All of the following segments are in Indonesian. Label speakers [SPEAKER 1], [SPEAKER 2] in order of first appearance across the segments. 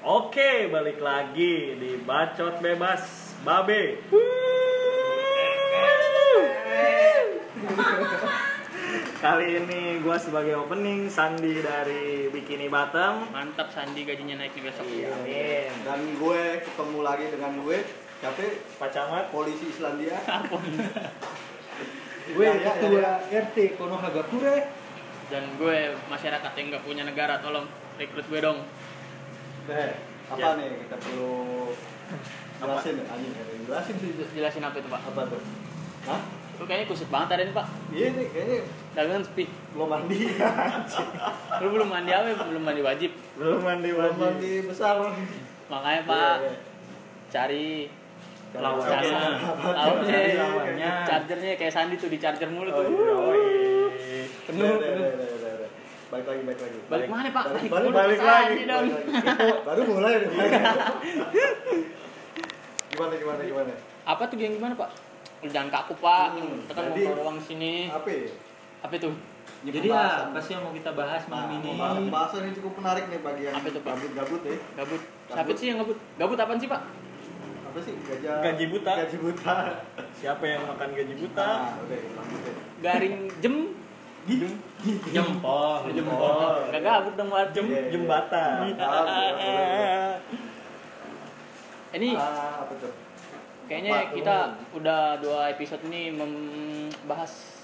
[SPEAKER 1] Oke, balik lagi di Bacot Bebas Babe. Kali ini gue sebagai opening Sandi dari Bikini Bottom.
[SPEAKER 2] Mantap Sandi gajinya naik nih besok.
[SPEAKER 1] Iya, Amin.
[SPEAKER 3] Dan gue ketemu lagi dengan gue, capek
[SPEAKER 1] Pak Camat.
[SPEAKER 3] polisi Islandia.
[SPEAKER 4] Gue
[SPEAKER 3] Ya, ya,
[SPEAKER 4] ketua
[SPEAKER 3] ya,
[SPEAKER 4] RT Konohagakure.
[SPEAKER 2] Dan gue masyarakat yang nggak punya negara, tolong rekrut gue dong.
[SPEAKER 3] Eh,
[SPEAKER 1] Ya.
[SPEAKER 3] apa nih kita perlu jelasin ya? Anjing, ada yang jelasin sih.
[SPEAKER 2] Terus jelasin apa itu Pak?
[SPEAKER 3] Apa tuh? Hah?
[SPEAKER 2] Lu kayaknya kusut banget hari ini Pak.
[SPEAKER 3] Iya nih, kayaknya
[SPEAKER 2] Dagangan sepi.
[SPEAKER 3] belum mandi.
[SPEAKER 2] Lu belum mandi apa? ya? Belum mandi wajib.
[SPEAKER 1] Belum mandi
[SPEAKER 3] belum
[SPEAKER 1] wajib.
[SPEAKER 3] mandi besar.
[SPEAKER 2] Makanya
[SPEAKER 3] Iya,
[SPEAKER 2] Pak
[SPEAKER 3] iya.
[SPEAKER 2] cari
[SPEAKER 1] Lawan.
[SPEAKER 2] charger.
[SPEAKER 3] Lawan.
[SPEAKER 2] Lawannya.
[SPEAKER 3] Cari
[SPEAKER 1] lawannya.
[SPEAKER 2] Chargernya kayak Sandi tuh di charger mulu
[SPEAKER 1] Oh,
[SPEAKER 2] tuh.
[SPEAKER 1] iya, oh, iya.
[SPEAKER 2] Penuh,
[SPEAKER 3] Iya, iya,
[SPEAKER 2] penuh.
[SPEAKER 3] iya, iya, iya, iya. Balik lagi, balik lagi.
[SPEAKER 2] Balik mana Pak?
[SPEAKER 3] Balik,
[SPEAKER 2] mulu
[SPEAKER 3] balik,
[SPEAKER 1] balik
[SPEAKER 2] ke Sandi
[SPEAKER 1] lagi,
[SPEAKER 2] dong.
[SPEAKER 3] Balik lagi. Baru mulai. nih. gimana, gimana, gimana?
[SPEAKER 2] Apa tuh yang gimana Pak? Lu Jangan kaku Pak.
[SPEAKER 3] Hmm,
[SPEAKER 2] Kita kan mau
[SPEAKER 3] jadi-
[SPEAKER 2] ke ruang sini.
[SPEAKER 3] Apa ya?
[SPEAKER 2] Apa itu?
[SPEAKER 3] Ini
[SPEAKER 4] Jadi ya,
[SPEAKER 2] ya,
[SPEAKER 3] pembahasan.
[SPEAKER 4] apa sih yang mau kita bahas malam ini?
[SPEAKER 3] Nah, pembahasan ini cukup menarik nih bagi yang
[SPEAKER 2] Apa itu, Pak?
[SPEAKER 3] gabut-gabut ya.
[SPEAKER 2] Gabut.
[SPEAKER 3] Gabut.
[SPEAKER 2] Siapa sih yang gabut? Gabut apaan sih Pak?
[SPEAKER 3] Apa sih? Gajah
[SPEAKER 1] Gaji buta.
[SPEAKER 3] Gaji buta.
[SPEAKER 1] Siapa yang makan gaji
[SPEAKER 3] Nah,
[SPEAKER 1] buta?
[SPEAKER 3] udah lanjut ya.
[SPEAKER 2] Garing jem
[SPEAKER 3] Gidung.
[SPEAKER 4] Jempol.
[SPEAKER 1] Jempol.
[SPEAKER 2] Gak gabut dong Pak. Jem.
[SPEAKER 1] Jem- jembatan.
[SPEAKER 3] Iya, Nah, boleh, boleh.
[SPEAKER 2] Iya. Ini
[SPEAKER 3] Ah, apa tuh?
[SPEAKER 2] Kayaknya
[SPEAKER 3] Apa
[SPEAKER 2] kita udah dua episode ini membahas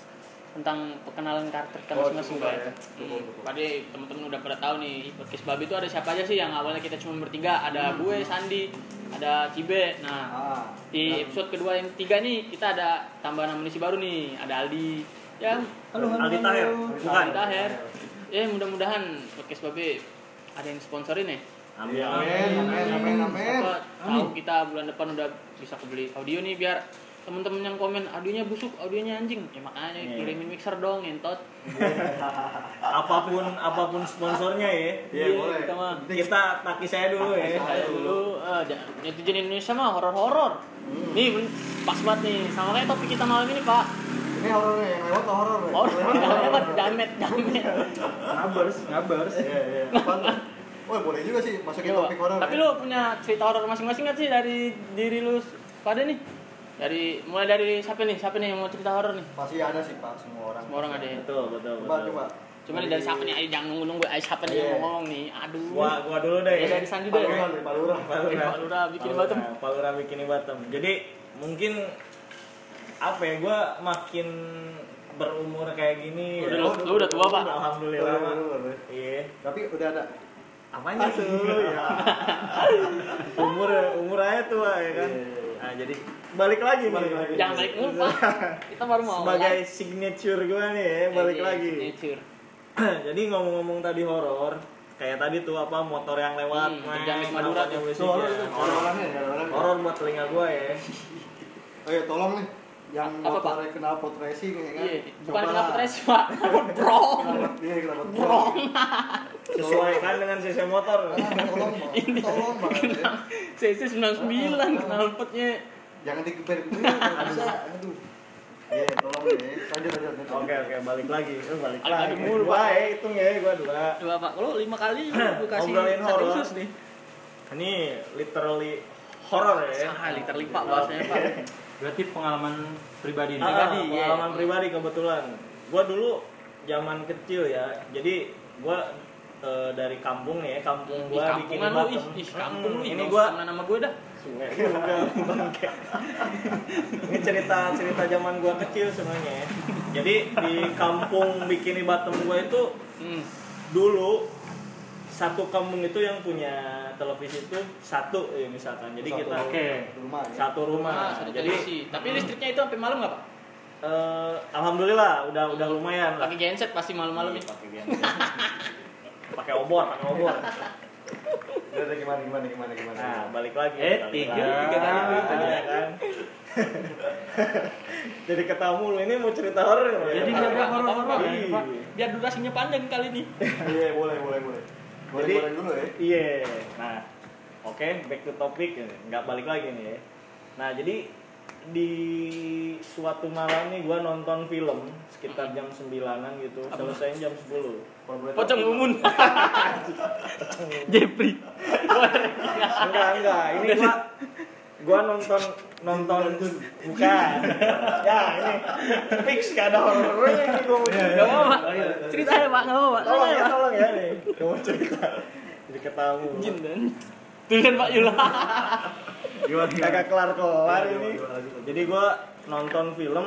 [SPEAKER 2] tentang perkenalan karakter kita
[SPEAKER 3] Oh,
[SPEAKER 2] masing-masing Pak.
[SPEAKER 3] cukup lah ya. Cukup,
[SPEAKER 2] Hmm,
[SPEAKER 3] cukup.
[SPEAKER 2] Tadi teman-teman udah pada tahu nih podcast Babi itu ada siapa aja sih yang awalnya kita cuma bertiga, ada gue, Sandi, ada Cibe. Nah,
[SPEAKER 3] Ah,
[SPEAKER 2] di
[SPEAKER 3] nah,
[SPEAKER 2] episode kedua yang ketiga nih kita ada tambahan amunisi baru nih, ada Aldi. Ya,
[SPEAKER 4] Halo, halo,
[SPEAKER 1] Aldi
[SPEAKER 4] halo.
[SPEAKER 1] Tahir. Bukan.
[SPEAKER 2] Aldi Tahir. Ya, mudah-mudahan podcast Babi ada yang sponsorin ya.
[SPEAKER 1] Amin.
[SPEAKER 3] Amin, amin, amin, amin.
[SPEAKER 2] Apa, tahu kita bulan depan udah bisa kebeli audio nih biar temen-temen yang komen audionya busuk, audionya anjing. Ya makanya
[SPEAKER 1] Iya.
[SPEAKER 2] kirimin mixer dong, entot.
[SPEAKER 1] Apapun apapun sponsornya ya.
[SPEAKER 3] Iya, boleh.
[SPEAKER 2] Kita mah
[SPEAKER 1] Kita taki saya dulu ya.
[SPEAKER 3] Ayo
[SPEAKER 2] ayo
[SPEAKER 3] dulu.
[SPEAKER 2] dulu eh, ja- netizen Indonesia mah horor-horor. Nih ben- pas banget nih sama kayak topik kita malam ini, Pak.
[SPEAKER 3] Ini horor nih, yang lewat tuh horor. nih.
[SPEAKER 2] Horor
[SPEAKER 3] Iya.
[SPEAKER 2] lewat damet damet.
[SPEAKER 4] Ngabers, ngabers.
[SPEAKER 3] Iya, iya. Apa tuh? Woi, boleh juga sih masukin
[SPEAKER 2] Iya, Pak.
[SPEAKER 3] topik horor.
[SPEAKER 2] Tapi
[SPEAKER 3] ya.
[SPEAKER 2] lu punya cerita horor masing-masing nggak sih dari diri lu pada nih? Dari mulai dari siapa nih? Siapa nih yang mau cerita horor nih?
[SPEAKER 3] pasti ada sih, Pak, semua orang.
[SPEAKER 2] Semua orang ada ya.
[SPEAKER 1] Betul, betul,
[SPEAKER 3] Coba,
[SPEAKER 1] betul.
[SPEAKER 3] coba.
[SPEAKER 2] Cuma nih dari siapa nih? Ayo jangan nunggu-nunggu. Ayo siapa nih yang
[SPEAKER 3] Iya.
[SPEAKER 2] mau ngomong nih? Aduh.
[SPEAKER 1] Gua gua dulu deh.
[SPEAKER 2] Ya, dari Sandi deh.
[SPEAKER 3] Palura, nih, Palura.
[SPEAKER 2] Dari Pak Lura, bikin bottom.
[SPEAKER 1] Palura bikin bottom. Jadi mungkin apa ya gue makin berumur kayak gini.
[SPEAKER 2] Lu
[SPEAKER 1] ya.
[SPEAKER 2] udah- lu udah tua, Pak?
[SPEAKER 1] Alhamdulillah.
[SPEAKER 3] Udah,
[SPEAKER 1] Pak.
[SPEAKER 3] udah, udah.
[SPEAKER 1] Iya.
[SPEAKER 3] Tapi udah ada.
[SPEAKER 1] Apanya
[SPEAKER 3] Aduh, ya.
[SPEAKER 1] umur umur aja tua ya kan.
[SPEAKER 3] Iya, iya, iya.
[SPEAKER 1] Nah, jadi balik lagi nih.
[SPEAKER 3] Balik lagi.
[SPEAKER 2] Jangan balik dulu, Pak. Kita baru mau
[SPEAKER 1] Sebagai
[SPEAKER 2] mulai.
[SPEAKER 1] signature gue nih ya, balik
[SPEAKER 2] Ini
[SPEAKER 1] lagi.
[SPEAKER 2] Iya, signature.
[SPEAKER 1] jadi ngomong-ngomong tadi horor, kayak tadi tuh apa motor yang lewat,
[SPEAKER 2] Hmm,
[SPEAKER 1] main,
[SPEAKER 2] terjamin Madura
[SPEAKER 1] namanya
[SPEAKER 2] tuh.
[SPEAKER 3] Itu
[SPEAKER 1] musiknya.
[SPEAKER 3] horor itu, ada
[SPEAKER 1] Horor.
[SPEAKER 3] orangnya, ada orangnya.
[SPEAKER 1] Horor buat telinga gue ya.
[SPEAKER 3] Oh iya, tolong nih yang
[SPEAKER 2] Apa, Pak?
[SPEAKER 3] motornya kenal pot racing ya kan.
[SPEAKER 2] Iya, bukan
[SPEAKER 3] Cobalah.
[SPEAKER 2] kenapa stres, Pak. Brong.
[SPEAKER 3] Iya, kenal pot
[SPEAKER 2] Brong.
[SPEAKER 1] Sesuaikan dengan cc motor.
[SPEAKER 3] Ah, Tolong, Bang. tolong banget. ya.
[SPEAKER 2] CC 99 knalpotnya.
[SPEAKER 3] Jangan digeber-geber, nggak bisa. Aduh. Iya, tolong deh. Lanjut, lanjut. lanjut.
[SPEAKER 1] Oke oke balik lagi, Eh, balik
[SPEAKER 2] Balik
[SPEAKER 1] lagi.
[SPEAKER 2] lagi mulu,
[SPEAKER 1] Dua
[SPEAKER 2] Pak.
[SPEAKER 1] ya, hitung ya gua dua.
[SPEAKER 2] Coba Pak, kalau lima kali lu kasih
[SPEAKER 1] Ngobrolin
[SPEAKER 2] satu
[SPEAKER 1] horor.
[SPEAKER 2] khusus nih.
[SPEAKER 1] Ini literally horor ya.
[SPEAKER 2] Ah, liter lipat bahasanya Pak.
[SPEAKER 4] Berarti pengalaman pribadi
[SPEAKER 1] Ah,
[SPEAKER 4] nih.
[SPEAKER 2] Pribadi, ya.
[SPEAKER 1] pengalaman pribadi kebetulan. Gua dulu zaman kecil ya, jadi gua eh, dari kampung nih ya, kampung
[SPEAKER 2] Ih,
[SPEAKER 1] gua bikin
[SPEAKER 2] kampungan lu, ih, ih, kampung lu.
[SPEAKER 1] ini gua
[SPEAKER 2] nama gue dah.
[SPEAKER 1] sungai juga bangke ini cerita cerita zaman gua kecil sebenarnya ya. jadi di kampung bikini Batam gua itu
[SPEAKER 2] Hmm.
[SPEAKER 1] dulu satu kampung itu yang punya televisi itu satu ya misalkan jadi
[SPEAKER 3] Satu
[SPEAKER 1] kita
[SPEAKER 3] oke. rumah ya.
[SPEAKER 1] satu rumah
[SPEAKER 2] Ah, satu
[SPEAKER 1] jadi
[SPEAKER 2] televisi. Tapi listriknya itu sampai malam nggak Pak?
[SPEAKER 1] eh, alhamdulillah udah udah lumayan lah
[SPEAKER 2] Pakai genset pasti malam-malam
[SPEAKER 1] Iya,
[SPEAKER 2] ya. nih.
[SPEAKER 1] pakai biang- pakai obor pakai obor
[SPEAKER 3] Udah, udah, gimana, gimana, gimana, gimana.
[SPEAKER 1] Nah, balik lagi.
[SPEAKER 4] Eh,
[SPEAKER 1] balik
[SPEAKER 4] tiga.
[SPEAKER 1] lagi.
[SPEAKER 4] Tiga kali
[SPEAKER 1] Ah,
[SPEAKER 4] gitu.
[SPEAKER 1] iya kan? Jadi ketemu lu ini mau cerita horor ya?
[SPEAKER 4] Jadi
[SPEAKER 1] Pak?
[SPEAKER 4] jaga horor-horor ya,
[SPEAKER 2] kan,
[SPEAKER 1] Iya.
[SPEAKER 4] Pak.
[SPEAKER 2] Biar durasinya panjang kali nih.
[SPEAKER 3] Iya, boleh, boleh, boleh. Boleh,
[SPEAKER 1] Jadi-
[SPEAKER 3] boleh dulu ya.
[SPEAKER 1] Iya. Nah, oke, back to topic. Nggak balik lagi nih ya. Nah, jadi di suatu malam nih gua nonton film sekitar jam 9-an gitu, selesai jam 10.
[SPEAKER 2] Pocong Mumun. Jepri.
[SPEAKER 1] Enggak, enggak. Ini gua gua nonton nonton bukan. Ya, ini fix gak ada horornya ini gua mau cerita.
[SPEAKER 2] Gak apa-apa. Cerita ya, Pak. Gak apa-apa.
[SPEAKER 1] Tolong ya, tolong ya nih. Gua mau cerita. Jadi ketamu.
[SPEAKER 2] Jin dan. Tulisan Pak Yula.
[SPEAKER 3] Gimana?
[SPEAKER 1] Kagak kelar-kelar
[SPEAKER 3] Iya,
[SPEAKER 1] ini.
[SPEAKER 3] gimana, gimana?
[SPEAKER 1] Jadi gua nonton film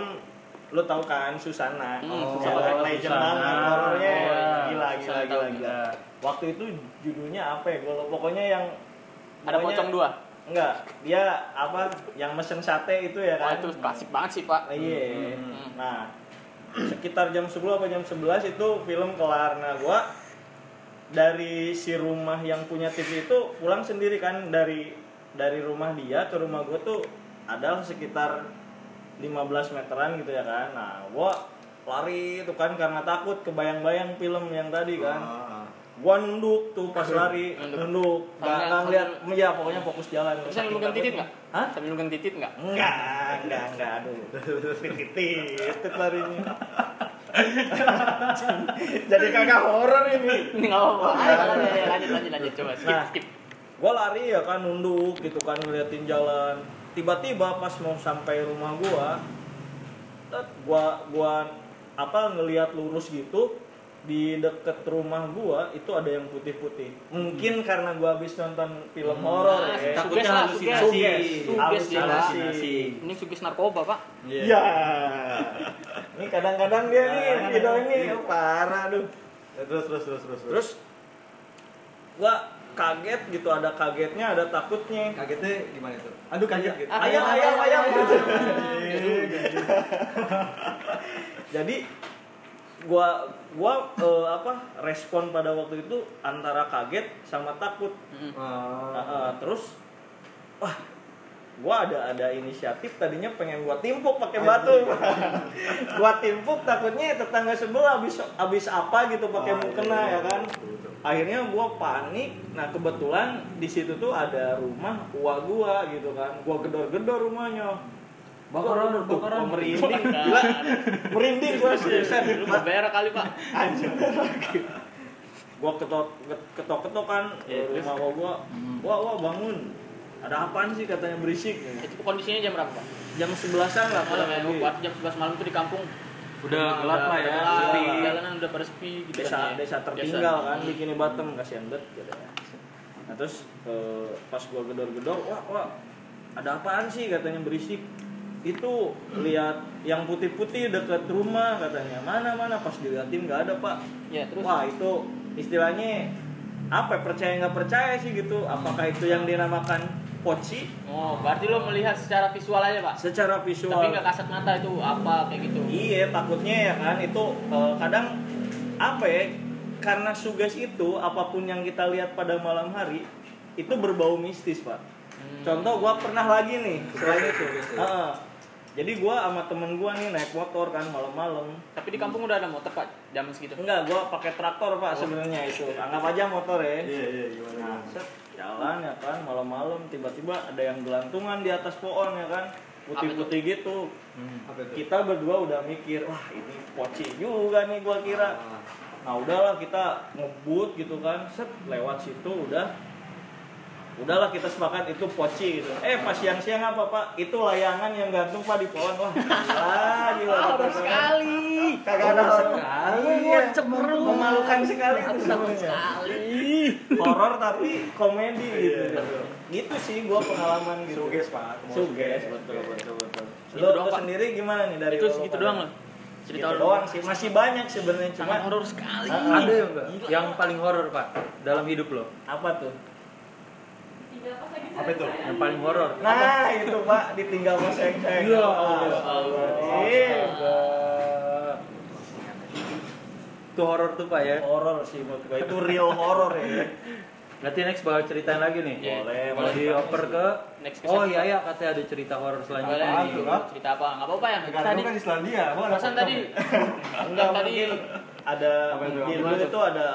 [SPEAKER 1] lu tahu kan Susana.
[SPEAKER 2] Hmm,
[SPEAKER 1] Oh,
[SPEAKER 2] Susana.
[SPEAKER 1] Susana legend
[SPEAKER 4] Susana.
[SPEAKER 1] banget horornya.
[SPEAKER 2] Oh, iya.
[SPEAKER 1] Gila, gila,
[SPEAKER 2] Susana
[SPEAKER 1] gila,
[SPEAKER 2] tahu,
[SPEAKER 1] gila. Waktu itu judulnya apa ya? Gua lupa. pokoknya yang
[SPEAKER 2] Ada
[SPEAKER 1] pokoknya-
[SPEAKER 2] pocong dua.
[SPEAKER 1] Enggak, dia apa yang mesen sate itu ya kan?
[SPEAKER 2] Wah, Oh, itu klasik banget sih, Pak.
[SPEAKER 1] Nah, Iya.
[SPEAKER 2] Hmm.
[SPEAKER 1] Nah, sekitar jam 10 apa jam 11 itu film kelar. Nah, gua dari si rumah yang punya TV itu pulang sendiri kan dari dari rumah dia ke rumah gua tuh adalah sekitar 15 meteran gitu ya kan. Nah, gua lari itu kan karena takut kebayang-bayang film yang tadi kan.
[SPEAKER 3] Ah, ah.
[SPEAKER 1] Gua nunduk tuh pas lari,
[SPEAKER 2] Hmm. Nunduk.
[SPEAKER 1] nunduk. Gak,
[SPEAKER 2] Sambil-
[SPEAKER 1] gak ngeliat, ya pokoknya fokus jalan.
[SPEAKER 2] Terus yang megang titit nggak?
[SPEAKER 1] Hah?
[SPEAKER 2] Sambil megang titit nggak?
[SPEAKER 1] Enggak, enggak, enggak, aduh. Titit larinya. Jadi kagak horor ini.
[SPEAKER 2] Ini nggak apa-apa. Ayo, lanjut, ayo, lanjut, lanjut, lanjut. Coba skip,
[SPEAKER 1] Nah.
[SPEAKER 2] skip.
[SPEAKER 1] Gua lari ya kan nunduk gitu kan ngeliatin jalan. Tiba-tiba pas mau sampai rumah gua, tet, gua gua apa ngelihat lurus gitu di deket rumah gua itu ada yang putih-putih. Mungkin karena gua habis nonton film
[SPEAKER 4] Hmm.
[SPEAKER 1] horor
[SPEAKER 2] Nah,
[SPEAKER 1] ya.
[SPEAKER 2] suges
[SPEAKER 4] Takutnya
[SPEAKER 2] lah,
[SPEAKER 4] halusinasi.
[SPEAKER 2] suges. Suges,
[SPEAKER 1] Halusinasi.
[SPEAKER 2] ya, Pak.
[SPEAKER 4] Halusinasi.
[SPEAKER 2] Ini suges narkoba, Pak.
[SPEAKER 4] Iya.
[SPEAKER 1] Ya. Ini kadang-kadang dia nih,
[SPEAKER 3] Nah,
[SPEAKER 1] gitu
[SPEAKER 3] nah,
[SPEAKER 1] ini
[SPEAKER 3] iya.
[SPEAKER 1] parah aduh.
[SPEAKER 3] Ya, Terus terus terus terus.
[SPEAKER 1] Terus gua kaget gitu, ada kagetnya, ada takutnya.
[SPEAKER 3] kagetnya gimana itu? Aduh kaget Iya, gitu.
[SPEAKER 2] Ah,
[SPEAKER 1] Ayam, ayam, ayam. Jadi gua gua eh, apa respon pada waktu itu antara kaget sama takut.
[SPEAKER 2] Mm.
[SPEAKER 1] Nah,
[SPEAKER 3] Ah,
[SPEAKER 1] eh, terus wah gua ada ada inisiatif tadinya pengen gua timpuk pakai
[SPEAKER 3] Iya,
[SPEAKER 1] batu gua timpuk takutnya tetangga sebelah habis habis apa gitu pakai
[SPEAKER 3] Ah,
[SPEAKER 1] mukena
[SPEAKER 3] iya,
[SPEAKER 1] ya kan
[SPEAKER 3] betul, betul.
[SPEAKER 1] akhirnya gua panik nah kebetulan di situ tuh ada rumah uang gua gitu kan gua gedor-gedor rumahnya
[SPEAKER 4] Bakaran,
[SPEAKER 1] Tuh,
[SPEAKER 4] bakaran.
[SPEAKER 1] gua merinding
[SPEAKER 2] Bakaran. Iya,
[SPEAKER 1] gila merinding gua sih
[SPEAKER 2] Lu nggak berak kali, Pak.
[SPEAKER 1] anjir lagi gua ketok ketok ketok kan
[SPEAKER 2] Iya, terus?
[SPEAKER 1] rumah gua gua wah wah bangun ada apaan sih katanya berisik
[SPEAKER 2] Itu kondisinya jam berapa, Pak?
[SPEAKER 1] jam sebelasan lah
[SPEAKER 2] Malam ya,
[SPEAKER 1] kurang lebih.
[SPEAKER 2] waktu jam 11 malam tuh di kampung
[SPEAKER 4] Udah
[SPEAKER 2] Nah,
[SPEAKER 4] gelap
[SPEAKER 2] udah
[SPEAKER 4] lah ya,
[SPEAKER 2] gelap,
[SPEAKER 4] sepi.
[SPEAKER 2] Jalanan udah pada sepi gitu
[SPEAKER 1] Ah,
[SPEAKER 2] kan
[SPEAKER 1] desa
[SPEAKER 2] ya.
[SPEAKER 1] desa tertinggal kan bikin Batem kasihan banget katanya. nah terus eh, pas gua gedor-gedor wah wah ada apaan sih katanya berisik itu lihat yang putih-putih deket rumah katanya mana mana pas diliatin nggak ada pak
[SPEAKER 2] Ya, terus
[SPEAKER 1] Wah itu istilahnya apa ya, percaya nggak percaya sih gitu? Apakah itu yang dinamakan poci
[SPEAKER 2] Oh, berarti lo melihat secara visual aja, Pak.
[SPEAKER 1] secara
[SPEAKER 2] Tapi nggak
[SPEAKER 1] visual?
[SPEAKER 2] kasat mata itu apa kayak gitu.
[SPEAKER 1] Iya takutnya ya kan itu eh, kadang apa ya? Karena suges itu apapun yang kita lihat pada malam hari itu berbau mistis pak.
[SPEAKER 2] Hmm.
[SPEAKER 1] Contoh gua pernah lagi nih selain itu.
[SPEAKER 3] Suges ya?
[SPEAKER 1] Heeh. Jadi gua sama temen gua nih naik motor kan malam-malam.
[SPEAKER 2] Tapi di kampung udah ada motor, Pak. Zaman segitu.
[SPEAKER 1] Enggak, gua pakai traktor pak sebenarnya itu. Anggap aja motor ya.
[SPEAKER 3] Iya iya gimana?
[SPEAKER 1] Nah,
[SPEAKER 3] gimana?
[SPEAKER 1] set, jalan ya kan malam-malam tiba-tiba ada yang gelantungan di atas pohon ya kan putih-putih gitu
[SPEAKER 3] Apa itu?
[SPEAKER 1] kita berdua udah mikir wah ini poci juga nih gua kira
[SPEAKER 3] Ah,
[SPEAKER 1] nah udahlah kita ngebut gitu kan set lewat situ udah udahlah kita sepakat itu poci gitu eh pas siang-siang apa pak itu layangan yang gantung pak di pohon wah gila gila
[SPEAKER 2] Horor Ah, sekali.
[SPEAKER 1] kagak ada horor.
[SPEAKER 3] sekali.
[SPEAKER 1] Iya.
[SPEAKER 2] Cemerlang.
[SPEAKER 1] memalukan sekali itu
[SPEAKER 2] Aku takut
[SPEAKER 1] sebenarnya
[SPEAKER 2] sekali.
[SPEAKER 1] horor tapi komedi gitu.
[SPEAKER 3] Iya.
[SPEAKER 1] Gitu sih gua pengalaman gitu.
[SPEAKER 3] Suges pak.
[SPEAKER 1] Suges,
[SPEAKER 3] betul betul betul.
[SPEAKER 1] Lo,
[SPEAKER 2] Gitu doang,
[SPEAKER 1] lo
[SPEAKER 2] Pak.
[SPEAKER 1] sendiri gimana nih dari lo
[SPEAKER 2] Itu segitu
[SPEAKER 1] pada-
[SPEAKER 2] doang lo.
[SPEAKER 1] Segitu
[SPEAKER 2] Cerita
[SPEAKER 1] Gitu doang sih. Masih banyak sebenarnya cuma Ah, ya?
[SPEAKER 2] Sangat horor sekali.
[SPEAKER 4] Ada yang enggak?
[SPEAKER 2] Gila.
[SPEAKER 4] Yang paling horor, Pak, dalam hidup lo.
[SPEAKER 1] apa tuh?
[SPEAKER 3] Apa itu?
[SPEAKER 4] Yang paling horor.
[SPEAKER 1] Nah, itu Pak ditinggal Mas Eng Eng.
[SPEAKER 4] Ya
[SPEAKER 1] Allah.
[SPEAKER 4] Allah.
[SPEAKER 1] Iya.
[SPEAKER 4] Eh, Itu horor tuh, Pak ya.
[SPEAKER 1] Horor sih menurut gua. Itu real horor ya.
[SPEAKER 4] Nanti next bakal ceritain lagi nih.
[SPEAKER 2] Iya.
[SPEAKER 1] Boleh,
[SPEAKER 4] Mau
[SPEAKER 1] boleh.
[SPEAKER 4] dioper ke
[SPEAKER 2] Next
[SPEAKER 4] Oh
[SPEAKER 2] episode.
[SPEAKER 4] iya iya katanya ada cerita horor
[SPEAKER 2] Boleh,
[SPEAKER 4] selanjutnya. Iya.
[SPEAKER 3] Apaan
[SPEAKER 2] nih.
[SPEAKER 3] tuh, Pak?
[SPEAKER 2] cerita apa? Enggak apa-apa ya.
[SPEAKER 3] Negara
[SPEAKER 2] Tadi
[SPEAKER 3] lu kan Islandia. gua ada
[SPEAKER 2] perasaan
[SPEAKER 3] pocong,
[SPEAKER 2] tadi
[SPEAKER 3] ya?
[SPEAKER 1] Enggak
[SPEAKER 2] Tadi-
[SPEAKER 1] mungkin ada
[SPEAKER 3] Apa itu?
[SPEAKER 1] di
[SPEAKER 3] Apa
[SPEAKER 1] dulu
[SPEAKER 3] itu?
[SPEAKER 1] itu ada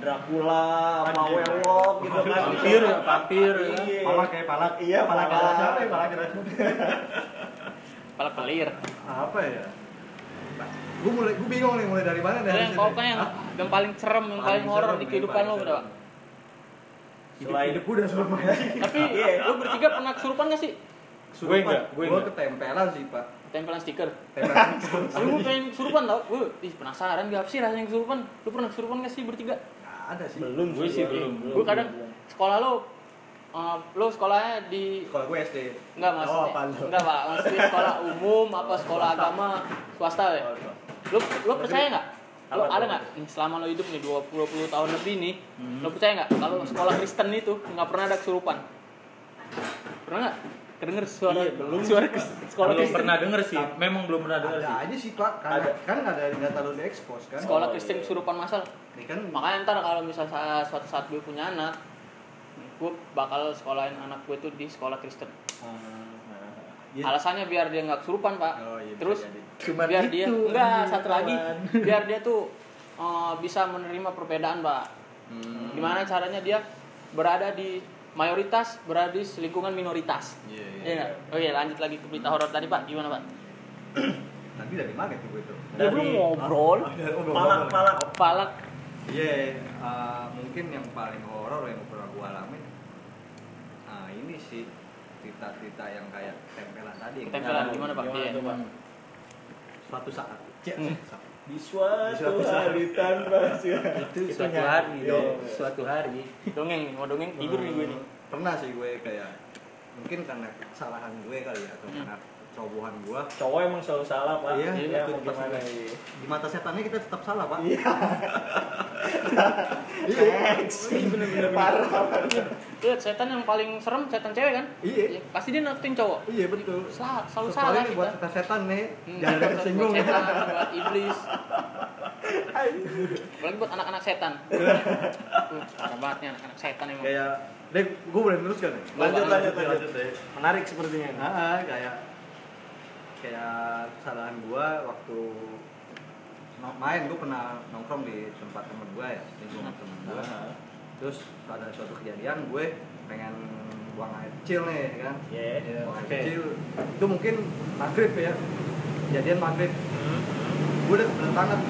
[SPEAKER 1] Dracula, sama
[SPEAKER 3] Anjing.
[SPEAKER 1] werewolf gitu kan.
[SPEAKER 4] Vampir ya, vampir ya.
[SPEAKER 1] Iya.
[SPEAKER 3] Palak kayak palak.
[SPEAKER 1] Iya,
[SPEAKER 3] palak.
[SPEAKER 1] palak.
[SPEAKER 3] Palak siapa ya palak kira?
[SPEAKER 2] Pelak pelir.
[SPEAKER 3] apa ya gue mulai gue bingung nih mulai dari
[SPEAKER 2] Lu
[SPEAKER 3] mana dari
[SPEAKER 2] yang pokoknya yang, yang paling cerem, yang paling horor di kehidupan lo berapa?
[SPEAKER 1] Selain-
[SPEAKER 3] selain hidup udah serem aja
[SPEAKER 2] Tapi
[SPEAKER 1] Iya.
[SPEAKER 2] lu bertiga pernah kesurupan gak sih?
[SPEAKER 4] Gue enggak, gue
[SPEAKER 3] gue
[SPEAKER 4] enggak.
[SPEAKER 3] ketempelan sih pak
[SPEAKER 2] Tempelan stiker.
[SPEAKER 3] tempelan
[SPEAKER 2] Lu gue pengen kesurupan tau? Gue ih, penasaran gak sih rasanya kesurupan? Lu pernah kesurupan gak sih bertiga?
[SPEAKER 3] Nggak ada sih
[SPEAKER 1] belum
[SPEAKER 4] Gue sih belum,
[SPEAKER 2] Gue kadang sekolah lo, eh, lo sekolahnya di
[SPEAKER 3] sekolah gue SD
[SPEAKER 2] Enggak maksudnya.
[SPEAKER 3] oh, apa lu
[SPEAKER 2] enggak, Pak. Maksudnya sekolah umum apa sekolah agama swasta ya?
[SPEAKER 3] Oh, itu.
[SPEAKER 2] Lu lu percaya enggak?
[SPEAKER 1] Apa
[SPEAKER 2] Lu
[SPEAKER 1] tuh?
[SPEAKER 2] ada enggak? Nih, selama lo hidup nih 20 20 tahun lebih nih, lo percaya enggak kalau sekolah Kristen itu enggak pernah ada kesurupan? Pernah enggak? Kedenger suara
[SPEAKER 1] Iya, belum.
[SPEAKER 2] suara kes- sekolah
[SPEAKER 4] belum
[SPEAKER 2] Kristen.
[SPEAKER 4] pernah denger sih, memang belum pernah denger
[SPEAKER 3] ada
[SPEAKER 4] sih.
[SPEAKER 3] aja sih pak kan
[SPEAKER 1] Ada.
[SPEAKER 3] kan ada data lu di expose kan
[SPEAKER 2] Sekolah
[SPEAKER 1] Oh,
[SPEAKER 2] Kristen
[SPEAKER 1] iya.
[SPEAKER 2] kesurupan masal.
[SPEAKER 3] ini kan
[SPEAKER 2] Makanya ntar kalau misal sa- suatu saat gue punya anak, gue bakal sekolahin anak gue tuh di sekolah Kristen.
[SPEAKER 3] ya,
[SPEAKER 2] Alasannya biar dia nggak kesurupan, Pak.
[SPEAKER 3] Hmm. oh, iya, bisa
[SPEAKER 2] Terus
[SPEAKER 3] jadi.
[SPEAKER 4] Cuma
[SPEAKER 2] biar dia enggak
[SPEAKER 4] anjing,
[SPEAKER 2] satu lagi
[SPEAKER 4] kawan.
[SPEAKER 2] biar dia tuh eh, bisa menerima perbedaan pak
[SPEAKER 3] Hmm.
[SPEAKER 2] gimana caranya dia berada di mayoritas berada di lingkungan minoritas
[SPEAKER 3] Iya, iya,
[SPEAKER 2] Iya nggak? oke lanjut lagi ke berita horor tadi pak gimana pak
[SPEAKER 3] Tadi dari mana tuh gue tuh?
[SPEAKER 1] Ya, Dari-
[SPEAKER 2] lu ngobrol
[SPEAKER 3] Oh, dari- oh, belum
[SPEAKER 1] palak
[SPEAKER 3] ngomong.
[SPEAKER 1] palak
[SPEAKER 2] palak
[SPEAKER 3] Iya, eh, mungkin yang paling horor yang pernah gue alamin nah ini sih cerita-cerita yang kayak tempelan tadi. yang-
[SPEAKER 2] Tempelan. Gimana, Pak? Iya.
[SPEAKER 1] tuh, Pak?
[SPEAKER 3] Suatu saat. Cek. Hmm. Suatu saat.
[SPEAKER 1] di suatu
[SPEAKER 3] Di suatu
[SPEAKER 1] hari tanpa siapa
[SPEAKER 4] Itu suatu hari,
[SPEAKER 3] Iya.
[SPEAKER 4] dong. suatu hari.
[SPEAKER 2] dongeng nih mau dongeng tidur nih gue nih
[SPEAKER 3] Pernah sih gue kayak mungkin karena kesalahan gue kali ya atau
[SPEAKER 2] Hmm.
[SPEAKER 3] karena cobohan gue
[SPEAKER 1] cowok emang selalu salah pak
[SPEAKER 3] Iya,
[SPEAKER 1] ya,
[SPEAKER 3] betul,
[SPEAKER 1] mau
[SPEAKER 3] pasti.
[SPEAKER 1] gimana
[SPEAKER 3] di mata setannya kita tetap salah pak.
[SPEAKER 1] Iya.
[SPEAKER 3] Iya.
[SPEAKER 1] bener-bener parah
[SPEAKER 2] Lihat, setan yang paling serem setan cewek kan
[SPEAKER 3] Iya.
[SPEAKER 2] pasti dia nakutin cowok
[SPEAKER 3] Iya betul.
[SPEAKER 2] salah selalu
[SPEAKER 3] Kecuali
[SPEAKER 2] salah
[SPEAKER 3] nih buat
[SPEAKER 2] kita
[SPEAKER 3] setan-setan nih,
[SPEAKER 2] Hmm,
[SPEAKER 3] jangan ada
[SPEAKER 2] buat- buat
[SPEAKER 3] kesinggung ya.
[SPEAKER 2] setan, buat iblis apalagi buat anak-anak setan Uh, parah banget nih anak-anak setan emang
[SPEAKER 3] Kayak, deh, gue boleh teruskan ya?
[SPEAKER 1] lanjut lanjut
[SPEAKER 3] Lanjut,
[SPEAKER 1] lanjut
[SPEAKER 3] lanjut, deh.
[SPEAKER 1] menarik sepertinya
[SPEAKER 3] Ah, ah, kayak kayak kesalahan gua waktu no- main gua pernah nongkrong di tempat temen gua ya lingkungan temen gua
[SPEAKER 1] Hmm.
[SPEAKER 3] terus ada suatu kejadian gue pengen buang air kecil nih kan
[SPEAKER 1] Iya.
[SPEAKER 3] buang air
[SPEAKER 1] Oke.
[SPEAKER 3] kecil itu mungkin maghrib ya kejadian maghrib gue udah kebelet banget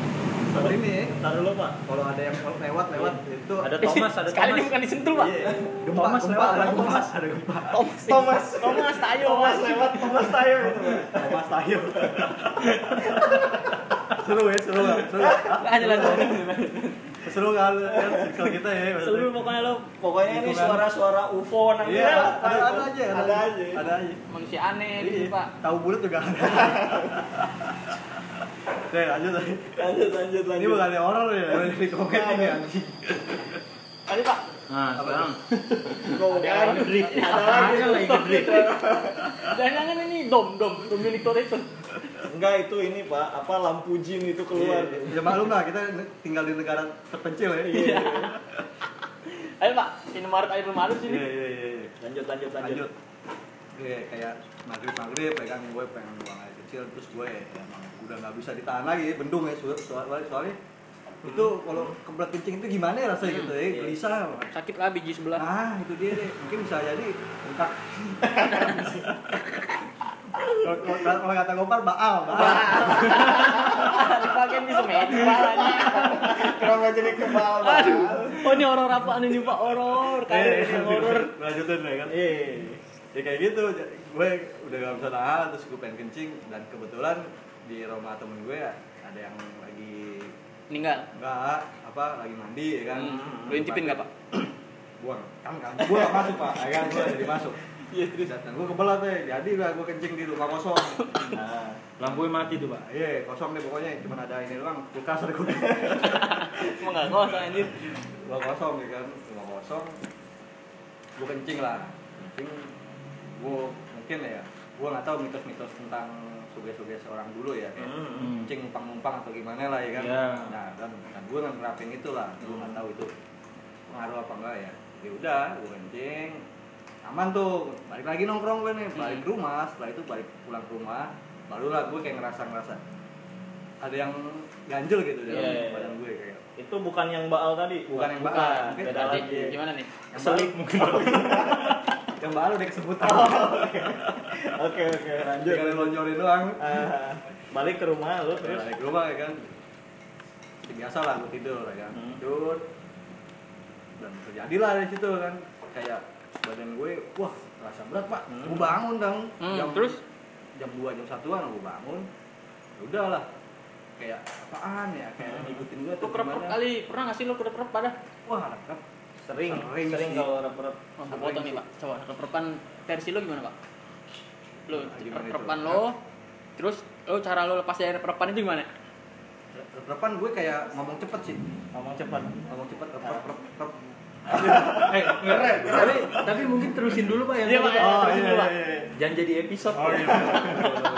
[SPEAKER 3] Kalau ini
[SPEAKER 1] Ntar dulu pak
[SPEAKER 3] kalau ada yang lewat lewat itu
[SPEAKER 4] Ada Thomas, ada
[SPEAKER 2] Eh, sekali dia
[SPEAKER 4] Thomas.
[SPEAKER 2] bukan disentuh pak
[SPEAKER 3] Iya. gempa
[SPEAKER 4] Thomas
[SPEAKER 3] gempa
[SPEAKER 4] lewat,
[SPEAKER 3] ada
[SPEAKER 4] ada
[SPEAKER 3] gempa
[SPEAKER 4] Thomas.
[SPEAKER 3] ada gempa Iya.
[SPEAKER 2] Thomas
[SPEAKER 1] Thomas.
[SPEAKER 2] Thomas tayo
[SPEAKER 1] Thomas lewat Thomas tayo itu
[SPEAKER 3] Thomas tayo seru ya seru seru
[SPEAKER 2] lanjut lanjut
[SPEAKER 3] seru kan kan circle kita ya
[SPEAKER 1] seru
[SPEAKER 3] maksudnya.
[SPEAKER 1] pokoknya lo pokoknya ini
[SPEAKER 3] Lingkungan.
[SPEAKER 1] suara-suara UFO nanti
[SPEAKER 3] iya
[SPEAKER 1] lewat,
[SPEAKER 3] ada,
[SPEAKER 1] Pak.
[SPEAKER 3] ada aja
[SPEAKER 1] ada aja
[SPEAKER 3] ada aja
[SPEAKER 2] manusia aneh
[SPEAKER 3] Iya.
[SPEAKER 2] gitu pak
[SPEAKER 3] tahu bulat juga ada Oke, lanjut lagi.
[SPEAKER 1] lanjut lanjut
[SPEAKER 3] Ini
[SPEAKER 1] lanjut
[SPEAKER 3] bukan ada horor ya, ini di komedi ini anjing.
[SPEAKER 2] tadi pak
[SPEAKER 4] Nah, sekarang
[SPEAKER 1] Bukan.
[SPEAKER 3] Iya,
[SPEAKER 1] ada lagi
[SPEAKER 4] ada lagi gede.
[SPEAKER 2] jangan jangan ini dom dom dom milik Tore itu
[SPEAKER 1] enggak itu ini pak apa lampu jin itu keluar
[SPEAKER 3] Iya, Ya maklum lah, kita tinggal di negara terpencil ya.
[SPEAKER 1] Iya.
[SPEAKER 2] ayo pak Indomaret ayo Indomaret sini
[SPEAKER 3] Iya, iya, iya, iya.
[SPEAKER 1] lanjut lanjut lanjut
[SPEAKER 3] Lanjut. Oke, kayak maghrib maghrib, ya kan gue pengen buang air kecil, terus gue ya, emang udah nggak bisa ditahan lagi, bendung ya soal soal- soalnya itu kalau kebelet kencing itu gimana ya
[SPEAKER 2] Hmm,
[SPEAKER 3] rasanya gitu ya,
[SPEAKER 1] Hmm. iya.
[SPEAKER 3] gelisah. banget.
[SPEAKER 2] sakit lah biji sebelah
[SPEAKER 3] Nah, itu dia deh. Mungkin bisa jadi bengkak. Kalau- kalau- Kalau kata Gopal, baal, baal.
[SPEAKER 2] dipakai bisa medik pak
[SPEAKER 1] kenapa jadi kebal Pak?
[SPEAKER 2] aduh oh ini horor apaan ini pak horor
[SPEAKER 3] Eh,
[SPEAKER 2] kayak ini horor
[SPEAKER 3] Lanjutin ya kan.
[SPEAKER 1] Kan iya
[SPEAKER 3] Ya kayak gitu, j- gue udah gak bisa nahan, terus gue pengen kencing dan kebetulan di rumah temen gue ada yang lagi
[SPEAKER 2] meninggal
[SPEAKER 3] enggak apa lagi mandi ya kan.
[SPEAKER 2] Hmm. Lu intipin nggak pak?
[SPEAKER 3] Buang. Kan kan gue gak masuk, Pak. Ya kan gue jadi masuk.
[SPEAKER 2] Iya
[SPEAKER 3] Dan gue kebelat deh, jadi lah gue kencing di rumah kosong.
[SPEAKER 1] nah
[SPEAKER 4] Lampunya mati tuh, Pak.
[SPEAKER 3] Iya, kosong deh pokoknya cuma ada ini doang, kulkas ada kulkas.
[SPEAKER 2] Emang nggak kosong anjir.
[SPEAKER 3] Rumah kosong ya kan, rumah kosong. Gue kencing lah. Kencing gue mungkin ya, gue nggak tahu mitos-mitos tentang suges-suges orang dulu ya kayak
[SPEAKER 1] Hmm.
[SPEAKER 3] kencing numpang-numpang atau gimana lah ya kan.
[SPEAKER 4] Iya.
[SPEAKER 3] Nah, dan, dan gue nggak nerapin itu lah, gue nggak tahu itu pengaruh apa enggak ya. Ya udah, gue kencing aman tuh balik lagi nongkrong gue nih
[SPEAKER 1] Hmm.
[SPEAKER 3] balik ke rumah setelah itu balik pulang ke rumah barulah gue kayak ngerasa ngerasa ada yang ganjel gitu dalam
[SPEAKER 1] Iya, iya, iya.
[SPEAKER 3] badan gue kayak
[SPEAKER 1] itu bukan yang baal tadi
[SPEAKER 3] Bukan yang baal.
[SPEAKER 1] Bukan,
[SPEAKER 3] Mungkin
[SPEAKER 1] beda
[SPEAKER 3] tadi.
[SPEAKER 1] lagi
[SPEAKER 2] Gimana nih?
[SPEAKER 3] Yang
[SPEAKER 1] selip mungkin
[SPEAKER 3] yang baru udah kesebutan
[SPEAKER 1] Oh. Oke oke lanjut.
[SPEAKER 3] tinggal lonjorin doang
[SPEAKER 1] Ah, balik ke rumah lu terus.
[SPEAKER 3] balik ke rumah ya kan Seperti biasa lah gue tidur ya kan
[SPEAKER 1] Hmm.
[SPEAKER 3] tidur dan terjadilah dari situ kan kayak badan gue wah rasa berat pak
[SPEAKER 1] Hmm.
[SPEAKER 3] gue bangun dong
[SPEAKER 2] Hmm, terus?
[SPEAKER 3] jam 2 jam satuan gue bangun ya udahlah kayak apaan ya kayak
[SPEAKER 1] Hmm.
[SPEAKER 3] ngikutin gue
[SPEAKER 2] Lu
[SPEAKER 3] atau
[SPEAKER 2] kerep
[SPEAKER 3] gimana
[SPEAKER 2] kali pernah nggak sih lu kerep kerep pada?
[SPEAKER 3] wah rekap
[SPEAKER 1] Sering
[SPEAKER 3] Sering
[SPEAKER 1] sering,
[SPEAKER 3] sih.
[SPEAKER 1] kalau rep-rep.
[SPEAKER 2] Oh, gua potong nih pak. Coba kerepan versi lu gimana pak? Lu
[SPEAKER 3] Nah, gimana itu?
[SPEAKER 2] kerepan lo, terus lo cara lo lepas dari kerepan itu gimana?
[SPEAKER 3] repan gue kayak ngomong cepet sih
[SPEAKER 1] Ngomong cepat.
[SPEAKER 3] ngomong cepet rep
[SPEAKER 1] Ah.
[SPEAKER 3] rep rep, rep.
[SPEAKER 4] Eh, ngerep. Tapi tapi mungkin terusin dulu Pak ya.
[SPEAKER 2] Iya, Pak, ya.
[SPEAKER 1] Oh
[SPEAKER 2] terusin
[SPEAKER 1] iya
[SPEAKER 2] dulu,
[SPEAKER 1] iya.
[SPEAKER 2] Pak.
[SPEAKER 1] iya.
[SPEAKER 4] Jangan jadi episode.
[SPEAKER 3] oh iya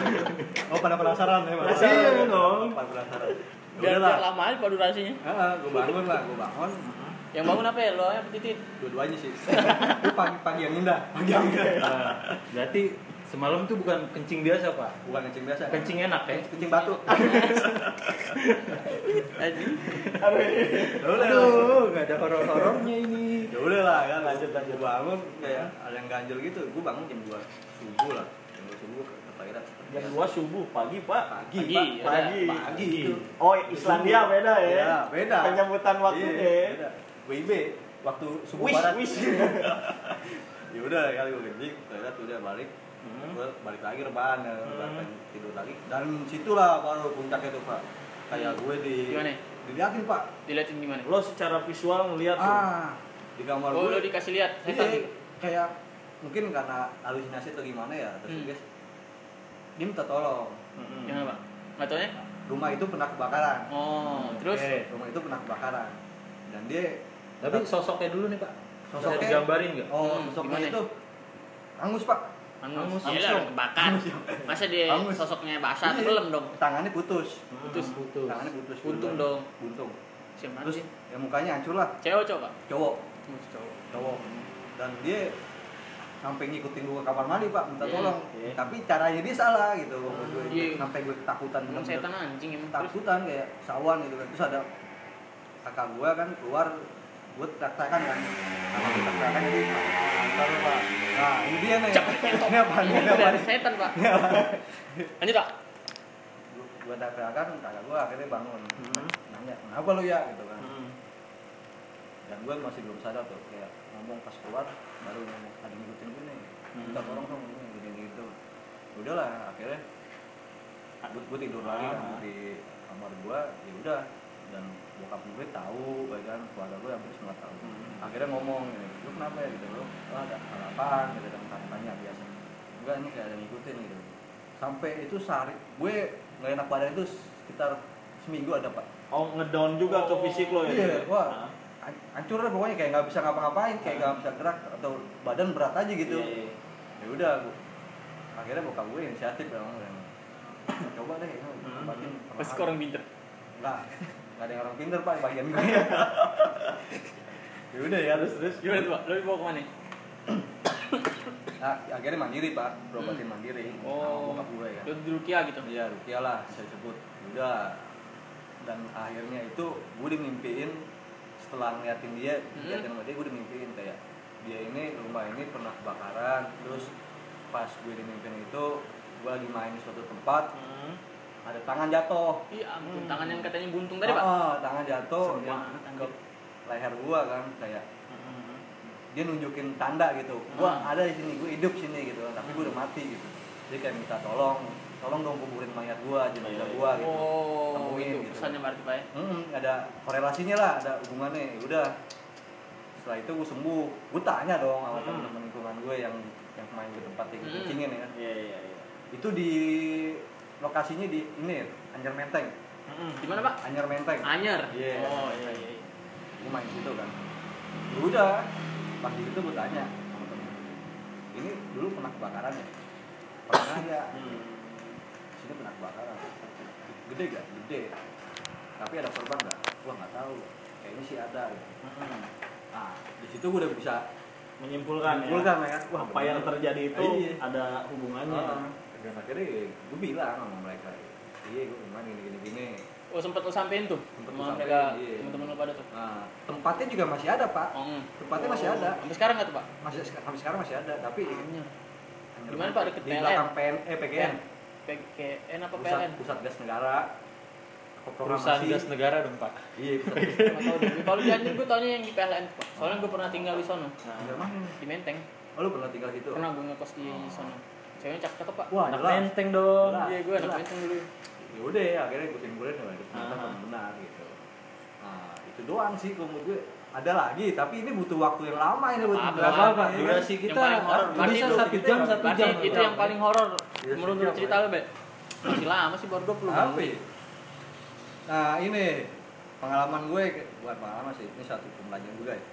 [SPEAKER 3] oh pada penasaran ya Pak?
[SPEAKER 1] Penasaran.
[SPEAKER 3] iya dong pada penasaran Ya
[SPEAKER 2] Biar,
[SPEAKER 3] udahlah
[SPEAKER 2] biar lama aja pak durasinya.
[SPEAKER 3] Ah, gue bangun lah, gue bangun
[SPEAKER 2] Yang bangun apa ya? Lo apa titit?
[SPEAKER 3] dua-duanya sih. Itu pagi pagi yang indah. Pagi yang indah.
[SPEAKER 4] Ah, Berarti semalam tuh bukan kencing biasa, Pak.
[SPEAKER 3] Bukan kencing biasa.
[SPEAKER 4] Kencing enak ya.
[SPEAKER 3] kencing batu.
[SPEAKER 4] Aduh, nggak ada horor-horornya ini.
[SPEAKER 3] Ya udah lah kan lanjut lanjut Gua bangun kayak ada yang ganjel gitu. Gue bangun jam 2 subuh lah. Jam 2 subuh ke ke toilet.
[SPEAKER 1] Jam 2 subuh pagi pak.
[SPEAKER 3] pagi,
[SPEAKER 2] Pagi,
[SPEAKER 3] Pak.
[SPEAKER 2] ya.
[SPEAKER 1] Pagi.
[SPEAKER 3] Pagi itu.
[SPEAKER 1] Oh Islandia beda ya.
[SPEAKER 3] Iya, beda.
[SPEAKER 1] Penyambutan waktu
[SPEAKER 3] Iya,
[SPEAKER 1] ya.
[SPEAKER 3] beda. WIB waktu subuh
[SPEAKER 1] Wish
[SPEAKER 3] barat.
[SPEAKER 1] wish.
[SPEAKER 3] Ya udah kali gue kencing, toilet udah balik.
[SPEAKER 2] Hmm.
[SPEAKER 3] Gua balik lagi rebahan, ya. rebahan tidur lagi. Dan situlah baru puncaknya tuh, Pak. Kayak gue di
[SPEAKER 2] Hmm. Gimana?
[SPEAKER 3] diliatin, Pak.
[SPEAKER 2] Diliatin gimana?
[SPEAKER 1] Lo secara visual ngeliat tuh.
[SPEAKER 3] ah di kamar
[SPEAKER 2] Oh
[SPEAKER 3] gue
[SPEAKER 2] lo dikasih lihat.
[SPEAKER 3] Iya,
[SPEAKER 2] setan.
[SPEAKER 3] kayak mungkin karena halusinasi atau gimana ya terus
[SPEAKER 2] Hmm.
[SPEAKER 3] guys dia minta tolong
[SPEAKER 1] Mm-mm.
[SPEAKER 2] Gimana pak? Nggak taunya?
[SPEAKER 3] rumah itu pernah kebakaran
[SPEAKER 2] Oh, terus?
[SPEAKER 4] Oke.
[SPEAKER 5] Eh,
[SPEAKER 3] rumah itu pernah kebakaran dan dia
[SPEAKER 4] Tapi sosoknya dulu nih, Pak. Sosoknya
[SPEAKER 3] Sosoknya-
[SPEAKER 4] digambarin nggak?
[SPEAKER 3] oh
[SPEAKER 2] Hmm,
[SPEAKER 3] sosoknya
[SPEAKER 2] gimana?
[SPEAKER 3] itu hangus pak
[SPEAKER 2] Angus,
[SPEAKER 4] Angus.
[SPEAKER 2] Iya lah, kebakar. Masa dia
[SPEAKER 3] Angus.
[SPEAKER 2] sosoknya basah,
[SPEAKER 3] Iya.
[SPEAKER 2] tenggelam dong.
[SPEAKER 3] tangannya putus
[SPEAKER 2] Hmm. Putus.
[SPEAKER 4] Putus.
[SPEAKER 3] tangannya putus
[SPEAKER 2] Untung dong.
[SPEAKER 3] duluan. buntung
[SPEAKER 2] Siapa
[SPEAKER 3] terus
[SPEAKER 2] sih?
[SPEAKER 3] ya mukanya hancur lah
[SPEAKER 2] Cewek coba.
[SPEAKER 3] cowok
[SPEAKER 2] Cowok.
[SPEAKER 3] cowok dan dia sampai ngikutin gue ke kamar mandi pak minta
[SPEAKER 2] Iya,
[SPEAKER 3] tolong
[SPEAKER 1] iya.
[SPEAKER 3] tapi caranya dia salah gitu gue
[SPEAKER 2] Iya.
[SPEAKER 3] sampai gue ketakutan
[SPEAKER 2] Emang
[SPEAKER 3] bener-bener.
[SPEAKER 2] setan anjing emang terus.
[SPEAKER 3] takutan kayak sawan gitu kan terus ada kakak gua kan keluar gua teriak-teriakan kan sama gua teriak-teriakan jadi antar pak nah ini dia nih
[SPEAKER 2] Cep.
[SPEAKER 3] ini apa nih
[SPEAKER 2] Ini
[SPEAKER 3] ini apa
[SPEAKER 2] dari
[SPEAKER 3] nih
[SPEAKER 2] setan pak. Lanjut pak.
[SPEAKER 3] Gua- gua teriak-teriakan kakak gua akhirnya bangun
[SPEAKER 1] Hmm.
[SPEAKER 3] nanya kenapa lu ya gitu kan
[SPEAKER 1] Mm.
[SPEAKER 3] dan gua masih belum sadar tuh kayak ngomong pas keluar baru ngomong ada ngikutin gua nih minta
[SPEAKER 1] Hmm.
[SPEAKER 3] tolong dong ini gini gitu udahlah akhirnya gua, gua tidur lagi kan
[SPEAKER 1] Ah.
[SPEAKER 3] di kamar gua ya udah dan bokap gue tahu ya kan keluarga gue hampir semua tahu
[SPEAKER 1] Hmm.
[SPEAKER 3] akhirnya ngomong ya, lu kenapa ya gitu lu "Wah, ada hal apaan gitu kan tanya tanya biasa enggak ini kayak ada yang ngikutin gitu sampai itu sehari gue nggak enak badan itu sekitar seminggu ada pak
[SPEAKER 1] Oh ngedown juga ke fisik lo ya.
[SPEAKER 3] Iya, wah.
[SPEAKER 1] Ah.
[SPEAKER 3] An- hancur lah pokoknya kayak nggak bisa ngapa-ngapain kayak nggak bisa gerak atau badan berat aja gitu
[SPEAKER 1] Iya, iya.
[SPEAKER 3] ya udah gua- akhirnya bokap gue inisiatif ya ngomong yang, coba deh ya,
[SPEAKER 1] Hmm.
[SPEAKER 3] obatin
[SPEAKER 2] Pasti orang pinter.
[SPEAKER 3] nggak nggak ada yang orang pinter pak di bagian gue ya udah ya terus terus
[SPEAKER 2] Gimana tuh pak? Lo dibawa kemana?
[SPEAKER 3] Nah, akhirnya mandiri pak, berobatin
[SPEAKER 1] Hmm.
[SPEAKER 3] mandiri sama
[SPEAKER 2] Oh.
[SPEAKER 3] bokap gue ya.
[SPEAKER 2] Lo di Rukia gitu.
[SPEAKER 3] Iya, rupiah lah bisa sebut. Udah. Dan akhirnya itu gue dimimpiin setelah ngeliatin dia,
[SPEAKER 2] Hmm.
[SPEAKER 3] ngeliatin sama dia gue dimimpiin kayak dia ini rumah ini pernah kebakaran. Terus pas gue dimimpiin itu gue lagi main di suatu tempat
[SPEAKER 1] Hmm.
[SPEAKER 3] ada tangan jatuh.
[SPEAKER 2] Iya ampun,
[SPEAKER 1] Hmm.
[SPEAKER 2] tangan yang katanya buntung tadi pak.
[SPEAKER 3] Ah, tangan jatuh
[SPEAKER 2] Serem
[SPEAKER 3] yang
[SPEAKER 2] banget,
[SPEAKER 3] ke
[SPEAKER 2] anjir.
[SPEAKER 3] leher gua kan kayak
[SPEAKER 1] Hmm.
[SPEAKER 3] dia nunjukin tanda gitu gua
[SPEAKER 2] Hmm.
[SPEAKER 3] ada di sini gua hidup sini gitu tapi gua udah mati gitu dia kayak minta tolong tolong dong kuburin mayat gua
[SPEAKER 1] Iya,
[SPEAKER 3] jenazah
[SPEAKER 1] iya.
[SPEAKER 3] gua gitu
[SPEAKER 2] Oh,
[SPEAKER 3] Temuin
[SPEAKER 2] itu
[SPEAKER 3] gitu.
[SPEAKER 2] pesannya berarti pak ya.
[SPEAKER 3] Hmm, ada korelasinya lah ada hubungannya ya udah setelah itu gua sembuh gua tanya dong sama
[SPEAKER 1] Hmm.
[SPEAKER 3] temen-temen lingkungan gue yang yang main ke tempat yang
[SPEAKER 2] Hmm.
[SPEAKER 3] kencingin ya
[SPEAKER 1] Iya iya iya.
[SPEAKER 3] itu di lokasinya di ini Anyer Menteng
[SPEAKER 1] Hmm.
[SPEAKER 2] Gimana pak?
[SPEAKER 3] Anyer Menteng
[SPEAKER 2] Anyar.
[SPEAKER 3] Iya.
[SPEAKER 2] Oh iya iya. iya.
[SPEAKER 3] gue main situ kan ya udah pas di situ gue tanya sama temen ini dulu pernah kebakaran ya pernah ya
[SPEAKER 1] Hmm.
[SPEAKER 3] sini pernah kebakaran gede gak gede tapi ada korban gak gua nggak tahu kayaknya sih ada gitu.
[SPEAKER 1] Hmm.
[SPEAKER 3] nah di situ gue udah bisa
[SPEAKER 1] Menyimpulkan,
[SPEAKER 3] Menyimpulkan, ya.
[SPEAKER 1] Wah, apa yang
[SPEAKER 3] bener.
[SPEAKER 1] terjadi itu
[SPEAKER 3] Iya.
[SPEAKER 1] ada hubungannya.
[SPEAKER 3] ya, Ah, dan akhirnya gue bilang sama mereka iya gue cuman gini gini gini
[SPEAKER 2] Oh sempet lo sampein tuh
[SPEAKER 3] Sempet
[SPEAKER 2] sama
[SPEAKER 3] lo
[SPEAKER 2] mereka
[SPEAKER 3] sampein, iya.
[SPEAKER 2] teman-teman lo pada tuh.
[SPEAKER 3] Nah, tempatnya juga masih ada pak.
[SPEAKER 2] Oh, mm.
[SPEAKER 3] Tempatnya masih ada.
[SPEAKER 2] Sampai sekarang nggak tuh pak?
[SPEAKER 3] Masih sampai sekarang masih ada, tapi
[SPEAKER 2] Di mana, Pak? Deket
[SPEAKER 3] Di
[SPEAKER 2] PLN?
[SPEAKER 3] belakang PN, eh PGN,
[SPEAKER 2] PGN apa
[SPEAKER 3] pusat,
[SPEAKER 2] PLN?
[SPEAKER 3] pusat gas negara.
[SPEAKER 5] Perusahaan gas negara dong pak.
[SPEAKER 3] Iya. pusat gas
[SPEAKER 2] Nggak tahu deh. Kalau di Anjing gue tanya yang di PLN tuh pak. Soalnya gue pernah tinggal di sono
[SPEAKER 1] Nah,
[SPEAKER 3] negara mana?
[SPEAKER 2] di Menteng.
[SPEAKER 3] Nah, Oh, lu pernah tinggal situ?
[SPEAKER 2] Pernah gue ngekos di sono. Ceweknya cakep-cakep pak.
[SPEAKER 3] Wah,
[SPEAKER 5] Anak
[SPEAKER 3] jelas.
[SPEAKER 5] menteng dong.
[SPEAKER 3] Jelas,
[SPEAKER 2] Iya gue anak
[SPEAKER 3] jelas.
[SPEAKER 2] Menteng dulu.
[SPEAKER 3] Ya udah, akhirnya gue simpulin ya, itu ternyata
[SPEAKER 5] Ah.
[SPEAKER 3] memang benar gitu. Nah, itu doang sih kalau menurut gue. Ada lagi, tapi ini butuh waktu yang lama ini buat
[SPEAKER 2] Apa,
[SPEAKER 3] penjelasan,
[SPEAKER 2] apa,
[SPEAKER 3] ya kan?
[SPEAKER 5] durasi
[SPEAKER 2] Yang
[SPEAKER 5] kita
[SPEAKER 2] paling horor,
[SPEAKER 5] nggak bisa
[SPEAKER 2] durasi
[SPEAKER 5] satu
[SPEAKER 3] kita
[SPEAKER 5] jam
[SPEAKER 3] nggak
[SPEAKER 5] satu
[SPEAKER 2] Berarti
[SPEAKER 5] jam.
[SPEAKER 2] itu yang paling horor
[SPEAKER 3] Iya,
[SPEAKER 2] menurut
[SPEAKER 3] sejam, ya?
[SPEAKER 2] menurut cerita lo be. Masih lama sih baru 20 Bang.
[SPEAKER 3] Tapi, nah ini pengalaman gue bukan pengalaman sih ini satu pembelajaran juga ya.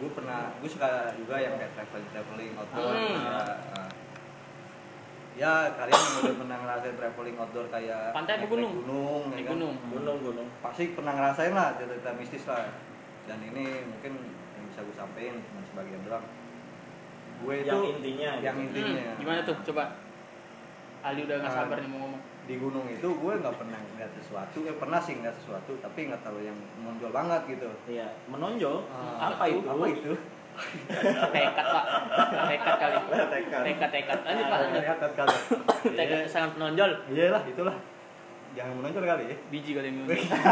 [SPEAKER 3] Gue pernah gue suka juga yang kayak traveling traveling outdoor.
[SPEAKER 2] Hmm.
[SPEAKER 3] Ya, nah. ya kalian yang udah pernah ngerasain traveling outdoor kayak
[SPEAKER 2] Pantai apa
[SPEAKER 3] naik-
[SPEAKER 2] gunung?
[SPEAKER 3] naik gunung, ya
[SPEAKER 2] Di
[SPEAKER 3] kan?
[SPEAKER 2] gunung.
[SPEAKER 1] Gunung-gunung.
[SPEAKER 3] Pasti pernah ngerasain lah cerita mistis lah. Dan ini mungkin yang bisa gue sampein cuma sebagian doang. Gue itu
[SPEAKER 1] Yang intinya.
[SPEAKER 3] yang
[SPEAKER 1] gitu.
[SPEAKER 3] intinya.
[SPEAKER 2] Hmm, Gimana tuh coba? Ali udah nggak
[SPEAKER 3] Ah.
[SPEAKER 2] sabar nih mau ngomong.
[SPEAKER 3] di gunung itu gue nggak pernah ngeliat sesuatu ya pernah sih ngeliat sesuatu tapi nggak tahu yang menonjol banget gitu
[SPEAKER 1] Iya, menonjol.
[SPEAKER 3] Ah,
[SPEAKER 1] apa itu?
[SPEAKER 3] apa itu
[SPEAKER 2] Tekad pak. Tekad kali.
[SPEAKER 3] Tekad.
[SPEAKER 2] Tekad tekad. Lanjut pak. lanjut.
[SPEAKER 3] kelihatan kali
[SPEAKER 2] Tekad sangat menonjol.
[SPEAKER 3] iya lah itulah jangan menonjol kali ya
[SPEAKER 2] Biji kali yang menonjol.
[SPEAKER 3] Iya.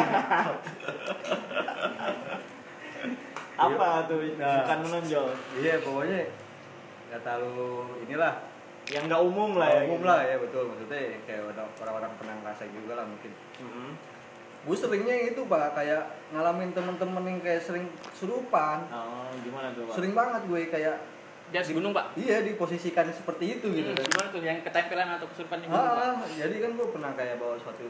[SPEAKER 1] Apa tuh?
[SPEAKER 3] Nah.
[SPEAKER 1] Bukan menonjol.
[SPEAKER 3] iya pokoknya nggak tahu inilah
[SPEAKER 1] Yang nggak umum lah ya.
[SPEAKER 3] umum
[SPEAKER 1] gitu.
[SPEAKER 3] lah ya betul maksudnya kayak orang- orang-orang pernah ngerasain juga lah mungkin
[SPEAKER 1] Mm-mm.
[SPEAKER 3] gue seringnya itu pak kayak ngalamin temen-temen yang kayak sering kesurupan
[SPEAKER 1] Oh, gimana tuh, Pak?
[SPEAKER 3] sering banget gue kayak
[SPEAKER 2] Di atas gunung pak.
[SPEAKER 3] iya diposisikan seperti itu gitu
[SPEAKER 2] Hmm,
[SPEAKER 3] kan
[SPEAKER 2] Gimana tuh yang ketempelan atau kesurupan di gunung pak?
[SPEAKER 3] Ah, jadi kan gue pernah kayak bawa suatu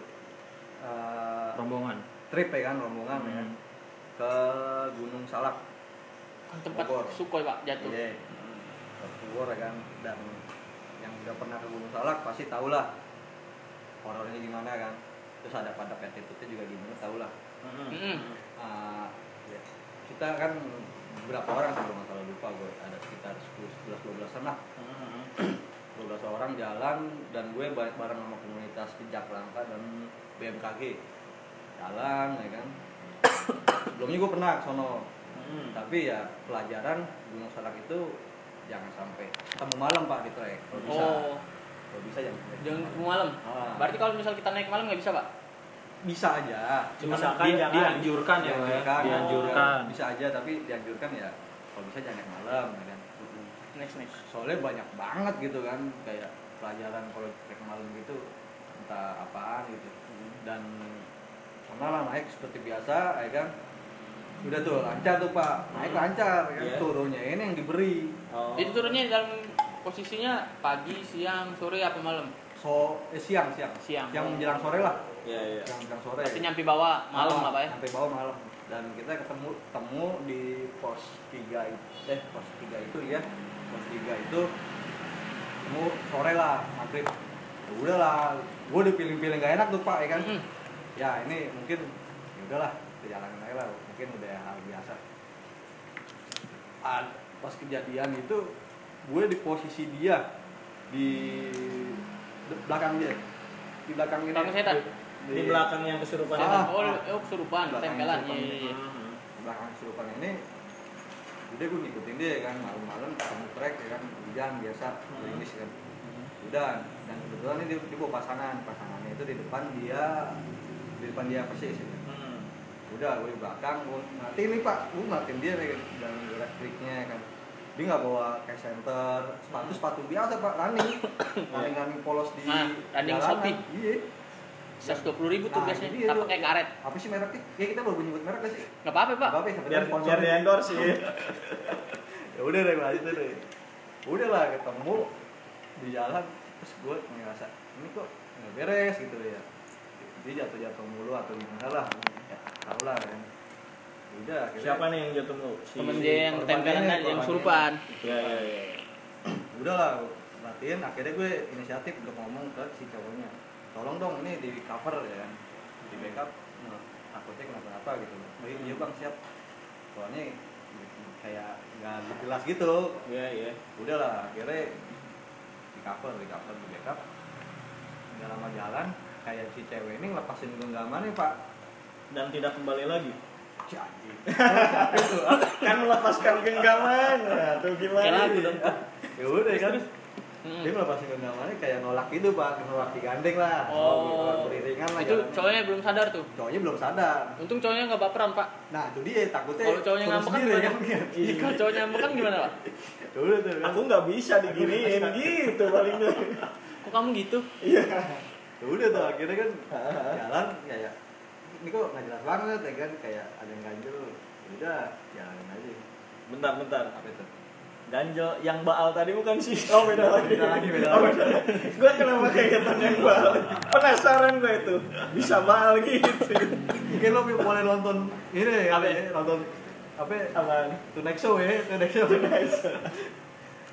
[SPEAKER 3] eh,
[SPEAKER 5] Rombongan.
[SPEAKER 3] trip ya kan rombongan ya kan,
[SPEAKER 5] Hmm.
[SPEAKER 3] ke Gunung Salak,
[SPEAKER 2] Tempat
[SPEAKER 3] Bogor.
[SPEAKER 2] sukoi pak jatuh.
[SPEAKER 3] iya, ke Bogor ya kan dan yang udah pernah ke Gunung Salak pasti tau lah horornya gimana kan terus ada pada attitude-nya juga gimana tau lah
[SPEAKER 1] Mm-mm.
[SPEAKER 2] Mm-mm.
[SPEAKER 3] Ah, ya, kita kan berapa orang kalau nggak salah lupa gue ada sekitar 10 11 12 lah
[SPEAKER 1] Mm-mm.
[SPEAKER 2] Mm-hmm.
[SPEAKER 3] 12 orang jalan dan gue ba- bareng sama komunitas pijak langka dan BMKG jalan ya kan sebelumnya gue pernah ke sono
[SPEAKER 1] Mm-mm.
[SPEAKER 3] tapi ya pelajaran Gunung Salak itu jangan sampai ketemu malam pak di trek kalau bisa
[SPEAKER 2] Oh,
[SPEAKER 3] kalau bisa jangan sampai
[SPEAKER 2] jangan
[SPEAKER 3] ketemu
[SPEAKER 2] ke malam.
[SPEAKER 3] malam. Ah,
[SPEAKER 2] Berarti kalau misal kita naik malam nggak bisa pak?
[SPEAKER 3] bisa aja
[SPEAKER 1] Cuma
[SPEAKER 5] Di-
[SPEAKER 1] misalkan jangan.
[SPEAKER 5] dianjurkan ya, Pak, ya.
[SPEAKER 3] Ah, Iya, dianjurkan
[SPEAKER 5] dianjurkan.
[SPEAKER 3] bisa aja tapi dianjurkan ya kalau bisa jangan naik malam ya kan
[SPEAKER 2] Next next.
[SPEAKER 3] soalnya banyak banget gitu kan kayak pelajaran kalau trek malam gitu entah apaan gitu dan pernah lah naik seperti biasa ya kan udah tuh lancar tuh pak naik lancar ya kan
[SPEAKER 1] Iya.
[SPEAKER 3] turunnya ini yang diberi
[SPEAKER 1] Oh.
[SPEAKER 2] Itu turunnya dalam posisinya pagi, siang, sore apa malam?
[SPEAKER 3] so eh, siang siang
[SPEAKER 2] Siang.
[SPEAKER 3] yang menjelang sore lah
[SPEAKER 1] Iya, iya.
[SPEAKER 3] yang menjelang sore
[SPEAKER 2] Berarti nyampe bawah malam
[SPEAKER 3] Ah,
[SPEAKER 2] apa ya?
[SPEAKER 3] sampai bawah malam dan kita ketemu temu di pos 3 itu eh pos 3 itu ya pos 3 itu ketemu sore lah maghrib ya udahlah gue udah pilih-pilih gak enak tuh pak ya kan
[SPEAKER 2] Mm-mm.
[SPEAKER 3] ya ini mungkin ya udahlah kita jalanin aja lah mungkin udah hal biasa Ad, pas kejadian itu gue di posisi dia di de- belakang dia di belakang ini
[SPEAKER 2] Belakang setan?
[SPEAKER 1] Di belakang yang kesurupan
[SPEAKER 3] Ah.
[SPEAKER 1] itu.
[SPEAKER 2] Oh, oh kesurupan,
[SPEAKER 3] Belakang
[SPEAKER 2] tempelan. Iya,
[SPEAKER 3] kesurupan.
[SPEAKER 2] iya, iya.
[SPEAKER 1] Mm-mm.
[SPEAKER 3] belakang kesurupan ini udah gue ngikutin dia ya kan malam-malam ketemu trek ya kan hujan biasa
[SPEAKER 2] Hmm.
[SPEAKER 3] gerimis kan udah dan kebetulan ini dia, dia bawa pasangan pasangannya itu di depan dia di depan dia persis ya.
[SPEAKER 1] Mm.
[SPEAKER 3] udah gue di belakang gue ngatin nih pak gue ngatin dia nih dan gerak geriknya ya kan dia nggak bawa cash center sepatu sepatu biasa pak running running running polos di
[SPEAKER 2] Ah, running Shopee.
[SPEAKER 3] iya
[SPEAKER 2] 120 ribu tuh
[SPEAKER 3] Nah,
[SPEAKER 2] biasanya,
[SPEAKER 3] jadi itu.
[SPEAKER 2] tak pakai karet.
[SPEAKER 3] apa sih mereknya ya kita baru nyebut merek nggak sih
[SPEAKER 2] Gak apa-apa pak.
[SPEAKER 3] Nggak apa-apa ya, sampai
[SPEAKER 1] Biar
[SPEAKER 3] sponsor.
[SPEAKER 1] biar di endorse sih.
[SPEAKER 3] ya udah deh lanjut deh udah lah ketemu di jalan terus gue ngerasa ini kok nggak beres gitu ya dia jatuh jatuh mulu atau gimana lah ya, tau lah kan udah akhirnya
[SPEAKER 1] Siapa nih yang jatuh mulu? Si
[SPEAKER 2] Temen dia yang
[SPEAKER 3] korbannya,
[SPEAKER 2] tempelan dan yang
[SPEAKER 3] korbannya.
[SPEAKER 2] kesurupan.
[SPEAKER 1] Iya, iya, iya.
[SPEAKER 3] udah lah latihan akhirnya gue inisiatif untuk ngomong ke si cowoknya tolong dong ini di cover ya kan di backup nah, takutnya kenapa-napa gitu oh iya bang siap soalnya kayak nggak jelas gitu
[SPEAKER 1] Iya, iya.
[SPEAKER 3] udahlah akhirnya di cover di cover di backup nggak lama jalan kayak si cewek ini ngelepasin genggamannya pak
[SPEAKER 1] dan tidak kembali lagi
[SPEAKER 3] Jadi. Gitu.
[SPEAKER 1] kan melepaskan genggaman nah, tuh
[SPEAKER 2] Kayak
[SPEAKER 1] gimana
[SPEAKER 2] lagu dong.
[SPEAKER 3] Ya udah kan.
[SPEAKER 2] Mm.
[SPEAKER 3] Dia melepaskan genggamannya kayak nolak itu, Pak. Nolak digandeng lah.
[SPEAKER 2] Oh.
[SPEAKER 3] Nolak beriringan lah.
[SPEAKER 2] Itu
[SPEAKER 3] jalannya.
[SPEAKER 2] cowoknya belum sadar tuh.
[SPEAKER 3] Cowoknya belum sadar.
[SPEAKER 2] Untung cowoknya nggak baperan pak.
[SPEAKER 3] Nah, itu dia takutnya.
[SPEAKER 2] Kalau cowoknya ngambek kan
[SPEAKER 3] sendiri,
[SPEAKER 2] gimana? Iya, Kalau cowoknya ngambek kan gimana pak?
[SPEAKER 3] Ya udah tuh. kan.
[SPEAKER 1] aku nggak bisa diginiin gitu palingnya
[SPEAKER 2] Kok kamu gitu?
[SPEAKER 3] Ya udah tuh akhirnya kan
[SPEAKER 2] Ah.
[SPEAKER 3] jalan kayak ini kok nggak jelas banget ya kan kayak ada yang ganjel. Ya Udah, jalanin aja.
[SPEAKER 1] bentar bentar
[SPEAKER 3] Apa itu?
[SPEAKER 1] ganjel yang baal tadi bukan sih oh beda lagi
[SPEAKER 3] Beda lagi, beda
[SPEAKER 1] oh,
[SPEAKER 3] lagi.
[SPEAKER 1] beda lagi. gue kenapa kegiatan yang baal penasaran gue itu bisa baal gitu
[SPEAKER 3] Mungkin lo boleh nonton ini ya,
[SPEAKER 1] Apa ya?
[SPEAKER 3] nonton apa ya?
[SPEAKER 1] apaan
[SPEAKER 3] The next show ya, the next show.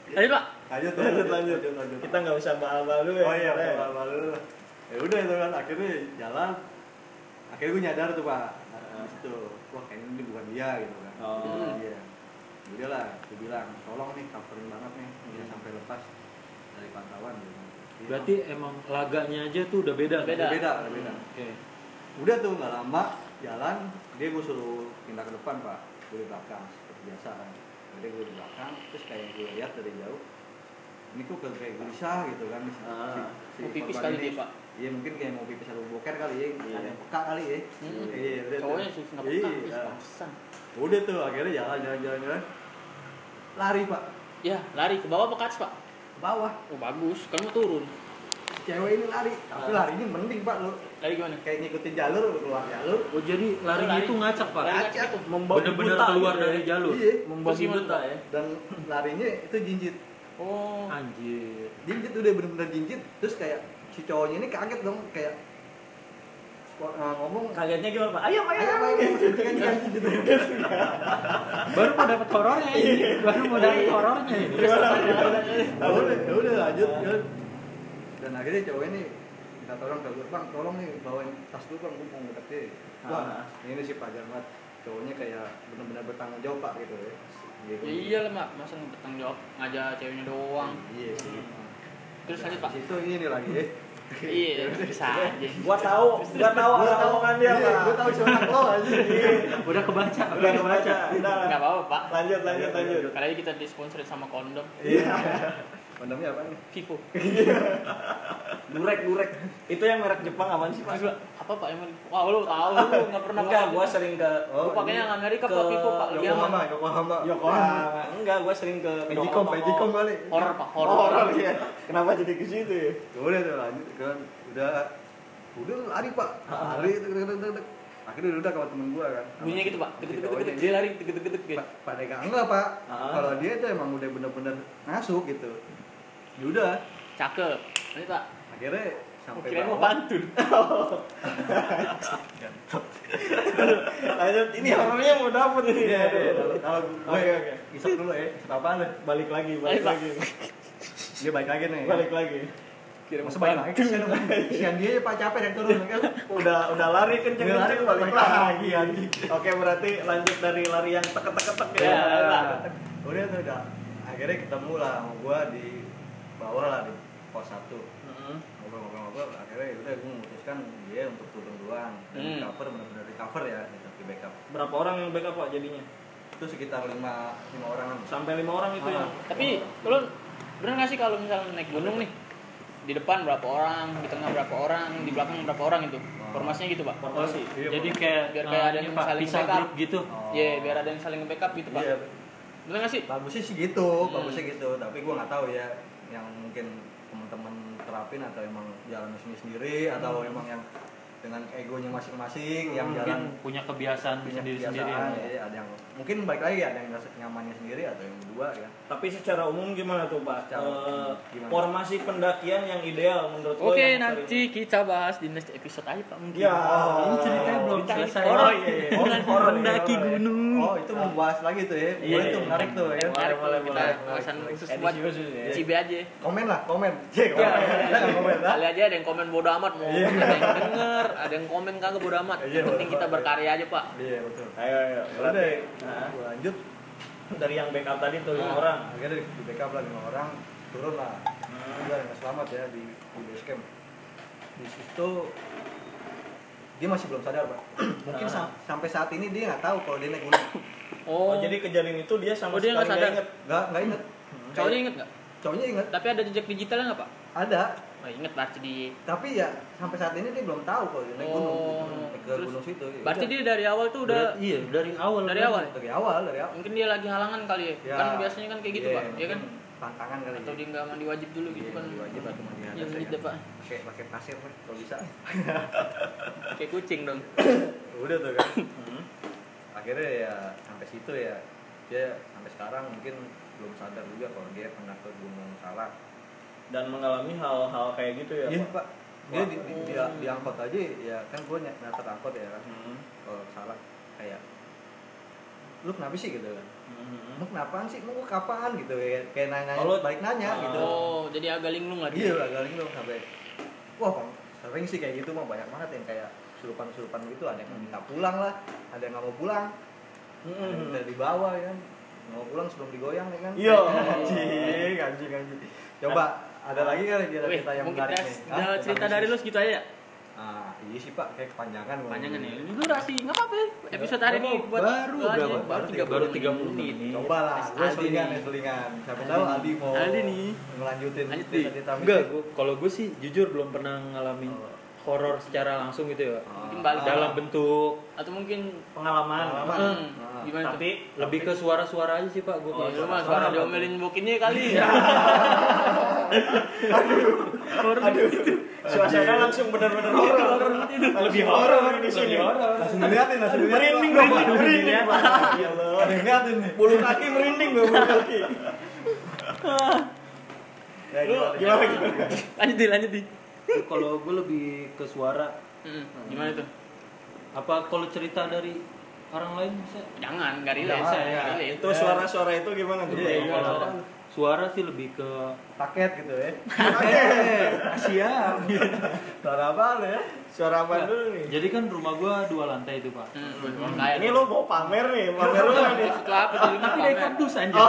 [SPEAKER 2] Tadi pak,
[SPEAKER 3] Lanjut,
[SPEAKER 1] lanjut lanjut kita nggak usah baal baal dulu ya
[SPEAKER 3] Oh iya,
[SPEAKER 1] Kita ya.
[SPEAKER 3] malu malu. Ya udah itu kan akhirnya jalan. Akhirnya gue nyadar tuh pak. Nah, Habis itu, wah kayaknya ini bukan dia gitu kan.
[SPEAKER 1] Oh.
[SPEAKER 3] Ini bukan dia. Udah lah, gue bilang, tolong nih coverin banget nih, bisa sampai lepas dari pantauan. Gitu. Iya,
[SPEAKER 5] Berarti emang laganya aja tuh udah beda.
[SPEAKER 3] beda,
[SPEAKER 2] Beda.
[SPEAKER 3] beda, beda.
[SPEAKER 5] Oke.
[SPEAKER 3] Udah tuh nggak lama jalan, dia gue suruh pindah ke depan pak, gue di belakang seperti biasa kan. Jadi gue di belakang, terus kayak gue lihat dari jauh, ini kok kayak gelisah gitu kan. Si,
[SPEAKER 1] Ah.
[SPEAKER 2] mau pipis kali dia pak.
[SPEAKER 3] Iya mungkin kayak mau pipis atau boker kali ya,
[SPEAKER 1] Iya.
[SPEAKER 3] ada yang peka kali ya.
[SPEAKER 2] Hmm.
[SPEAKER 3] Iya, udah tuh.
[SPEAKER 2] Cowoknya sih nggak peka. Ih,
[SPEAKER 3] Iya.
[SPEAKER 2] pantesan.
[SPEAKER 3] Udah tuh akhirnya jalan jalan jalan jalan. Lari pak
[SPEAKER 2] Ya lari ke bawah apa ke atas pak?
[SPEAKER 3] ke bawah.
[SPEAKER 2] Oh bagus, kamu turun.
[SPEAKER 3] Cewek ini lari, tapi
[SPEAKER 2] Ah.
[SPEAKER 3] larinya mending pak lu
[SPEAKER 2] Lari gimana?
[SPEAKER 3] kayak ngikutin jalur keluar jalur.
[SPEAKER 5] Oh jadi lari
[SPEAKER 2] Lari.
[SPEAKER 5] itu ngacak pak?
[SPEAKER 2] Lari. gitu.
[SPEAKER 3] Acak.
[SPEAKER 1] membawa
[SPEAKER 5] Bener-bener
[SPEAKER 1] buta
[SPEAKER 5] keluar
[SPEAKER 1] gitu ya.
[SPEAKER 5] dari jalur.
[SPEAKER 3] Iya.
[SPEAKER 1] membawa
[SPEAKER 2] Terus gimana,
[SPEAKER 1] buta
[SPEAKER 2] Pak?
[SPEAKER 1] ya
[SPEAKER 3] Dan larinya itu jinjit,
[SPEAKER 2] Oh,
[SPEAKER 5] Ah. Anjir.
[SPEAKER 3] jinjit udah bener-bener jinjit. Terus kayak si cowoknya ini kaget dong kayak eh, ngomong
[SPEAKER 1] kagetnya gimana pak ayam ayam,
[SPEAKER 3] ayam
[SPEAKER 1] ayam.
[SPEAKER 3] ayam kan kan gitu
[SPEAKER 5] Baru mau dapet horornya ini. Baru mau dapet horornya ini.
[SPEAKER 3] Ya udah, ya udah lanjut kan. Dan akhirnya cowok ini minta tolong ke gue, bang tolong nih bawain tas gue bang, gue mau ngudak deh. Wah, ini sih pajar banget. Cowoknya kayak benar-benar bertanggung jawab pak gitu ya. Gitu.
[SPEAKER 2] ya iya lah mak, masa nggak bertanggung jawab ngajak ceweknya doang.
[SPEAKER 3] Iya sih.
[SPEAKER 2] Terus lanjut pak.
[SPEAKER 3] Di situ ini lagi ya.
[SPEAKER 2] Iya, bisa aja.
[SPEAKER 1] gua tahu gua tahu arah omongan dia
[SPEAKER 3] iya,
[SPEAKER 1] pak
[SPEAKER 3] Gue tahu cuma lo aja.
[SPEAKER 5] Udah kebaca.
[SPEAKER 1] udah kebaca udah
[SPEAKER 2] Nggak apa-apa pak.
[SPEAKER 1] lanjut lanjut lanjut
[SPEAKER 2] Kali aja kita disponsorin sama kondom
[SPEAKER 3] Iya. Kondomnya apa nih?
[SPEAKER 2] Vivo.
[SPEAKER 1] durek durek itu yang merek Jepang apaan sih pak
[SPEAKER 2] Terus Pak, apa pak emang? Wah lu tahu lu nggak pernah
[SPEAKER 1] enggak
[SPEAKER 2] pakai.
[SPEAKER 1] gua sering ke
[SPEAKER 2] Lu pakainya yang Amerika pak
[SPEAKER 1] Ke
[SPEAKER 2] Vivo pak. Dia
[SPEAKER 3] Yokohama,
[SPEAKER 2] mah
[SPEAKER 3] Yokohama. Iya.
[SPEAKER 1] Yokohama enggak gua sering ke
[SPEAKER 3] Magicom, Magicom kali.
[SPEAKER 2] horror pak horror.
[SPEAKER 1] horor ya kenapa jadi ke situ ya
[SPEAKER 3] Ya udah tuh lanjut kan udah udah lari pak lari tek, tek, tek, tek, tek. akhirnya udah kawan temen gua kan
[SPEAKER 2] Bunyinya gitu pak. Deket deket deket dia
[SPEAKER 3] dia
[SPEAKER 2] lari deket deket deket.
[SPEAKER 3] pada enggak enggak pak
[SPEAKER 1] Ah.
[SPEAKER 3] kalau dia itu emang udah bener-bener masuk gitu ya udah
[SPEAKER 2] Cakep. Ini pak.
[SPEAKER 3] akhirnya sampai
[SPEAKER 2] Kira mau
[SPEAKER 3] bawah.
[SPEAKER 2] pantun.
[SPEAKER 1] lanjut ini horornya mau dapet ini
[SPEAKER 3] Iya, iya, iya.
[SPEAKER 1] Aduh.
[SPEAKER 3] kalau gue
[SPEAKER 1] Oke, oke.
[SPEAKER 3] isap dulu ya isap apa lu
[SPEAKER 1] balik lagi balik
[SPEAKER 2] Ayo, Pak.
[SPEAKER 1] lagi
[SPEAKER 3] dia balik lagi nih
[SPEAKER 1] balik lagi
[SPEAKER 3] kira masa balik lagi kesian dong. kesian dia ya pak capek dan turun kan
[SPEAKER 1] udah udah lari kenceng
[SPEAKER 2] gitu,
[SPEAKER 3] Udah lari,
[SPEAKER 1] kenceng balik
[SPEAKER 3] balik
[SPEAKER 1] lagi
[SPEAKER 3] lagi, anjing.
[SPEAKER 1] oke berarti lanjut dari lari yang teket teket tek
[SPEAKER 2] Ya,
[SPEAKER 1] ya
[SPEAKER 2] Pak.
[SPEAKER 3] udah tuh udah akhirnya ketemu lah sama gua di bawah lah di pos satu
[SPEAKER 1] Mm-mm.
[SPEAKER 3] ngobrol-ngobrol-ngobrol akhirnya ya udah gue memutuskan dia untuk turun doang dan
[SPEAKER 2] Hmm.
[SPEAKER 3] di cover benar-benar di cover ya gitu, di backup
[SPEAKER 1] berapa orang yang backup pak jadinya
[SPEAKER 3] itu sekitar lima lima orang
[SPEAKER 1] sampai lima orang itu ya?
[SPEAKER 3] Ah.
[SPEAKER 1] yang
[SPEAKER 2] Tapi lu bener nggak sih kalau misalnya naik gunung nih di depan berapa orang, di tengah berapa orang, di belakang berapa orang itu? Formasinya gitu pak.
[SPEAKER 1] formasi
[SPEAKER 5] Jadi kayak
[SPEAKER 2] Biar kayak
[SPEAKER 5] eh,
[SPEAKER 2] ada
[SPEAKER 5] ini,
[SPEAKER 2] yang
[SPEAKER 5] Pak,
[SPEAKER 2] saling
[SPEAKER 5] pisah
[SPEAKER 2] backup.
[SPEAKER 5] grup gitu.
[SPEAKER 3] Oh.
[SPEAKER 2] Iya, biar ada yang saling backup gitu
[SPEAKER 3] iya
[SPEAKER 2] pak. Bener nggak sih?
[SPEAKER 3] bagusnya sih gitu
[SPEAKER 2] Hmm.
[SPEAKER 3] bagusnya gitu tapi gue nggak tahu ya yang mungkin teman-teman terapin atau emang jalan sendiri atau
[SPEAKER 2] Hmm.
[SPEAKER 3] emang yang dengan egonya masing-masing yang
[SPEAKER 5] Mungkin
[SPEAKER 3] jalan
[SPEAKER 5] punya kebiasaan
[SPEAKER 3] punya
[SPEAKER 5] sendiri-sendiri.
[SPEAKER 3] kebiasaan,
[SPEAKER 2] iya.
[SPEAKER 3] ya, ada yang mungkin baik lagi ya, ada yang ngerasa nyamannya sendiri atau yang berdua ya
[SPEAKER 1] tapi secara umum gimana tuh pak
[SPEAKER 3] Secara umum,
[SPEAKER 1] Eh,
[SPEAKER 3] gimana?
[SPEAKER 1] formasi pendakian yang ideal menurut lo
[SPEAKER 2] Oke,
[SPEAKER 1] yang sering-
[SPEAKER 2] nanti kita bahas di next episode aja pak mungkin.
[SPEAKER 1] ya
[SPEAKER 5] Ini ceritanya belum
[SPEAKER 2] Dicari
[SPEAKER 5] selesai.
[SPEAKER 1] orang
[SPEAKER 5] Oh,
[SPEAKER 1] iya, iya.
[SPEAKER 5] iya.
[SPEAKER 1] Orang- orang
[SPEAKER 5] Mendaki
[SPEAKER 1] ya, orang ya.
[SPEAKER 5] gunung.
[SPEAKER 3] oh itu membahas lagi tuh ya boleh
[SPEAKER 1] Iya.
[SPEAKER 3] tuh menarik tuh ya
[SPEAKER 2] Menarik
[SPEAKER 1] boleh,
[SPEAKER 2] tuh, kita
[SPEAKER 1] boleh,
[SPEAKER 2] bahasan khusus
[SPEAKER 1] Edisi
[SPEAKER 2] buat
[SPEAKER 1] khusus ya.
[SPEAKER 2] CB aja. Iya.
[SPEAKER 3] komen lah komen cek komen Kita nggak komen lah
[SPEAKER 2] Kali aja ada yang komen bodo amat mau ada yang denger, ada yang komen kagak bodo amat.
[SPEAKER 3] Iya,
[SPEAKER 2] Yang penting
[SPEAKER 3] bodo
[SPEAKER 2] kita
[SPEAKER 3] amat.
[SPEAKER 2] berkarya aja, Pak.
[SPEAKER 3] iya betul
[SPEAKER 1] ayo ayo
[SPEAKER 3] udah
[SPEAKER 1] berarti Nah,
[SPEAKER 3] gua lanjut
[SPEAKER 1] dari yang backup tadi tuh lima
[SPEAKER 2] Ah.
[SPEAKER 1] orang
[SPEAKER 3] akhirnya di backup lah lima orang turun lah udah nggak selamat ya di di base camp di situ dia masih belum sadar pak mungkin sa- sampai saat ini dia nggak tahu kalau dia naik gunung
[SPEAKER 1] Oh,
[SPEAKER 2] Oh,
[SPEAKER 1] jadi kejadian itu dia sama
[SPEAKER 2] Oh, dia nggak
[SPEAKER 1] sekali
[SPEAKER 2] sadar.
[SPEAKER 1] inget.
[SPEAKER 3] nggak nggak inget
[SPEAKER 2] cowoknya inget nggak?
[SPEAKER 3] cowoknya inget
[SPEAKER 2] Tapi ada jejak digitalnya nggak pak?
[SPEAKER 3] ada
[SPEAKER 2] Oh, inget berarti di.
[SPEAKER 3] tapi ya sampai saat ini dia belum tahu kalau dia naik gunung
[SPEAKER 2] Oh.
[SPEAKER 3] naik ke
[SPEAKER 2] Terus-
[SPEAKER 3] gunung situ ya
[SPEAKER 2] Berarti
[SPEAKER 3] udah.
[SPEAKER 2] dia dari awal tuh udah
[SPEAKER 5] iya dari awal
[SPEAKER 2] dari
[SPEAKER 5] kan.
[SPEAKER 2] awal. ya?
[SPEAKER 3] dari awal dari awal
[SPEAKER 2] Mungkin dia lagi halangan kali ya.
[SPEAKER 3] Ya.
[SPEAKER 2] Kan biasanya kan kayak gitu
[SPEAKER 3] Iya,
[SPEAKER 2] pak, ya kan?
[SPEAKER 3] tantangan kali
[SPEAKER 2] Atau
[SPEAKER 3] ya.
[SPEAKER 2] dia nggak mandi wajib dulu gitu
[SPEAKER 3] Iya,
[SPEAKER 2] kan?
[SPEAKER 3] mandi wajib atau mandi
[SPEAKER 2] Iya
[SPEAKER 3] atas ya
[SPEAKER 2] gitu
[SPEAKER 3] kan.
[SPEAKER 2] pak,
[SPEAKER 3] pakai pakai pasir Pak, kalau bisa
[SPEAKER 2] kayak kucing dong.
[SPEAKER 3] udah tuh kan
[SPEAKER 1] Hmm.
[SPEAKER 3] akhirnya ya sampai situ ya dia sampai sekarang mungkin belum sadar juga kalau dia pernah ke gunung salak
[SPEAKER 1] dan mengalami hal-hal kayak gitu ya.
[SPEAKER 3] iya
[SPEAKER 1] Pak?
[SPEAKER 3] pak dia di, di,
[SPEAKER 2] Oh.
[SPEAKER 3] di, di angkot aja ya kan gue nyatet angkot ya kan
[SPEAKER 1] Hmm.
[SPEAKER 3] kalau salak kayak lu kenapa sih gitu kan
[SPEAKER 1] Hmm.
[SPEAKER 3] lu kenapaan sih lu kapan gitu ya kayak nanya
[SPEAKER 1] Oh, lu-
[SPEAKER 3] balik nanya
[SPEAKER 1] Ah.
[SPEAKER 3] gitu
[SPEAKER 2] Oh, jadi agak linglung lah
[SPEAKER 3] iya
[SPEAKER 2] dia.
[SPEAKER 3] lah galing dong sampai wah Bang, sering sih kayak gitu mah banyak banget yang kayak surupan-surupan gitu ada yang minta
[SPEAKER 2] Hmm.
[SPEAKER 3] pulang lah ada yang nggak mau pulang ada yang
[SPEAKER 1] Hmm.
[SPEAKER 3] udah dibawa ya kan nggak mau pulang sebelum digoyang ya kan
[SPEAKER 1] Iya.
[SPEAKER 3] anjing anjing anjing coba ada lagi kan
[SPEAKER 2] Ah.
[SPEAKER 3] dia
[SPEAKER 2] Wih,
[SPEAKER 3] cerita yang
[SPEAKER 2] mungkin ya,
[SPEAKER 3] menarik nih Hah?
[SPEAKER 2] udah
[SPEAKER 3] Tentang
[SPEAKER 2] cerita dari lu
[SPEAKER 3] bisnis.
[SPEAKER 2] segitu aja ya?
[SPEAKER 3] ah iya sih pak kayak kepanjangan ngomong
[SPEAKER 2] Panjangan ya.
[SPEAKER 3] ini.
[SPEAKER 2] Ini durasi, nggak apa-apa. ya? Episode hari ini buat
[SPEAKER 5] Baru
[SPEAKER 2] lu aja,
[SPEAKER 5] berapa?
[SPEAKER 2] Baru
[SPEAKER 5] Baru
[SPEAKER 2] tiga
[SPEAKER 5] baru
[SPEAKER 2] baru
[SPEAKER 5] 30
[SPEAKER 2] menit.
[SPEAKER 3] coba lah gue
[SPEAKER 2] Aldi
[SPEAKER 3] selingan
[SPEAKER 2] nih.
[SPEAKER 3] ya selingan siapa tahu Aldi mau
[SPEAKER 2] Aldi nih.
[SPEAKER 3] ngelanjutin
[SPEAKER 2] Lanjut nih.
[SPEAKER 3] cerita
[SPEAKER 5] enggak gua- kalau gue sih jujur belum pernah ngalamin
[SPEAKER 3] Oh.
[SPEAKER 5] horor secara langsung gitu ya
[SPEAKER 2] Mungkin balik
[SPEAKER 3] Ah.
[SPEAKER 5] dalam bentuk
[SPEAKER 2] Atau mungkin
[SPEAKER 1] Pengalaman.
[SPEAKER 3] Pengalaman.
[SPEAKER 2] hmm,
[SPEAKER 3] Ah.
[SPEAKER 2] gimana tuh?
[SPEAKER 1] Tapi
[SPEAKER 5] lebih ke suara-suara aja sih pak gue
[SPEAKER 2] Oh,
[SPEAKER 5] kalau
[SPEAKER 2] lu mah suara
[SPEAKER 5] suara-
[SPEAKER 2] diomelin bokinnya kali. ya. Aduh. Aduh.
[SPEAKER 1] suasana langsung benar-benar gitu. horor. Lebih horor di sini.
[SPEAKER 3] langsung diliatin langsung diliatin
[SPEAKER 1] Merinding dong, Pak. Merinding. Ya Allah.
[SPEAKER 3] ada yang ngeliatin nih
[SPEAKER 1] Bulu kaki merinding gue bulu kaki.
[SPEAKER 3] Ya,
[SPEAKER 2] Lu
[SPEAKER 3] gimana?
[SPEAKER 2] gimana? Lanjut di, lanjut di.
[SPEAKER 5] kalau gue lebih ke suara
[SPEAKER 2] Hmm, gimana tuh?
[SPEAKER 5] apa kalau cerita dari orang lain bisa
[SPEAKER 2] Jangan, nggak relate.
[SPEAKER 3] Jangan,
[SPEAKER 2] saya,
[SPEAKER 3] ya.
[SPEAKER 2] nggak relate.
[SPEAKER 1] Itu suara-suara itu gimana tuh?
[SPEAKER 3] Iya,
[SPEAKER 1] Pak?
[SPEAKER 2] Kalau-
[SPEAKER 5] suara sih lebih ke
[SPEAKER 3] paket gitu ya
[SPEAKER 5] Eh, siap
[SPEAKER 3] suara apa ya
[SPEAKER 1] Suara apa dulu nih? Iya.
[SPEAKER 5] jadi kan rumah gue dua lantai itu pak
[SPEAKER 2] Hmm, orang kaya.
[SPEAKER 1] Ini lo mau pamer nih, pamer lo nih.
[SPEAKER 2] Maksud lu apa tuh?
[SPEAKER 5] tapi dari kardus aja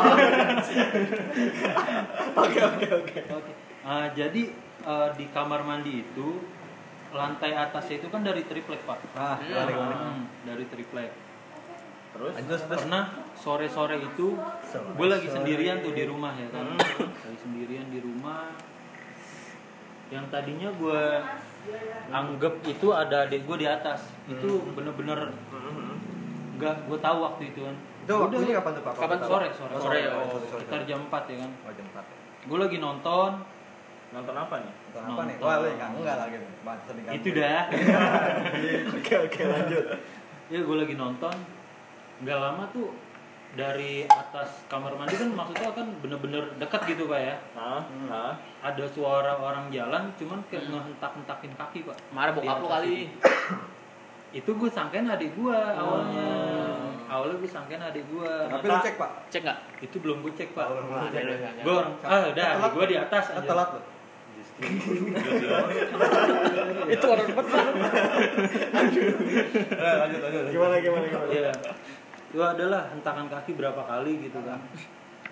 [SPEAKER 1] Oke oke oke.
[SPEAKER 5] Oh. Oke. Ah, jadi eh, di kamar mandi itu lantai atasnya itu kan dari triplek pak.
[SPEAKER 3] nah
[SPEAKER 2] Hmm.
[SPEAKER 3] gimana gimana
[SPEAKER 5] Hmm, dari triplek.
[SPEAKER 1] Terus?
[SPEAKER 3] lanjut terus
[SPEAKER 5] Pernah sore-sore itu gue lagi sendirian tuh di rumah ya
[SPEAKER 1] Hmm.
[SPEAKER 5] kan. Lagi sendirian di rumah. Yang tadinya gue
[SPEAKER 1] ya.
[SPEAKER 5] anggap itu ada adik gue di atas. Itu bener-bener
[SPEAKER 1] hmm,
[SPEAKER 5] nggak gue tahu waktu itu kan.
[SPEAKER 3] itu waktunya kapan tuh pak Kalau
[SPEAKER 2] Kapan
[SPEAKER 3] tahu?
[SPEAKER 5] Sore, sore,
[SPEAKER 3] Oh,
[SPEAKER 5] sore,
[SPEAKER 3] oh,
[SPEAKER 5] oh,
[SPEAKER 3] sore, sore.
[SPEAKER 5] sekitar jam 4 ya kan.
[SPEAKER 3] oh jam empat ya.
[SPEAKER 5] Gue lagi nonton,
[SPEAKER 1] Nonton apa nih?
[SPEAKER 3] Nonton apa nih
[SPEAKER 5] Nonton.
[SPEAKER 3] wah lu enggak enggak lagi nih Mas, sering
[SPEAKER 5] Nah, itu
[SPEAKER 3] kamu.
[SPEAKER 5] dah.
[SPEAKER 1] Oke oke lanjut.
[SPEAKER 5] ya gue lagi nonton nggak lama tuh dari atas kamar mandi kan maksudnya kan bener-bener dekat gitu pak ya
[SPEAKER 1] Hah? Hah?
[SPEAKER 5] ada suara orang jalan cuman kayak
[SPEAKER 2] Hmm.
[SPEAKER 5] ngehentak-hentakin kaki pak
[SPEAKER 2] Marah bokap lu kali.
[SPEAKER 5] itu gue sangkain adik gue awalnya awalnya gue sangkain adik gue
[SPEAKER 3] Oh. tapi lu cek pak
[SPEAKER 2] Cek nggak?
[SPEAKER 5] itu belum gue cek pak
[SPEAKER 3] Oh, belum
[SPEAKER 2] Ada,
[SPEAKER 3] cek.
[SPEAKER 2] ada, ada.
[SPEAKER 5] gue orang ah udah adik gue di atas
[SPEAKER 3] Lu
[SPEAKER 5] aja.
[SPEAKER 3] telat lu
[SPEAKER 2] Itu orang depan.
[SPEAKER 3] Eh, lanjut lanjut lanjut.
[SPEAKER 1] Gimana gimana gimana?
[SPEAKER 5] Iya. Itu adalah hentakan kaki berapa kali gitu kan.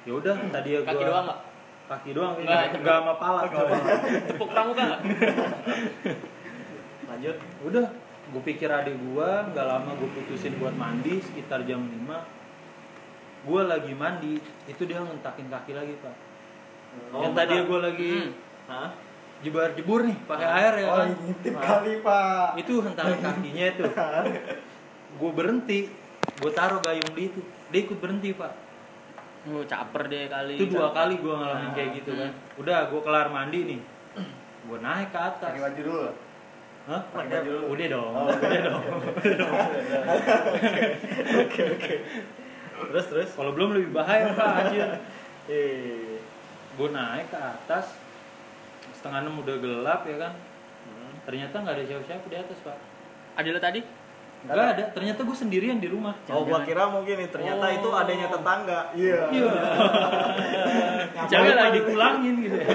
[SPEAKER 5] Ya udah tadi ya gua
[SPEAKER 2] Kaki doang nggak?
[SPEAKER 5] Kaki doang
[SPEAKER 2] Nggak,
[SPEAKER 5] enggak enggak sama pala
[SPEAKER 1] Oh,
[SPEAKER 5] coba.
[SPEAKER 2] Tepuk pramuka nggak?
[SPEAKER 1] Lanjut.
[SPEAKER 5] Udah, gue pikir adik gua nggak lama gue putusin buat mandi sekitar jam 5 gue lagi mandi itu dia ngentakin kaki lagi pak
[SPEAKER 1] Oh,
[SPEAKER 5] yang tadi
[SPEAKER 1] bentar.
[SPEAKER 5] gue lagi
[SPEAKER 2] Hmm.
[SPEAKER 1] Hah?
[SPEAKER 5] jebar jebur nih pakai air ya
[SPEAKER 3] oh
[SPEAKER 5] kan
[SPEAKER 3] ngintip kali pak
[SPEAKER 5] itu hentakan kakinya itu gue berhenti gue taruh gayung di itu dia ikut berhenti pak
[SPEAKER 2] Uh, caper deh kali.
[SPEAKER 5] itu dua kali gue ngalamin kayak gitu kan udah gue kelar mandi nih gue naik ke atas
[SPEAKER 3] pakai baju dulu lah.
[SPEAKER 5] Hah?
[SPEAKER 1] Pakai baju dulu.
[SPEAKER 5] udah dong
[SPEAKER 1] Oh,
[SPEAKER 5] udah dong
[SPEAKER 1] Oke oke. Terus terus.
[SPEAKER 5] kalau belum lebih bahaya pak anjir
[SPEAKER 1] Eh.
[SPEAKER 5] gue naik ke atas setengah enam udah gelap ya kan
[SPEAKER 1] Hmm.
[SPEAKER 5] ternyata nggak ada siapa-siapa di atas pak
[SPEAKER 2] Ada lo tadi?
[SPEAKER 5] nggak ada ternyata gue sendirian di rumah
[SPEAKER 1] Oh, gua kira mungkin nih, ternyata
[SPEAKER 2] Oh.
[SPEAKER 1] itu adanya tetangga. Iya.
[SPEAKER 5] Iya. Jangan lagi pulangin gitu ya.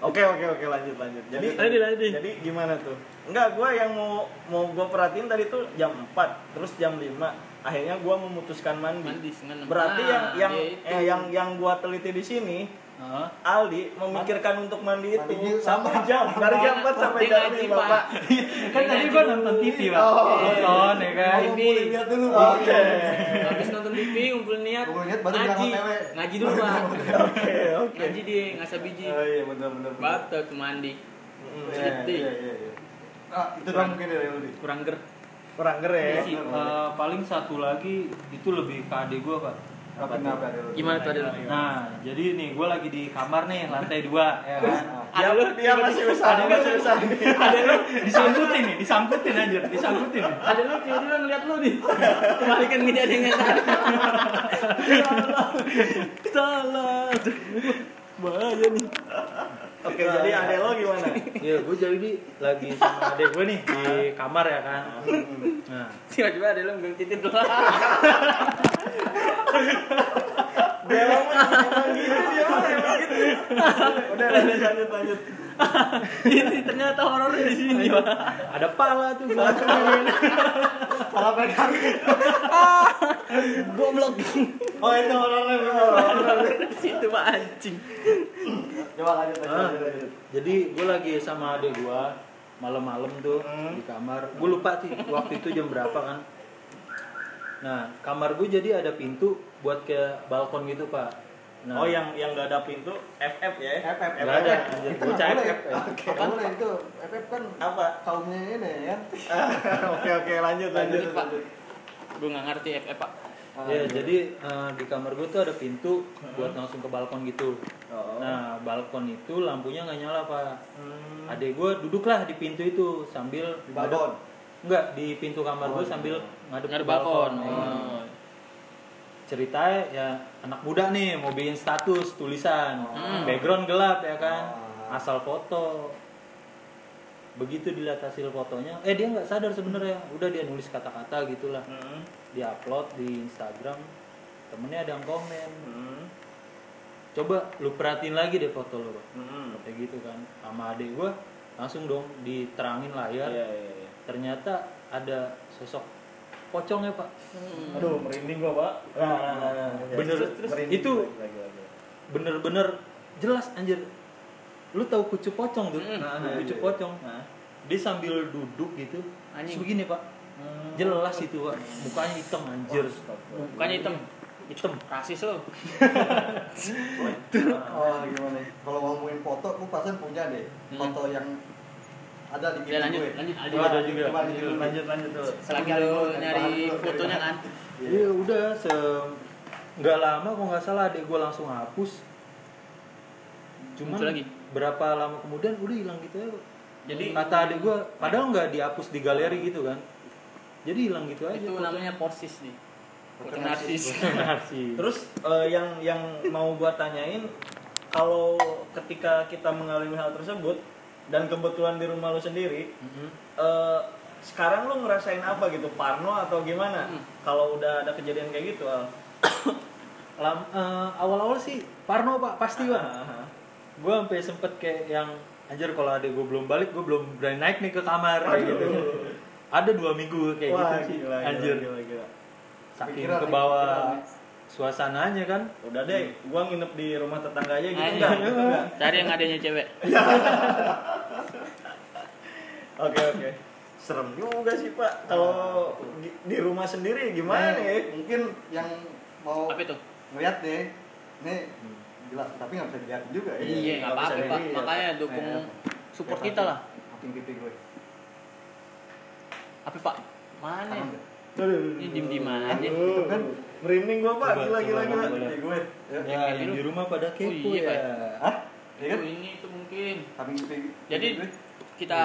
[SPEAKER 1] Oke oke oke lanjut lanjut. Jadi
[SPEAKER 2] Lanjut, lanjut, lanjut.
[SPEAKER 1] Jadi gimana tuh? Enggak, gua yang mau mau gua perhatiin tadi tuh jam 4, terus jam 5. Akhirnya gua memutuskan mandi.
[SPEAKER 2] Mandi seneng.
[SPEAKER 1] Berarti yang eh,
[SPEAKER 2] Nah,
[SPEAKER 1] yang
[SPEAKER 2] dia itu.
[SPEAKER 1] eh, yang yang gua teliti di sini
[SPEAKER 5] Heeh.
[SPEAKER 1] Aldi memikirkan untuk mandi itu
[SPEAKER 4] Mandi dulu.
[SPEAKER 1] sama jam dari jam 4 sampai
[SPEAKER 2] Dia
[SPEAKER 1] jam
[SPEAKER 2] ngaji,
[SPEAKER 1] 5
[SPEAKER 2] Pak.
[SPEAKER 1] Pak.
[SPEAKER 5] kan tadi gua nonton TV Iya,
[SPEAKER 3] iya.
[SPEAKER 5] pak
[SPEAKER 1] Oh,
[SPEAKER 5] nonton ya kan
[SPEAKER 4] Mau ngumpulin niat dulu.
[SPEAKER 1] Oke.
[SPEAKER 5] Iya.
[SPEAKER 2] Eh, Habis nonton TV, ngumpulin niat,
[SPEAKER 4] Ngumpulin niat, baru
[SPEAKER 2] ngaji.
[SPEAKER 4] bilang sama cewek.
[SPEAKER 2] Ngaji dulu, Pak.
[SPEAKER 1] Oke, oke.
[SPEAKER 2] Ngaji di Ngasabiji.
[SPEAKER 1] Oh iya benar benar. benar.
[SPEAKER 2] Batok ke mandi.
[SPEAKER 1] Mm,
[SPEAKER 4] Iya, iya, iya, iya. Ah, itu doang mungkin ya yang lebih.
[SPEAKER 2] Kurang ger.
[SPEAKER 1] Kurang keren. Iya,
[SPEAKER 2] Isi.
[SPEAKER 5] Eh, paling satu lagi itu lebih ke adik gue pak
[SPEAKER 4] Apa kenapa ada lu?
[SPEAKER 2] Gimana tuh ada? lu?
[SPEAKER 5] nah jadi nih gue lagi di kamar nih lantai dua ya kan
[SPEAKER 1] Dia,
[SPEAKER 2] Ada lu?
[SPEAKER 1] dia masih usaha, masih usaha.
[SPEAKER 2] Ada lu?
[SPEAKER 5] Eh, disangkutin nih disangkutin anjir disangkutin nih.
[SPEAKER 2] Ada lu tiba-tiba ngeliat lu nih. Kembalikan kejadian yang tadi. Salah. Bahaya nih.
[SPEAKER 1] Oke, jadi adek lo gimana? Iya.
[SPEAKER 5] ya gue jadi lagi sama adik gue nih di kamar ya kan nah
[SPEAKER 2] Tiba-tiba ada lu megang titik dulu.
[SPEAKER 1] Dia emang emang gitu, dia emang emang gitu. Udah, udah lanjut lanjut.
[SPEAKER 2] Ini ternyata horor di sini, Pak.
[SPEAKER 5] ada pala tuh Pak.
[SPEAKER 4] Salah pegang.
[SPEAKER 2] Goblok.
[SPEAKER 1] Oh, itu horornya horor.
[SPEAKER 2] Di situ, Pak anjing.
[SPEAKER 4] Coba lanjut lanjut,
[SPEAKER 5] Ah.
[SPEAKER 4] lanjut, lanjut.
[SPEAKER 5] jadi gue lagi sama adik gue malam-malam tuh
[SPEAKER 1] Hmm.
[SPEAKER 5] di kamar gue lupa sih waktu itu jam berapa kan nah kamar gue jadi ada pintu buat ke balkon gitu pak nah,
[SPEAKER 1] Oh, yang yang gak ada pintu FF ya?
[SPEAKER 4] FF.
[SPEAKER 5] Nggak ada, anjir.
[SPEAKER 4] Itu
[SPEAKER 5] Gua
[SPEAKER 4] nggak
[SPEAKER 5] cek.
[SPEAKER 4] Kan boleh. Oke, nggak boleh itu. FF kan
[SPEAKER 1] Apa?
[SPEAKER 4] kaumnya ini ya.
[SPEAKER 1] Oke oke lanjut lanjut.
[SPEAKER 2] Lanjut, Pak. Gue nggak ngerti FF, Pak.
[SPEAKER 1] Ah, iya.
[SPEAKER 5] ya jadi eh, di kamar gue tuh ada pintu
[SPEAKER 1] Hmm.
[SPEAKER 5] buat langsung ke balkon gitu
[SPEAKER 1] Oh.
[SPEAKER 5] nah balkon itu lampunya nggak nyala pak
[SPEAKER 1] Hmm.
[SPEAKER 5] adik gue duduklah di pintu itu sambil
[SPEAKER 4] Di balkon.
[SPEAKER 5] Enggak, di pintu kamar
[SPEAKER 4] Oh,
[SPEAKER 5] gue sambil ngadep
[SPEAKER 2] Nggak ada
[SPEAKER 5] ke
[SPEAKER 2] balkon.
[SPEAKER 5] Iya.
[SPEAKER 2] Oh.
[SPEAKER 5] ceritanya ya anak muda nih mau bikin status tulisan
[SPEAKER 2] Hmm.
[SPEAKER 5] background gelap ya kan
[SPEAKER 4] Ah.
[SPEAKER 5] asal foto begitu dilihat hasil fotonya eh dia nggak sadar sebenarnya udah dia nulis kata-kata gitulah
[SPEAKER 1] Hmm.
[SPEAKER 5] di upload di Instagram temennya ada yang komen
[SPEAKER 1] Hmm.
[SPEAKER 5] coba lu perhatiin lagi deh foto lu Bang."
[SPEAKER 1] Hmm.
[SPEAKER 5] kayak gitu kan sama adik gua langsung dong diterangin layar
[SPEAKER 1] Iya iya. iya.
[SPEAKER 5] ternyata ada sosok pocong ya pak
[SPEAKER 2] Hmm.
[SPEAKER 1] Aduh merinding gua pak. Nah, nah, nah, nah.
[SPEAKER 5] Bener.
[SPEAKER 1] Merinding.
[SPEAKER 5] Itu-
[SPEAKER 1] Lagi, lagi.
[SPEAKER 5] bener-bener jelas anjir lu tahu kucu pocong tuh
[SPEAKER 2] Mm.
[SPEAKER 5] nah,
[SPEAKER 1] Nah,
[SPEAKER 5] kucu
[SPEAKER 1] iya.
[SPEAKER 5] pocong
[SPEAKER 1] Nah.
[SPEAKER 5] dia sambil duduk gitu
[SPEAKER 2] Anjing.
[SPEAKER 5] terus begini pak jelas itu pak mukanya hitam anjir
[SPEAKER 2] Oh, Bukannya hitam.
[SPEAKER 5] hitam
[SPEAKER 2] Rasis lo.
[SPEAKER 4] Oh, gimana? Kalau ngomongin foto, lu pasan punya deh foto yang ada di
[SPEAKER 2] Ya
[SPEAKER 4] game
[SPEAKER 2] lanjut,
[SPEAKER 4] gue.
[SPEAKER 2] lanjut. Aldi.
[SPEAKER 5] Oh, ada juga.
[SPEAKER 4] Coba lanjut dulu.
[SPEAKER 1] Lanjut lanjut tuh.
[SPEAKER 2] Selagi lo nyari fotonya kan.
[SPEAKER 4] Iya.
[SPEAKER 5] ya udah se nggak lama kok nggak salah adek gue langsung hapus cuma
[SPEAKER 2] Muncul lagi.
[SPEAKER 5] berapa lama kemudian udah hilang gitu ya Pak.
[SPEAKER 2] Jadi
[SPEAKER 5] kata adek gue padahal nggak dihapus di galeri gitu kan jadi hilang gitu aja
[SPEAKER 2] itu namanya porsis nih. Foto narsis.
[SPEAKER 5] narsis
[SPEAKER 1] Terus eh, yang yang mau gua tanyain kalau ketika kita mengalami hal tersebut dan kebetulan di rumah lu sendiri eh, sekarang lu ngerasain apa gitu parno atau gimana
[SPEAKER 2] Hmm.
[SPEAKER 1] kalau udah ada kejadian kayak gitu al
[SPEAKER 5] Lam- eh, awal-awal sih Parno pak pasti pak
[SPEAKER 1] Ah, ah, ah.
[SPEAKER 5] gue sampai sempet kayak yang anjir kalau adek gue belum balik gue belum berani naik nih ke kamar kayak gitu ada dua minggu kayak
[SPEAKER 1] Wah,
[SPEAKER 5] gitu sih
[SPEAKER 1] gila, gila,
[SPEAKER 5] anjir
[SPEAKER 1] gila, gila.
[SPEAKER 5] saking
[SPEAKER 4] Pikiran,
[SPEAKER 5] ke bawah
[SPEAKER 3] ya.
[SPEAKER 4] pikiran.
[SPEAKER 5] suasananya kan
[SPEAKER 1] udah deh gua nginep di rumah tetangga aja gitu
[SPEAKER 2] Ayo.
[SPEAKER 1] enggak gitu enggak
[SPEAKER 2] Iya, Cari yang adanya cewek.
[SPEAKER 1] oke oke serem juga sih pak kalau di, di rumah sendiri gimana ya?
[SPEAKER 4] Nih,
[SPEAKER 1] nih
[SPEAKER 4] Mungkin yang mau
[SPEAKER 2] Apa itu?
[SPEAKER 4] ngeliat deh. Nih, jelas tapi nggak bisa dilihat juga ya.
[SPEAKER 2] Hmm. Iya, nggak
[SPEAKER 1] nggak bisa
[SPEAKER 2] apa-apa, Pak.
[SPEAKER 1] dilihat.
[SPEAKER 2] Makanya dukung
[SPEAKER 4] Iya.
[SPEAKER 2] support kita lah. Iya.
[SPEAKER 4] Kuping pipi gue.
[SPEAKER 2] Apa, Pak? Mana? ya?
[SPEAKER 3] Iya,
[SPEAKER 4] Tangan nggak?
[SPEAKER 2] Ini diem-diem aja.
[SPEAKER 1] Aduh, kan merinding gua pak
[SPEAKER 5] Coba,
[SPEAKER 1] gila gila
[SPEAKER 5] coba,
[SPEAKER 1] gila
[SPEAKER 5] boleh.
[SPEAKER 4] Pipi gue. Ya.
[SPEAKER 5] ya
[SPEAKER 2] kayak
[SPEAKER 5] yang
[SPEAKER 2] gitu.
[SPEAKER 5] di rumah pada kepo
[SPEAKER 2] Oh, iya,
[SPEAKER 5] ya
[SPEAKER 2] Pak.
[SPEAKER 4] Hah? Iya kan?
[SPEAKER 2] Oh, ini itu mungkin.
[SPEAKER 4] Kuping pipi.
[SPEAKER 2] Jadi iya.
[SPEAKER 4] pipi gue.
[SPEAKER 2] kita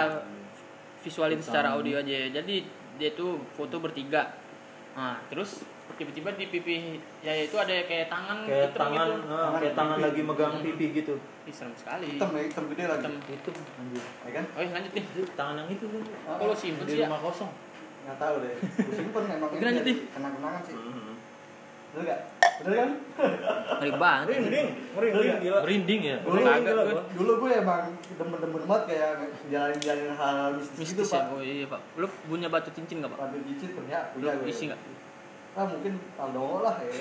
[SPEAKER 2] visualin secara audio aja. ya. Jadi dia tuh foto bertiga. Nah, terus tiba-tiba di pipi ya itu ada kayak tangan
[SPEAKER 5] kayak
[SPEAKER 2] hitam
[SPEAKER 5] tangan
[SPEAKER 2] gitu.
[SPEAKER 5] eh, kayak
[SPEAKER 4] Tangan
[SPEAKER 5] tangan
[SPEAKER 4] pipi.
[SPEAKER 5] lagi megang pipi gitu
[SPEAKER 2] Ih, serem sekali.
[SPEAKER 4] hitam ya, hitam gede lagi.
[SPEAKER 2] Hitam.
[SPEAKER 5] itu anjir
[SPEAKER 4] Ya kan?
[SPEAKER 2] Oh, lanjut nih.
[SPEAKER 5] Anjir, tangan yang itu kan
[SPEAKER 4] Ah,
[SPEAKER 2] Kalau simpen
[SPEAKER 5] di
[SPEAKER 2] sih ya.
[SPEAKER 5] rumah kosong
[SPEAKER 4] Nggak tahu deh. Gue simpen emang
[SPEAKER 2] Mungkin lanjut, nih.
[SPEAKER 4] kenang-kenangan sih.
[SPEAKER 1] Mhm.
[SPEAKER 4] Bener nggak? Bener kan?
[SPEAKER 2] Ngeri banget.
[SPEAKER 1] merinding merinding gila
[SPEAKER 5] merinding ya
[SPEAKER 1] Gua kagak,
[SPEAKER 4] dulu,
[SPEAKER 1] gua.
[SPEAKER 4] dulu gue emang demen-demen banget kayak jalanin-jalanin hal mistis,
[SPEAKER 2] Mistis
[SPEAKER 4] gitu
[SPEAKER 2] ya.
[SPEAKER 4] pak
[SPEAKER 2] Oh iya, Pak. Lu punya batu cincin gak, Pak?
[SPEAKER 4] Batu cicit punya, punya
[SPEAKER 2] Lu
[SPEAKER 4] gue
[SPEAKER 2] isi gak?
[SPEAKER 4] ah mungkin Aldo lah ya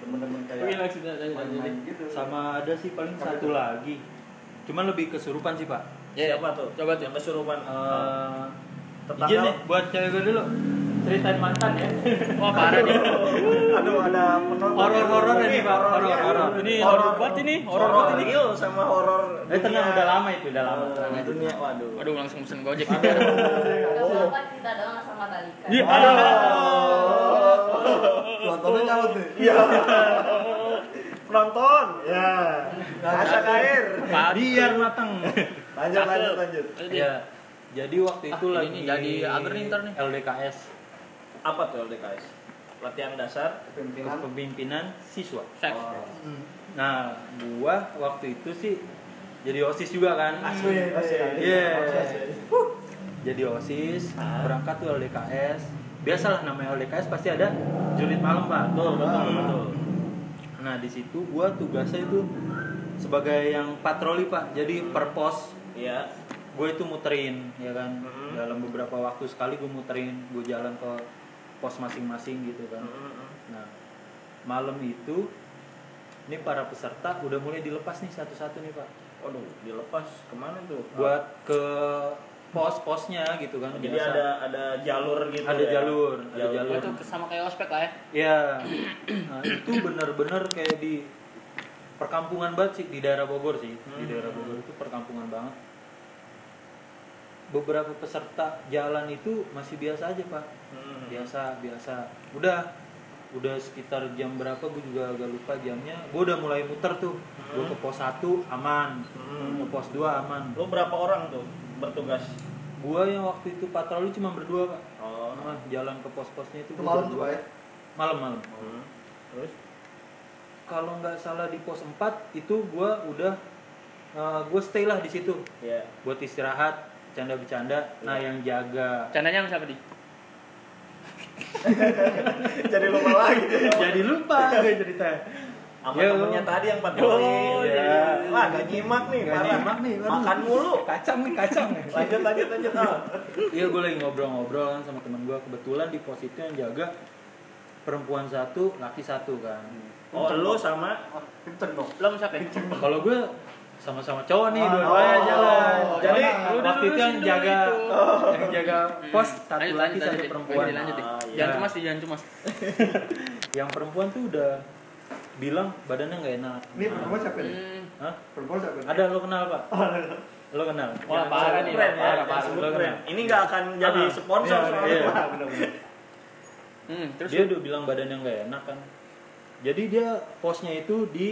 [SPEAKER 4] temen-temen
[SPEAKER 5] Oke,
[SPEAKER 4] kayak
[SPEAKER 5] langsung aja, lanjut, lanjut.
[SPEAKER 4] main-main gitu
[SPEAKER 5] Sama ada sih paling
[SPEAKER 4] Apa
[SPEAKER 5] satu
[SPEAKER 4] itu?
[SPEAKER 5] lagi. Cuman lebih kesurupan sih, Pak.
[SPEAKER 2] Ya,
[SPEAKER 1] Siapa tuh?
[SPEAKER 2] Coba tuh.
[SPEAKER 1] Yang kesurupan.
[SPEAKER 5] Eh, izin
[SPEAKER 1] tetangga.
[SPEAKER 5] nih buat cewek gue dulu. Ceritain mantan ya.
[SPEAKER 2] Wah, parah nih.
[SPEAKER 4] aduh ada penonton
[SPEAKER 1] ini,
[SPEAKER 5] Horor-horor
[SPEAKER 1] Iya.
[SPEAKER 5] ini, Pak. Horor-horor.
[SPEAKER 2] Ini
[SPEAKER 1] Horor.
[SPEAKER 2] horor banget ini, horor
[SPEAKER 1] Horor
[SPEAKER 2] banget ini.
[SPEAKER 1] real sama horor.
[SPEAKER 5] Eh, tenang,
[SPEAKER 1] dunia.
[SPEAKER 5] udah lama itu, udah lama.
[SPEAKER 1] Eh, dunia, waduh.
[SPEAKER 2] Waduh, langsung pesen Gojek.
[SPEAKER 6] Gak apa-apa kita doang asal nggak balikan.
[SPEAKER 2] Iya.
[SPEAKER 4] penontonnya nyaut nih
[SPEAKER 1] Iya. Penonton. Ya. Masak air.
[SPEAKER 5] Biar matang.
[SPEAKER 4] lanjut lanjut lanjut
[SPEAKER 5] Iya. Jadi waktu itu
[SPEAKER 2] Ah,
[SPEAKER 5] lagi
[SPEAKER 2] ini jadi agar nih ntar nih.
[SPEAKER 5] LDKS
[SPEAKER 1] Apa tuh LDKS? Latihan dasar.
[SPEAKER 4] pimpinan
[SPEAKER 5] kepemimpinan siswa.
[SPEAKER 2] Seks.
[SPEAKER 5] Nah, gua waktu itu sih jadi OSIS juga kan.
[SPEAKER 4] asli asli
[SPEAKER 1] Iya.
[SPEAKER 5] Jadi OSIS, berangkat tuh LDKS. Biasalah namanya LDKS pasti ada julid malam, Pak. Ah.
[SPEAKER 1] Betul, betul, betul.
[SPEAKER 5] Nah di situ gua tugasnya itu sebagai yang patroli pak, jadi per pos
[SPEAKER 1] Iya.
[SPEAKER 5] gue itu muterin ya kan
[SPEAKER 1] Mhm.
[SPEAKER 5] dalam beberapa waktu sekali gue muterin, gue jalan ke pos masing-masing gitu kan.
[SPEAKER 1] Mm-hmm.
[SPEAKER 5] Nah malam itu ini para peserta udah mulai dilepas nih satu-satu nih pak,
[SPEAKER 1] Waduh, dilepas kemana tuh? Oh,
[SPEAKER 5] buat ke pos-posnya gitu kan.
[SPEAKER 1] Jadi
[SPEAKER 5] biasa.
[SPEAKER 1] ada ada jalur gitu.
[SPEAKER 5] Ada
[SPEAKER 1] ya?
[SPEAKER 5] jalur, ada
[SPEAKER 1] Jalur.
[SPEAKER 5] jalur.
[SPEAKER 2] Itu sama kayak ospek lah ya.
[SPEAKER 5] Ya, nah, itu bener-bener kayak di perkampungan banget sih di daerah Bogor sih, di
[SPEAKER 1] Hmm.
[SPEAKER 5] daerah Bogor itu perkampungan banget. Beberapa peserta jalan itu masih biasa aja pak,
[SPEAKER 1] Hmm.
[SPEAKER 5] biasa biasa. Udah, udah sekitar jam berapa gue juga agak lupa jamnya. Gue udah mulai muter tuh, gue ke pos 1 aman,
[SPEAKER 1] Hmm.
[SPEAKER 5] ke pos 2 aman.
[SPEAKER 1] Lu berapa orang tuh bertugas?
[SPEAKER 5] Gue yang waktu itu patroli cuma berdua pak,
[SPEAKER 1] Oh.
[SPEAKER 5] Nah, jalan ke pos-posnya itu
[SPEAKER 4] itu
[SPEAKER 5] gua
[SPEAKER 4] malam tuh
[SPEAKER 5] berdua.
[SPEAKER 4] pak ya
[SPEAKER 5] Malam-malam.
[SPEAKER 1] Hmm. Terus?
[SPEAKER 5] kalau nggak salah di pos 4 itu gua udah gue stay lah di situ
[SPEAKER 1] Ya.
[SPEAKER 5] buat istirahat canda bercanda nah yang jaga
[SPEAKER 2] Candanya sama siapa di?
[SPEAKER 1] Jadi lupa lagi.
[SPEAKER 5] jadi lupa gue cerita
[SPEAKER 1] Sama
[SPEAKER 5] Yo.
[SPEAKER 1] temennya tadi yang patroli.
[SPEAKER 5] Oh,
[SPEAKER 1] Iya.
[SPEAKER 5] iya.
[SPEAKER 1] Wah, gak nyimak nih,
[SPEAKER 5] Gak
[SPEAKER 1] parah.
[SPEAKER 5] nyimak nih, waduh.
[SPEAKER 1] Makan mulu.
[SPEAKER 5] kacang nih kacang
[SPEAKER 1] Lanjut, lanjut, lanjut. Ah.
[SPEAKER 5] iya gue lagi ngobrol-ngobrol kan sama teman gua kebetulan di pos itu yang jaga perempuan satu laki satu kan
[SPEAKER 1] Oh, lu sama
[SPEAKER 4] Ah, kenceng dong
[SPEAKER 2] Lo sama siapa? ya?
[SPEAKER 5] kalau gue sama-sama cowok nih
[SPEAKER 4] Oh.
[SPEAKER 5] dua-duanya jalan
[SPEAKER 1] Jadi,
[SPEAKER 2] Eh, lu udah
[SPEAKER 5] waktu itu yang
[SPEAKER 2] lulusin dulu
[SPEAKER 5] jaga
[SPEAKER 2] itu. Hmm.
[SPEAKER 5] yang jaga pos satu
[SPEAKER 2] Lanjut,
[SPEAKER 5] laki
[SPEAKER 2] lanjut,
[SPEAKER 5] satu
[SPEAKER 2] lanjut.
[SPEAKER 5] perempuan
[SPEAKER 2] Lanjut, lanjut, Di.
[SPEAKER 1] Ah, iya.
[SPEAKER 2] Jangan cemas, Di, jangan cemas.
[SPEAKER 5] yang perempuan tuh udah bilang badannya nggak enak
[SPEAKER 4] ini perempuan siapa nih
[SPEAKER 2] Hmm.
[SPEAKER 5] Hah?
[SPEAKER 4] perempuan siapa nih?
[SPEAKER 5] ada lo kenal pak lo kenal
[SPEAKER 2] Wah, parah nih,
[SPEAKER 1] Keren, ya.
[SPEAKER 2] parah, parah.
[SPEAKER 1] Sebut
[SPEAKER 5] Lo
[SPEAKER 1] keren.
[SPEAKER 5] kenal.
[SPEAKER 1] Ini gak akan jadi
[SPEAKER 5] Ah.
[SPEAKER 1] sponsor
[SPEAKER 4] Iya,
[SPEAKER 1] soalnya.
[SPEAKER 5] iya.
[SPEAKER 4] benar, benar, benar.
[SPEAKER 2] Hmm, terus
[SPEAKER 5] dia udah bilang badannya nggak enak kan jadi dia posnya itu di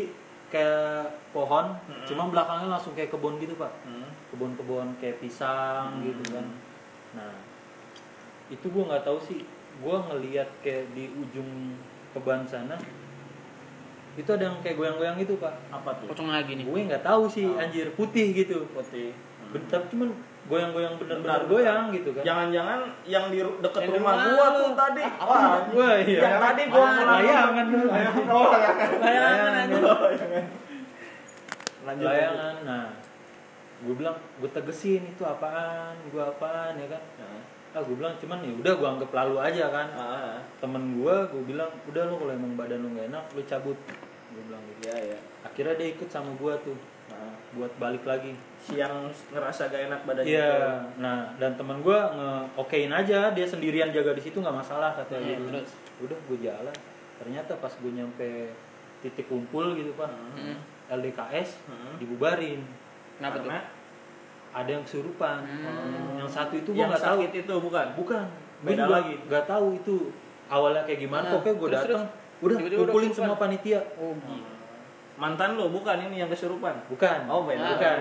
[SPEAKER 5] kayak pohon
[SPEAKER 1] Mm-mm.
[SPEAKER 5] cuma belakangnya langsung kayak kebun gitu pak
[SPEAKER 1] Hmm.
[SPEAKER 5] kebun-kebun kayak pisang
[SPEAKER 1] Hmm.
[SPEAKER 5] gitu kan nah itu gua nggak tahu sih gua ngelihat kayak di ujung keban sana itu ada yang kayak goyang-goyang gitu pak
[SPEAKER 1] Apa tuh?
[SPEAKER 2] pocong lagi nih.
[SPEAKER 5] gue nggak tahu sih
[SPEAKER 1] Oh.
[SPEAKER 5] anjir putih gitu
[SPEAKER 1] Putih.
[SPEAKER 5] Ben- tapi cuman goyang-goyang bener-bener
[SPEAKER 1] Bentar.
[SPEAKER 5] goyang gitu kan
[SPEAKER 1] Jangan-jangan yang di ru- deket
[SPEAKER 5] Yang di
[SPEAKER 1] rumah
[SPEAKER 5] rumah
[SPEAKER 1] gua
[SPEAKER 5] lu.
[SPEAKER 1] tuh tadi. Wah,
[SPEAKER 5] Wah, Wah,
[SPEAKER 1] yang
[SPEAKER 5] iya.
[SPEAKER 1] tadi gua
[SPEAKER 5] layangan dulu.
[SPEAKER 4] Oh, ya.
[SPEAKER 5] Layangan.
[SPEAKER 1] Lanjut. lanjut.
[SPEAKER 5] Layangan. Nah, gue bilang gue tegesin itu apaan, gue apaan ya kan.
[SPEAKER 1] Nah.
[SPEAKER 5] Ah, gue bilang cuman ya udah gue anggap lalu aja kan.
[SPEAKER 1] Ah,
[SPEAKER 5] Temen gue, gue bilang udah lo kalau emang badan lo gak enak, lo cabut. Gue bilang gitu.
[SPEAKER 1] iya ya.
[SPEAKER 5] Akhirnya dia ikut sama gue tuh
[SPEAKER 1] Nah.
[SPEAKER 5] buat balik lagi.
[SPEAKER 1] Siang ngerasa gak enak badannya.
[SPEAKER 5] Iya.
[SPEAKER 2] gitu.
[SPEAKER 5] Nah, dan teman gue nge-okein aja, dia sendirian jaga di situ nggak masalah katanya
[SPEAKER 2] Iya,
[SPEAKER 5] gitu.
[SPEAKER 2] terus.
[SPEAKER 5] Udah gue jalan. Ternyata pas gue nyampe titik kumpul gitu pak,
[SPEAKER 2] Hmm.
[SPEAKER 5] LDKS
[SPEAKER 1] Hmm.
[SPEAKER 5] dibubarin.
[SPEAKER 2] Kenapa tuh?
[SPEAKER 1] Karena
[SPEAKER 5] Ada yang kesurupan.
[SPEAKER 2] Hmm.
[SPEAKER 5] Yang satu itu gue
[SPEAKER 1] yang
[SPEAKER 5] nggak tahu.
[SPEAKER 1] sakit itu bukan.
[SPEAKER 5] Bukan.
[SPEAKER 1] Beda
[SPEAKER 5] gua
[SPEAKER 1] lagi.
[SPEAKER 5] Gak tahu itu awalnya kayak gimana.
[SPEAKER 2] Nah,
[SPEAKER 5] Pokoknya gue
[SPEAKER 2] terus,
[SPEAKER 5] datang. Udah
[SPEAKER 2] Tiba-tiba udah
[SPEAKER 5] kumpulin
[SPEAKER 2] kesurupan.
[SPEAKER 5] semua panitia.
[SPEAKER 2] Oh, gila.
[SPEAKER 1] Hmm. Mantan lo bukan ini yang kesurupan.
[SPEAKER 5] Bukan.
[SPEAKER 1] Oh, beda.
[SPEAKER 5] Bukan.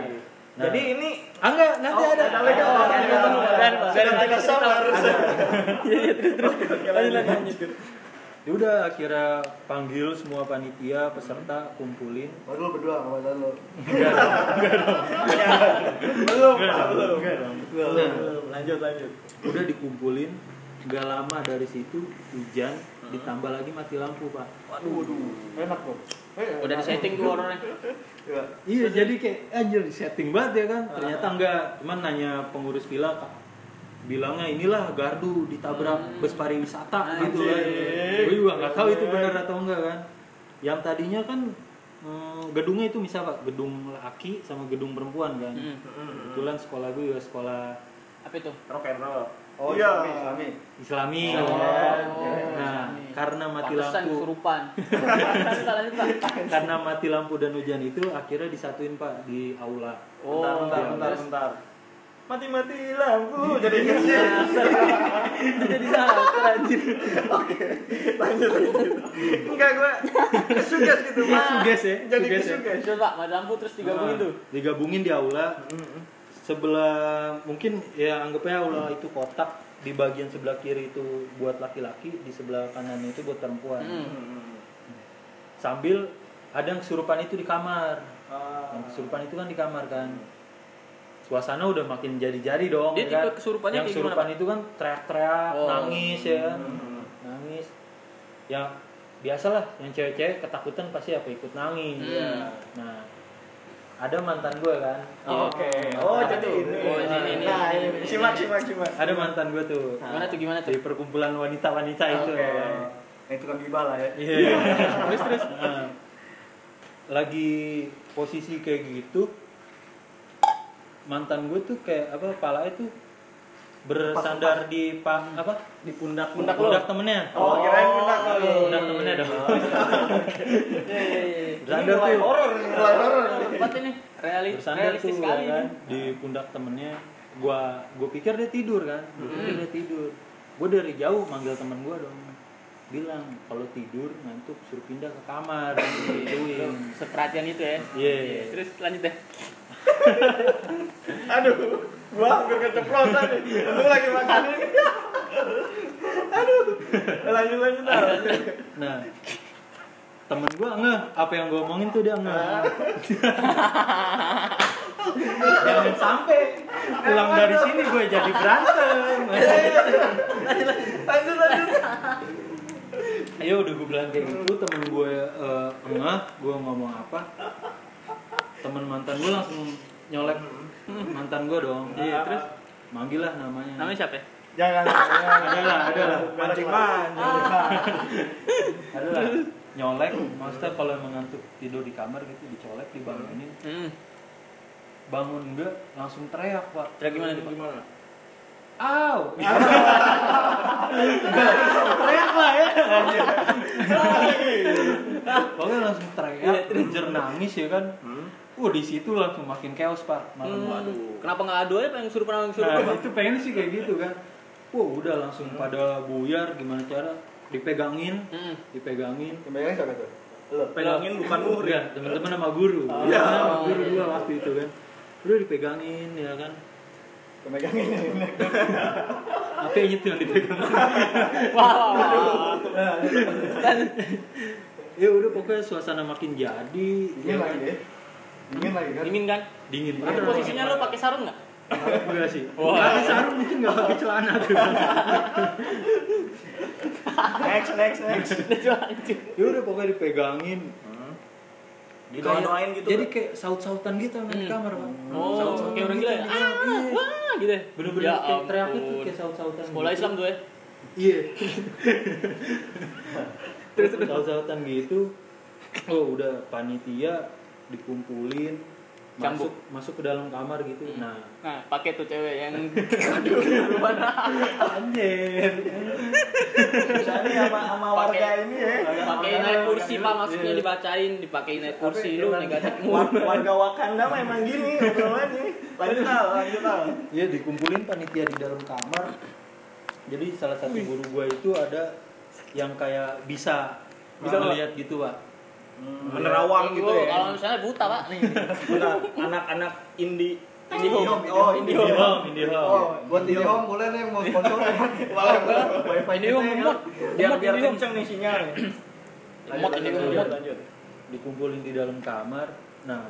[SPEAKER 5] Nah.
[SPEAKER 1] Jadi ini
[SPEAKER 5] Ah, enggak, nanti
[SPEAKER 1] Oh,
[SPEAKER 5] ada.
[SPEAKER 1] ada lagi. Oh,
[SPEAKER 5] Nanti
[SPEAKER 1] ada. Iya,
[SPEAKER 5] ketemu.
[SPEAKER 1] Dan-
[SPEAKER 5] Ada.
[SPEAKER 1] dan- tidak sabar.
[SPEAKER 5] Ya udah akhirnya panggil semua panitia peserta kumpulin
[SPEAKER 4] Oh, lu berdua sama pacar lu.
[SPEAKER 1] belum, belum.
[SPEAKER 5] Nah.
[SPEAKER 1] Belum. Lanjut, lanjut.
[SPEAKER 5] udah dikumpulin nggak lama dari situ hujan ditambah lagi mati lampu pak
[SPEAKER 4] Waduh, enak dong. Eh,
[SPEAKER 2] Udah
[SPEAKER 4] enak.
[SPEAKER 2] di setting tuh horornya.
[SPEAKER 4] Iya.
[SPEAKER 5] iya jadi kayak anjir setting banget ya kan ternyata enggak cuman nanya pengurus villa pak bilangnya inilah gardu ditabrak bus pariwisata gitu kan
[SPEAKER 1] Anjing.
[SPEAKER 5] gue juga nggak tahu itu benar atau enggak kan yang tadinya kan eh, gedungnya itu bisa pak gedung laki sama gedung perempuan kan
[SPEAKER 2] Hmm.
[SPEAKER 5] kebetulan sekolah gue juga sekolah
[SPEAKER 2] Apa itu?
[SPEAKER 1] rock and roll
[SPEAKER 4] Oh
[SPEAKER 1] Iya.
[SPEAKER 4] iya, Islami.
[SPEAKER 5] islami
[SPEAKER 1] Oh,
[SPEAKER 5] nah karena mati
[SPEAKER 2] Pantesan
[SPEAKER 5] lampu
[SPEAKER 2] kesurupan. Lanjut, Pak, lanjut, Pak.
[SPEAKER 5] karena mati lampu dan hujan itu akhirnya disatuin pak di aula
[SPEAKER 2] Oh,
[SPEAKER 1] bentar bentar
[SPEAKER 5] iya.
[SPEAKER 1] bentar bentar mati mati Oh, lampu jadi gitu. kecil
[SPEAKER 5] jadi dasar anjir
[SPEAKER 1] lanjut lanjut enggak gue suges gitu mas
[SPEAKER 5] Suges ya,
[SPEAKER 1] jadi gitu,
[SPEAKER 5] suges ya.
[SPEAKER 1] suges
[SPEAKER 2] Terus, Pak, mati lampu
[SPEAKER 5] Nah.
[SPEAKER 2] terus digabungin tuh.
[SPEAKER 5] digabungin di aula
[SPEAKER 4] Hmm,
[SPEAKER 5] sebelah mungkin ya anggapnya aula itu kotak di bagian sebelah kiri itu buat laki-laki di sebelah kanannya itu buat perempuan
[SPEAKER 2] Hmm.
[SPEAKER 5] sambil ada yang kesurupan itu di kamar
[SPEAKER 1] Ah.
[SPEAKER 5] yang kesurupan itu kan di kamar kan suasana udah makin jadi-jadi dong
[SPEAKER 2] Dia
[SPEAKER 5] ya kan?
[SPEAKER 2] tipe kesurupannya
[SPEAKER 5] yang
[SPEAKER 2] kayak gimana,
[SPEAKER 5] kesurupan
[SPEAKER 2] Pak?
[SPEAKER 5] itu kan teriak-teriak
[SPEAKER 2] Oh.
[SPEAKER 5] nangis ya kan?
[SPEAKER 1] Hmm.
[SPEAKER 5] nangis ya biasalah yang cewek-cewek ketakutan pasti apa ikut nangis
[SPEAKER 2] Hmm.
[SPEAKER 5] nah ada mantan gue kan
[SPEAKER 1] Oke, oh
[SPEAKER 5] Nah,
[SPEAKER 1] jadi
[SPEAKER 5] tuh.
[SPEAKER 1] ini.
[SPEAKER 2] Oh, ini, ini, ini,
[SPEAKER 1] Nah,
[SPEAKER 2] ini,
[SPEAKER 1] ini.
[SPEAKER 2] ini.
[SPEAKER 1] Simak, simak, simak.
[SPEAKER 5] ada mantan gue tuh
[SPEAKER 2] Gimana tuh gimana Ah. tuh?
[SPEAKER 5] di perkumpulan wanita-wanita itu
[SPEAKER 1] Oke. Nah, itu kan Biba lah ya.
[SPEAKER 5] Iya. terus terus. Nah, lagi posisi kayak gitu mantan gue tuh kayak apa palanya tuh bersandar di pa, apa di pundak pundak
[SPEAKER 1] lo.
[SPEAKER 5] pundak temennya
[SPEAKER 1] Oh, kirain benar
[SPEAKER 3] iya,
[SPEAKER 1] kali.
[SPEAKER 5] pundak temennya dong
[SPEAKER 2] Iya, iya, iya.
[SPEAKER 5] bersandar tuh
[SPEAKER 1] horor, nih, mulai horor.
[SPEAKER 2] Tempat ini reali-
[SPEAKER 5] bersandar tuh
[SPEAKER 2] Iya, realistis
[SPEAKER 5] ya
[SPEAKER 2] sekali.
[SPEAKER 5] kan
[SPEAKER 2] ini.
[SPEAKER 5] di pundak temennya gua gua pikir dia tidur kan gua
[SPEAKER 2] Hmm.
[SPEAKER 5] pikir dia tidur gua dari jauh manggil temen gua dong bilang kalau tidur ngantuk suruh pindah ke kamar
[SPEAKER 2] Tuh,
[SPEAKER 5] gituin
[SPEAKER 2] Seperhatian itu ya.
[SPEAKER 5] Iya. Hmm.
[SPEAKER 2] Iya, Terus lanjut deh.
[SPEAKER 1] Aduh, gua hampir keceplosan nih. Lu lagi makan ini. Aduh, lanjut lanjut dah.
[SPEAKER 5] nah temen gua ngeh apa yang gua omongin tuh dia ngeh jangan sampai pulang dari sini gue jadi berantem
[SPEAKER 1] Lanjut lanjut.
[SPEAKER 5] ayo udah gue bilang kayak gitu temen gue eh, ngeh gue ngomong apa temen mantan gue langsung nyolek
[SPEAKER 1] Hmm.
[SPEAKER 5] mantan gue dong
[SPEAKER 1] Iya, terus?
[SPEAKER 5] manggil lah namanya
[SPEAKER 2] Namanya siapa ya?
[SPEAKER 1] Jangan.
[SPEAKER 5] ada lah ada lah
[SPEAKER 1] Mancing mancing.
[SPEAKER 5] ada lah nyolek maksudnya kalau emang ngantuk tidur di kamar gitu dicolek dibangunin
[SPEAKER 2] Hmm.
[SPEAKER 5] bangun enggak langsung teriak pak
[SPEAKER 2] Teriak gimana tuh, Pak?
[SPEAKER 1] Gimana?
[SPEAKER 5] Aw. teriak lah ya. Pokoknya langsung teriak, Ranger nangis ya kan. Uh di situ langsung makin chaos pak. Makin
[SPEAKER 2] Hmm.
[SPEAKER 5] waduh.
[SPEAKER 2] Kenapa nggak adu aja pengen suruh pengen suruh?
[SPEAKER 5] Nah itu pengen sih kayak gitu kan. Wah udah langsung pada buyar gimana cara dipegangin,
[SPEAKER 2] Hmm.
[SPEAKER 5] dipegangin.
[SPEAKER 4] Yang bayangin siapa tuh? Lo.
[SPEAKER 1] Pegangin bukan
[SPEAKER 5] Iya.
[SPEAKER 1] muhri.
[SPEAKER 5] Enggak, teman-teman sama guru. Iya, sama guru dua waktu itu kan. Udah dipegangin ya kan.
[SPEAKER 4] Yang megangin ini.
[SPEAKER 5] Apa yang itu yang dipegang?
[SPEAKER 2] Wow.
[SPEAKER 5] ya udah pokoknya suasana makin jadi. ya
[SPEAKER 3] Iya,
[SPEAKER 4] Dingin
[SPEAKER 5] kan.
[SPEAKER 4] lagi deh. Dingin lagi kan?
[SPEAKER 2] Dingin kan?
[SPEAKER 5] dingin
[SPEAKER 2] Itu posisinya lo pakai sarung nggak?
[SPEAKER 5] enggak sih pakai sarung mungkin nggak pakai celana tuh
[SPEAKER 1] Next next next.
[SPEAKER 5] ya udah pokoknya dipegangin
[SPEAKER 1] Dinoain gitu.
[SPEAKER 5] jadi kayak saut-sautan gitu sama di
[SPEAKER 2] Hmm.
[SPEAKER 5] kamar pak
[SPEAKER 2] Oh,
[SPEAKER 5] Saut-sautan
[SPEAKER 2] kayak orang
[SPEAKER 5] gitu
[SPEAKER 2] gila.
[SPEAKER 5] di
[SPEAKER 2] ya?
[SPEAKER 5] kamar.
[SPEAKER 2] Ah,
[SPEAKER 5] Iya.
[SPEAKER 2] wah, gitu. ya?
[SPEAKER 5] bener-bener
[SPEAKER 2] Ya
[SPEAKER 5] kayak teriak
[SPEAKER 2] ampun.
[SPEAKER 5] itu kayak saut-sautan
[SPEAKER 2] Sekolah
[SPEAKER 5] gitu.
[SPEAKER 2] Islam tuh ya.
[SPEAKER 5] iya terus saut-sautan gitu oh udah panitia dikumpulin
[SPEAKER 2] Cambuk.
[SPEAKER 5] masuk masuk ke dalam kamar gitu nah
[SPEAKER 2] Nah, pakai tuh cewek yang aduh, mana?
[SPEAKER 5] anjir
[SPEAKER 1] Misalnya sama sama warga ini Iya, ya.
[SPEAKER 2] Pakai naik kursi Pak maksudnya
[SPEAKER 5] Iya.
[SPEAKER 2] dibacain, dipakai naik
[SPEAKER 5] ya?
[SPEAKER 2] kursi lu negatif mulu.
[SPEAKER 1] Wa- ya, kan? Warga Wakanda mah emang gini obrolannya. Lanjut al, lanjut al.
[SPEAKER 5] Iya dikumpulin panitia di dalam kamar. Jadi salah satu guru gua itu ada yang kayak bisa bisa
[SPEAKER 1] Bisa
[SPEAKER 2] Nah.
[SPEAKER 1] apa?
[SPEAKER 5] melihat gitu pak.
[SPEAKER 1] Menerawang gitu ya.
[SPEAKER 2] Oh, Kalau misalnya buta Pak nih.
[SPEAKER 1] Bentar, anak-anak indie
[SPEAKER 4] Indihome.
[SPEAKER 1] Oh,
[SPEAKER 5] Indihome,
[SPEAKER 1] Indihome.
[SPEAKER 5] Indihome.
[SPEAKER 4] Oh, buat Indihome boleh nih mau sponsor.
[SPEAKER 1] Boleh, boleh.
[SPEAKER 4] Wifi
[SPEAKER 3] Iya.
[SPEAKER 2] Ini om
[SPEAKER 4] kita ya.
[SPEAKER 2] emot,
[SPEAKER 1] Biar biar
[SPEAKER 2] Indihome.
[SPEAKER 1] kenceng nih sinyalnya.
[SPEAKER 2] emot ini om
[SPEAKER 1] Lanjut,
[SPEAKER 5] Iya.
[SPEAKER 2] emot.
[SPEAKER 1] lanjut.
[SPEAKER 5] Dikumpulin di dalam kamar. Nah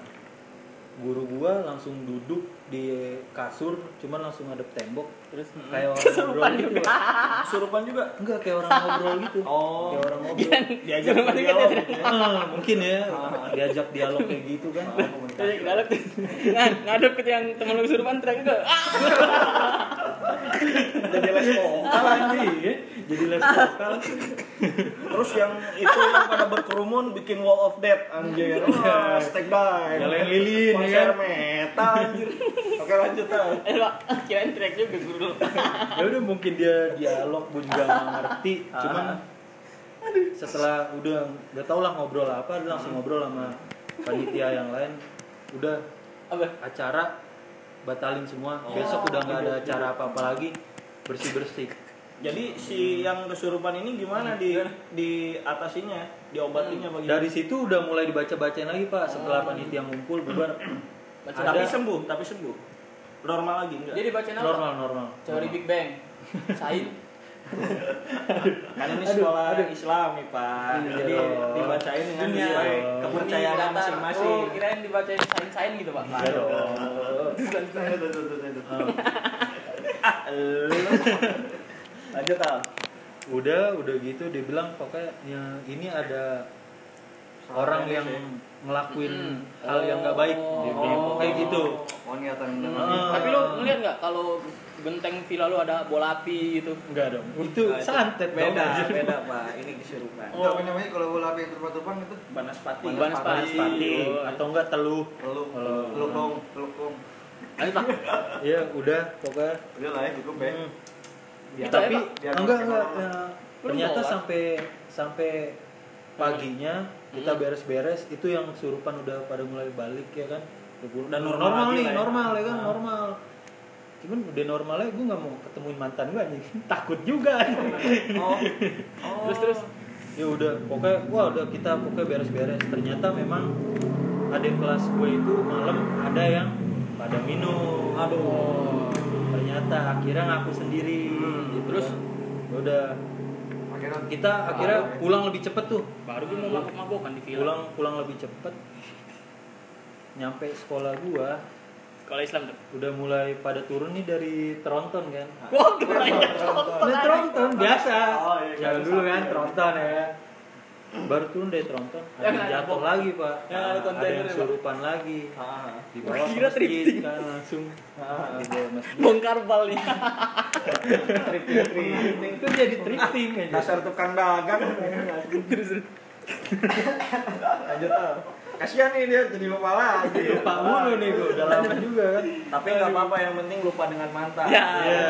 [SPEAKER 5] guru gua langsung duduk di kasur, cuman langsung ngadep tembok. Terus
[SPEAKER 2] hmm.
[SPEAKER 5] kayak orang ngobrol
[SPEAKER 2] Kesurupan
[SPEAKER 5] gitu.
[SPEAKER 2] juga.
[SPEAKER 5] Pak.
[SPEAKER 1] Kesurupan juga.
[SPEAKER 5] Enggak kayak orang ngobrol gitu.
[SPEAKER 1] Oh.
[SPEAKER 5] Kayak orang ngobrol.
[SPEAKER 1] Diajak oh.
[SPEAKER 2] Kesurupan juga dia
[SPEAKER 1] dialog.
[SPEAKER 5] Ah, mungkin ya diajak dialog kayak gitu kan.
[SPEAKER 2] Iya, Eh, Jadi ke dalam tuh. Nah, ngadep ke yang temen lu kesurupan teriak juga. Ah,
[SPEAKER 1] jadi les vokal anjing.
[SPEAKER 5] ya. jadi les vokal
[SPEAKER 1] Terus yang itu yang pada berkerumun bikin wall of death anjir. Wah, Stake dive.
[SPEAKER 5] Nyalain lilin, ya
[SPEAKER 1] konser
[SPEAKER 5] kan?
[SPEAKER 1] metal anjir. Oke lanjut ah.
[SPEAKER 2] Eh, Pak, kirain track juga guru.
[SPEAKER 5] ya udah mungkin dia dialog gue juga nggak ngerti cuman setelah udah nggak tau lah ngobrol apa dia langsung ngobrol sama panitia yang lain udah
[SPEAKER 2] Apa?
[SPEAKER 5] acara batalin semua besok udah nggak ada acara apa apa lagi bersih bersih
[SPEAKER 1] Jadi si yang kesurupan ini gimana di di atasinya, diobatinya bagaimana?
[SPEAKER 5] dari situ udah mulai dibaca bacain lagi pak setelah panitia ngumpul bubar
[SPEAKER 2] Baca
[SPEAKER 5] Ada.
[SPEAKER 1] tapi sembuh, tapi sembuh. Normal lagi enggak?
[SPEAKER 2] Dia dibacain apa?
[SPEAKER 5] normal normal
[SPEAKER 2] Teori Big Bang. Sain.
[SPEAKER 1] kan ini sekolah Islam nih Pak.
[SPEAKER 5] Iya
[SPEAKER 1] Jadi
[SPEAKER 5] dong.
[SPEAKER 1] dibacain dengan
[SPEAKER 2] Dunia.
[SPEAKER 1] sesuai
[SPEAKER 5] Dunia.
[SPEAKER 1] kepercayaan
[SPEAKER 2] Ini datar.
[SPEAKER 1] masing-masing.
[SPEAKER 2] Oh, kirain dibacain sain-sain gitu, Pak.
[SPEAKER 5] Iya dong.
[SPEAKER 3] Iya,
[SPEAKER 1] Lanjut Al.
[SPEAKER 5] udah udah gitu dia bilang pokoknya ya, ini ada orang yang ngelakuin
[SPEAKER 2] Mm-mm.
[SPEAKER 5] Hmm. hal yang nggak baik dia bilang eh, kayak gitu
[SPEAKER 3] Oh niatan
[SPEAKER 2] Hmm.
[SPEAKER 5] Heeh.
[SPEAKER 2] Tapi lu ngeliat nggak kalau benteng villa lu ada bola api gitu?
[SPEAKER 5] enggak dong itu
[SPEAKER 3] Nah, itu
[SPEAKER 5] santet dong
[SPEAKER 3] beda
[SPEAKER 5] anjir.
[SPEAKER 3] beda pak ini kesurupan
[SPEAKER 1] Oh.
[SPEAKER 4] Itu apa namanya kalau bola api yang terbang-terbang itu
[SPEAKER 3] gitu.
[SPEAKER 1] Banaspati.
[SPEAKER 2] Banaspati.
[SPEAKER 5] Pati, atau enggak teluh
[SPEAKER 4] teluk,
[SPEAKER 5] Kalau-
[SPEAKER 4] telukong, telukong.
[SPEAKER 2] Ayo, Pak.
[SPEAKER 5] ya udah pokoknya
[SPEAKER 4] Udah lah ya cukup ya.
[SPEAKER 5] Hmm.
[SPEAKER 4] Biar-
[SPEAKER 5] tapi
[SPEAKER 4] biar
[SPEAKER 5] enggak
[SPEAKER 4] makin
[SPEAKER 5] enggak
[SPEAKER 4] orang.
[SPEAKER 5] ya, ternyata
[SPEAKER 2] bawa?
[SPEAKER 5] sampai sampai paginya kita beres-beres itu yang surupan udah pada mulai balik ya kan
[SPEAKER 1] Dan normal lagi
[SPEAKER 5] nih
[SPEAKER 1] lah ya.
[SPEAKER 5] normal ya kan
[SPEAKER 1] Nah.
[SPEAKER 5] normal cuman udah normalnya gue nggak mau ketemuin mantan gue anjing takut juga
[SPEAKER 3] oh
[SPEAKER 2] Terus terus.
[SPEAKER 5] ya udah pokoknya wah udah kita pokoknya beres-beres ternyata memang ada yang kelas gue itu malam ada yang pada minum aduh ternyata akhirnya ngaku sendiri gitu
[SPEAKER 2] terus?
[SPEAKER 5] kan. Ya udah
[SPEAKER 4] Akhirnya
[SPEAKER 5] kita akhirnya pulang lebih cepet tuh
[SPEAKER 2] Baru gue mau mabok-mabokan di villa.
[SPEAKER 5] pulang pulang lebih cepet nyampe sekolah gua
[SPEAKER 2] Kalau Islam tuh.
[SPEAKER 5] udah mulai pada turun nih dari Tronton kan
[SPEAKER 2] Wah, kirain
[SPEAKER 5] Tronton, Tronton biasa
[SPEAKER 4] Oh, iya,
[SPEAKER 5] jalan dulu kan Tronton ya baru turun dari Tronton ada
[SPEAKER 2] Yang
[SPEAKER 5] yang
[SPEAKER 2] ada
[SPEAKER 5] jatuh
[SPEAKER 2] box.
[SPEAKER 5] lagi pak Nah,
[SPEAKER 2] Yang ada
[SPEAKER 5] ada
[SPEAKER 2] kontainer,
[SPEAKER 5] yang
[SPEAKER 2] Pak.
[SPEAKER 5] surupan lagi
[SPEAKER 1] Ah,
[SPEAKER 5] di bawah
[SPEAKER 2] Kira
[SPEAKER 5] ke masjid
[SPEAKER 2] drifting.
[SPEAKER 5] kan langsung di bawah masjid
[SPEAKER 2] bongkar bal nih.
[SPEAKER 5] itu jadi drifting aja
[SPEAKER 1] dasar tukang dagang. Lanjut Al.
[SPEAKER 4] kasihan nih dia jadi lupa lagi.
[SPEAKER 5] ah. lupa mulu nih gua udah lama juga kan
[SPEAKER 1] Tapi nggak apa-apa yang penting lupa dengan mantan.
[SPEAKER 2] Ya.
[SPEAKER 5] ya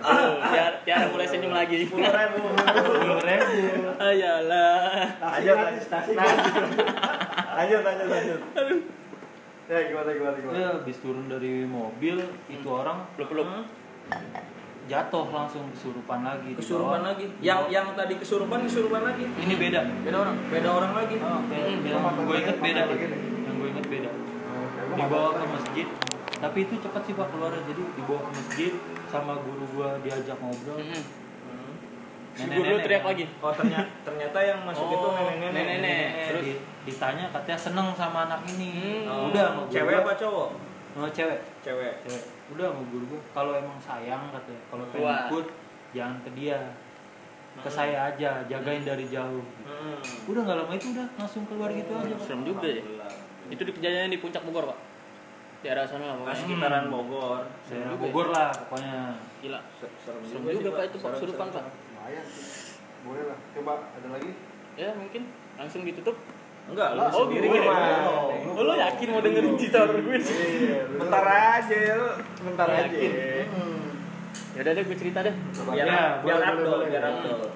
[SPEAKER 2] Aduh, Tiara- Tiara mulai senyum lagi.
[SPEAKER 1] Sepuluh ribu.
[SPEAKER 5] sepuluh ribu
[SPEAKER 2] Ayalah.
[SPEAKER 1] Lanjut lanjut. Lanjut lanjut lanjut.
[SPEAKER 4] Ya gimana gimana gimana.
[SPEAKER 5] ya habis turun dari mobil itu orang
[SPEAKER 2] Peluk-peluk.
[SPEAKER 5] jatuh langsung kesurupan lagi di
[SPEAKER 1] Kesurupan
[SPEAKER 5] bawah.
[SPEAKER 1] lagi. Yang yang tadi kesurupan kesurupan lagi.
[SPEAKER 5] ini beda
[SPEAKER 1] Beda orang, beda orang lagi.
[SPEAKER 5] Oh, yang gue inget beda deh. yang gue inget beda dibawa ke masjid tapi itu cepat sih pak keluar jadi dibawa ke masjid sama guru gue diajak ngobrol
[SPEAKER 2] Mm-mm.
[SPEAKER 5] Hmm.
[SPEAKER 2] Si
[SPEAKER 5] Nenek-nenek
[SPEAKER 2] guru teriak
[SPEAKER 5] kan.
[SPEAKER 2] lagi.
[SPEAKER 1] Oh ternyata ternyata yang masuk itu
[SPEAKER 2] Oh,
[SPEAKER 1] nenek-nenek.
[SPEAKER 2] nenek-nenek.
[SPEAKER 5] Eh,
[SPEAKER 2] Terus?
[SPEAKER 5] di- ditanya katanya seneng sama anak ini
[SPEAKER 2] Hmm.
[SPEAKER 5] Oh, udah sama guru
[SPEAKER 1] Oh. Cewek
[SPEAKER 5] gua-
[SPEAKER 1] apa cowok?
[SPEAKER 5] Oh, cewek
[SPEAKER 1] Cewek.
[SPEAKER 5] cewek udah sama guru gue kalau emang sayang katanya kalau pengen
[SPEAKER 2] Wah.
[SPEAKER 5] ikut jangan ke dia ke saya aja jagain dari jauh
[SPEAKER 1] Hmm.
[SPEAKER 5] udah nggak lama itu udah langsung keluar gitu aja pak
[SPEAKER 2] Serem juga ya. Itu di kejadiannya di puncak Bogor, Pak. Daerah sana lah
[SPEAKER 1] Nah,
[SPEAKER 2] pokoknya.
[SPEAKER 1] sekitaran Bogor.
[SPEAKER 2] juga
[SPEAKER 5] daerah
[SPEAKER 2] ya.
[SPEAKER 5] Bogor lah pokoknya
[SPEAKER 2] Gila.
[SPEAKER 1] Se- Serem,
[SPEAKER 2] Serem juga,
[SPEAKER 1] sih,
[SPEAKER 2] Pak, itu Pak
[SPEAKER 1] Serem,
[SPEAKER 2] kesurupan,
[SPEAKER 1] serem.
[SPEAKER 2] Pak.
[SPEAKER 4] Lumayan sih. Boleh lah. Coba ada lagi.
[SPEAKER 2] Ya, mungkin langsung ditutup.
[SPEAKER 1] Enggak, lu
[SPEAKER 4] Lah,
[SPEAKER 1] oh, sendiri
[SPEAKER 4] gue.
[SPEAKER 1] gimana?
[SPEAKER 4] Lu
[SPEAKER 2] Oh, lo yakin mau dengerin cerita horor gue sih?
[SPEAKER 4] Iya,
[SPEAKER 1] Bentar ya. aja, lu. bentar
[SPEAKER 2] Yakin.
[SPEAKER 1] aja.
[SPEAKER 2] Ya udah deh gue cerita deh.
[SPEAKER 1] Biar
[SPEAKER 5] Ya,
[SPEAKER 1] biar
[SPEAKER 5] boleh,
[SPEAKER 1] abdol,
[SPEAKER 5] boleh,
[SPEAKER 1] biar
[SPEAKER 5] boleh.
[SPEAKER 1] abdol.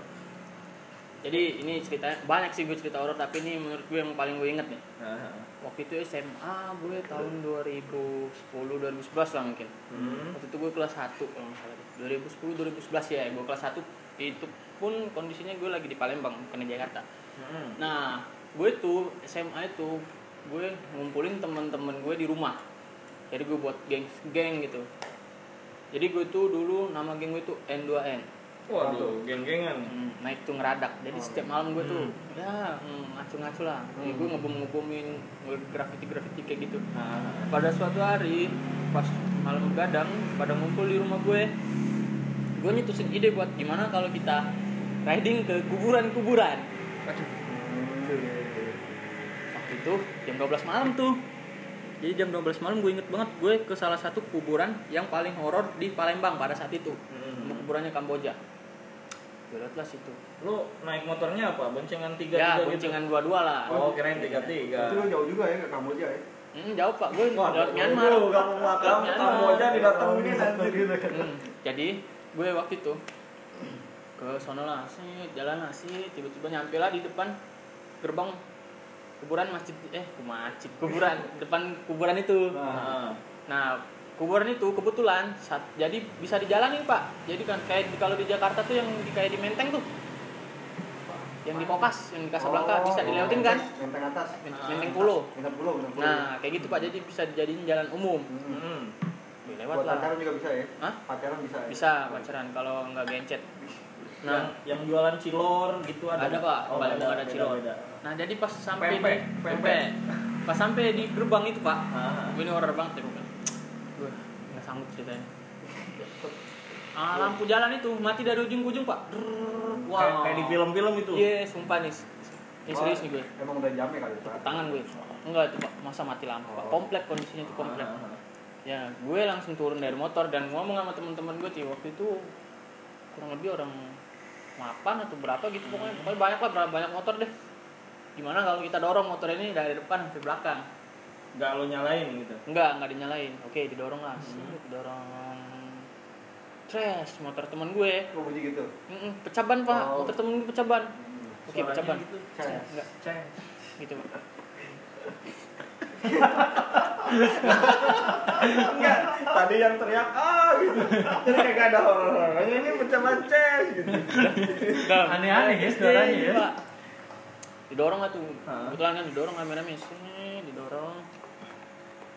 [SPEAKER 2] Jadi ini ceritanya banyak sih gue cerita horor tapi ini menurut gue yang paling gue inget nih.
[SPEAKER 1] Nah,
[SPEAKER 2] Waktu itu SMA gue tahun 2010 2011 lah mungkin.
[SPEAKER 1] hmm.
[SPEAKER 2] Waktu itu gue kelas 1 kalau nggak salah. deh. 2010 2011 ya gue kelas 1 itu pun kondisinya gue lagi di Palembang bukan di Jakarta.
[SPEAKER 1] Hmm.
[SPEAKER 2] Nah, gue tuh SMA itu gue ngumpulin temen-temen gue di rumah. Jadi gue buat geng-geng gitu. Jadi gue tuh dulu nama geng gue tuh N2N.
[SPEAKER 1] Waduh, geng-gengan.
[SPEAKER 2] Hmm, naik tuh ngeradak. Jadi setiap malam gue tuh ya hmm, ngacu-ngacu lah. Jadi gue ngebom-ngebomin, graffiti-graffiti kayak gitu.
[SPEAKER 1] Nah,
[SPEAKER 2] Pada suatu hari pas malam gadang pada ngumpul di rumah gue. Gue nyetusin ide buat gimana kalau kita riding ke kuburan-kuburan. Waktu itu jam 12 malam tuh Jadi jam 12 malam gue inget banget gue ke salah satu kuburan yang paling horor di Palembang pada saat itu.
[SPEAKER 1] Hmm.
[SPEAKER 2] Kuburannya Kamboja. Gue liat lah situ.
[SPEAKER 1] Lu naik motornya apa? Boncengan tiga
[SPEAKER 2] Ya,
[SPEAKER 1] tiga gitu?
[SPEAKER 2] boncengan dua-dua lah.
[SPEAKER 1] Oh, keren tiga tiga. Nah.
[SPEAKER 4] Itu kan jauh juga ya ke Kamboja ya.
[SPEAKER 2] Hmm, jauh pak, gue lewat Myanmar.
[SPEAKER 1] Waduh, kamu makam
[SPEAKER 2] Myanmar.
[SPEAKER 1] Kamboja didatengin anjir.
[SPEAKER 4] anjir.
[SPEAKER 2] Hmm, jadi gue waktu itu ke sono lah sih jalan lah sih tiba-tiba nyampe lah di depan gerbang kuburan masjid eh masjid kuburan depan kuburan itu
[SPEAKER 1] Nah,
[SPEAKER 2] nah kuburan itu kebetulan saat, jadi bisa dijalanin pak jadi kan kayak di- kalau di Jakarta tuh yang di, kayak di Menteng tuh yang di Kokas yang di
[SPEAKER 3] Oh,
[SPEAKER 2] Casablanca bisa
[SPEAKER 3] iya.
[SPEAKER 2] dilewatin kan
[SPEAKER 4] Menteng Oh, atas.
[SPEAKER 2] Men- Menteng
[SPEAKER 3] Ah,
[SPEAKER 2] Pulau
[SPEAKER 4] Menteng pulau, Menteng pulau.
[SPEAKER 2] nah kayak gitu pak jadi bisa dijadiin jalan umum
[SPEAKER 4] Hmm.
[SPEAKER 1] hmm.
[SPEAKER 2] lewat
[SPEAKER 4] Buat
[SPEAKER 2] lah
[SPEAKER 4] pacaran juga bisa ya?
[SPEAKER 2] Hah?
[SPEAKER 4] Pacaran bisa ya?
[SPEAKER 2] bisa pacaran kalau nggak gencet nah
[SPEAKER 1] yang, yang jualan cilor
[SPEAKER 5] Iya.
[SPEAKER 1] gitu ada.
[SPEAKER 2] Ada, Pak.
[SPEAKER 1] Oh,
[SPEAKER 2] Paling
[SPEAKER 1] ada,
[SPEAKER 2] ada
[SPEAKER 1] beda,
[SPEAKER 2] cilor.
[SPEAKER 1] beda.
[SPEAKER 2] Nah jadi pas sampai
[SPEAKER 1] Pempek,
[SPEAKER 2] di
[SPEAKER 1] pempek.
[SPEAKER 2] pempek. pas sampai di gerbang itu pak,
[SPEAKER 1] Ah.
[SPEAKER 2] gue ini horror banget ya gue bilang. Gue nggak sanggup ceritanya. Ah, lampu jalan itu mati dari ujung ke ujung pak. Drrrr, Wow.
[SPEAKER 1] Kayak, kayak di film-film itu.
[SPEAKER 2] Iya sumpah nih, ini
[SPEAKER 4] Oh,
[SPEAKER 2] serius nih gue.
[SPEAKER 4] Emang udah jamnya kali ya? Pak.
[SPEAKER 2] Tangan gue, enggak itu pak, masa mati lampu pak. Komplek
[SPEAKER 1] Nah,
[SPEAKER 2] kondisinya itu komplek.
[SPEAKER 1] Ah.
[SPEAKER 2] Ya gue langsung turun dari motor dan ngomong sama teman-teman gue sih waktu itu kurang lebih orang mapan atau berapa gitu pokoknya pokoknya banyak lah berapa banyak motor deh gimana kalau kita dorong motor ini dari depan sampai belakang
[SPEAKER 1] Gak lo nyalain gitu.
[SPEAKER 2] Enggak, enggak dinyalain. Oke, didorong lah. Sip, dorong. Trash, motor teman gue.
[SPEAKER 4] Oh, bunyi gitu.
[SPEAKER 2] Mm-mm, pecah ban, Pak.
[SPEAKER 4] Oh.
[SPEAKER 2] Motor temen gue pecah ban. Oke,
[SPEAKER 1] Suaranya
[SPEAKER 2] pecah ban.
[SPEAKER 1] gitu.
[SPEAKER 4] Ceng.
[SPEAKER 2] Enggak,
[SPEAKER 1] Ceng.
[SPEAKER 2] gitu. Pak.
[SPEAKER 1] Enggak, tadi yang teriak ah gitu. Jadi kayak gak ada horor-horornya ini mencoba ceng gitu.
[SPEAKER 5] Aneh-aneh ya suaranya ya.
[SPEAKER 2] Iya, Pak. Didorong lah tuh.
[SPEAKER 1] Hah?
[SPEAKER 2] Kebetulan kan didorong rame-rame. Sini, didorong.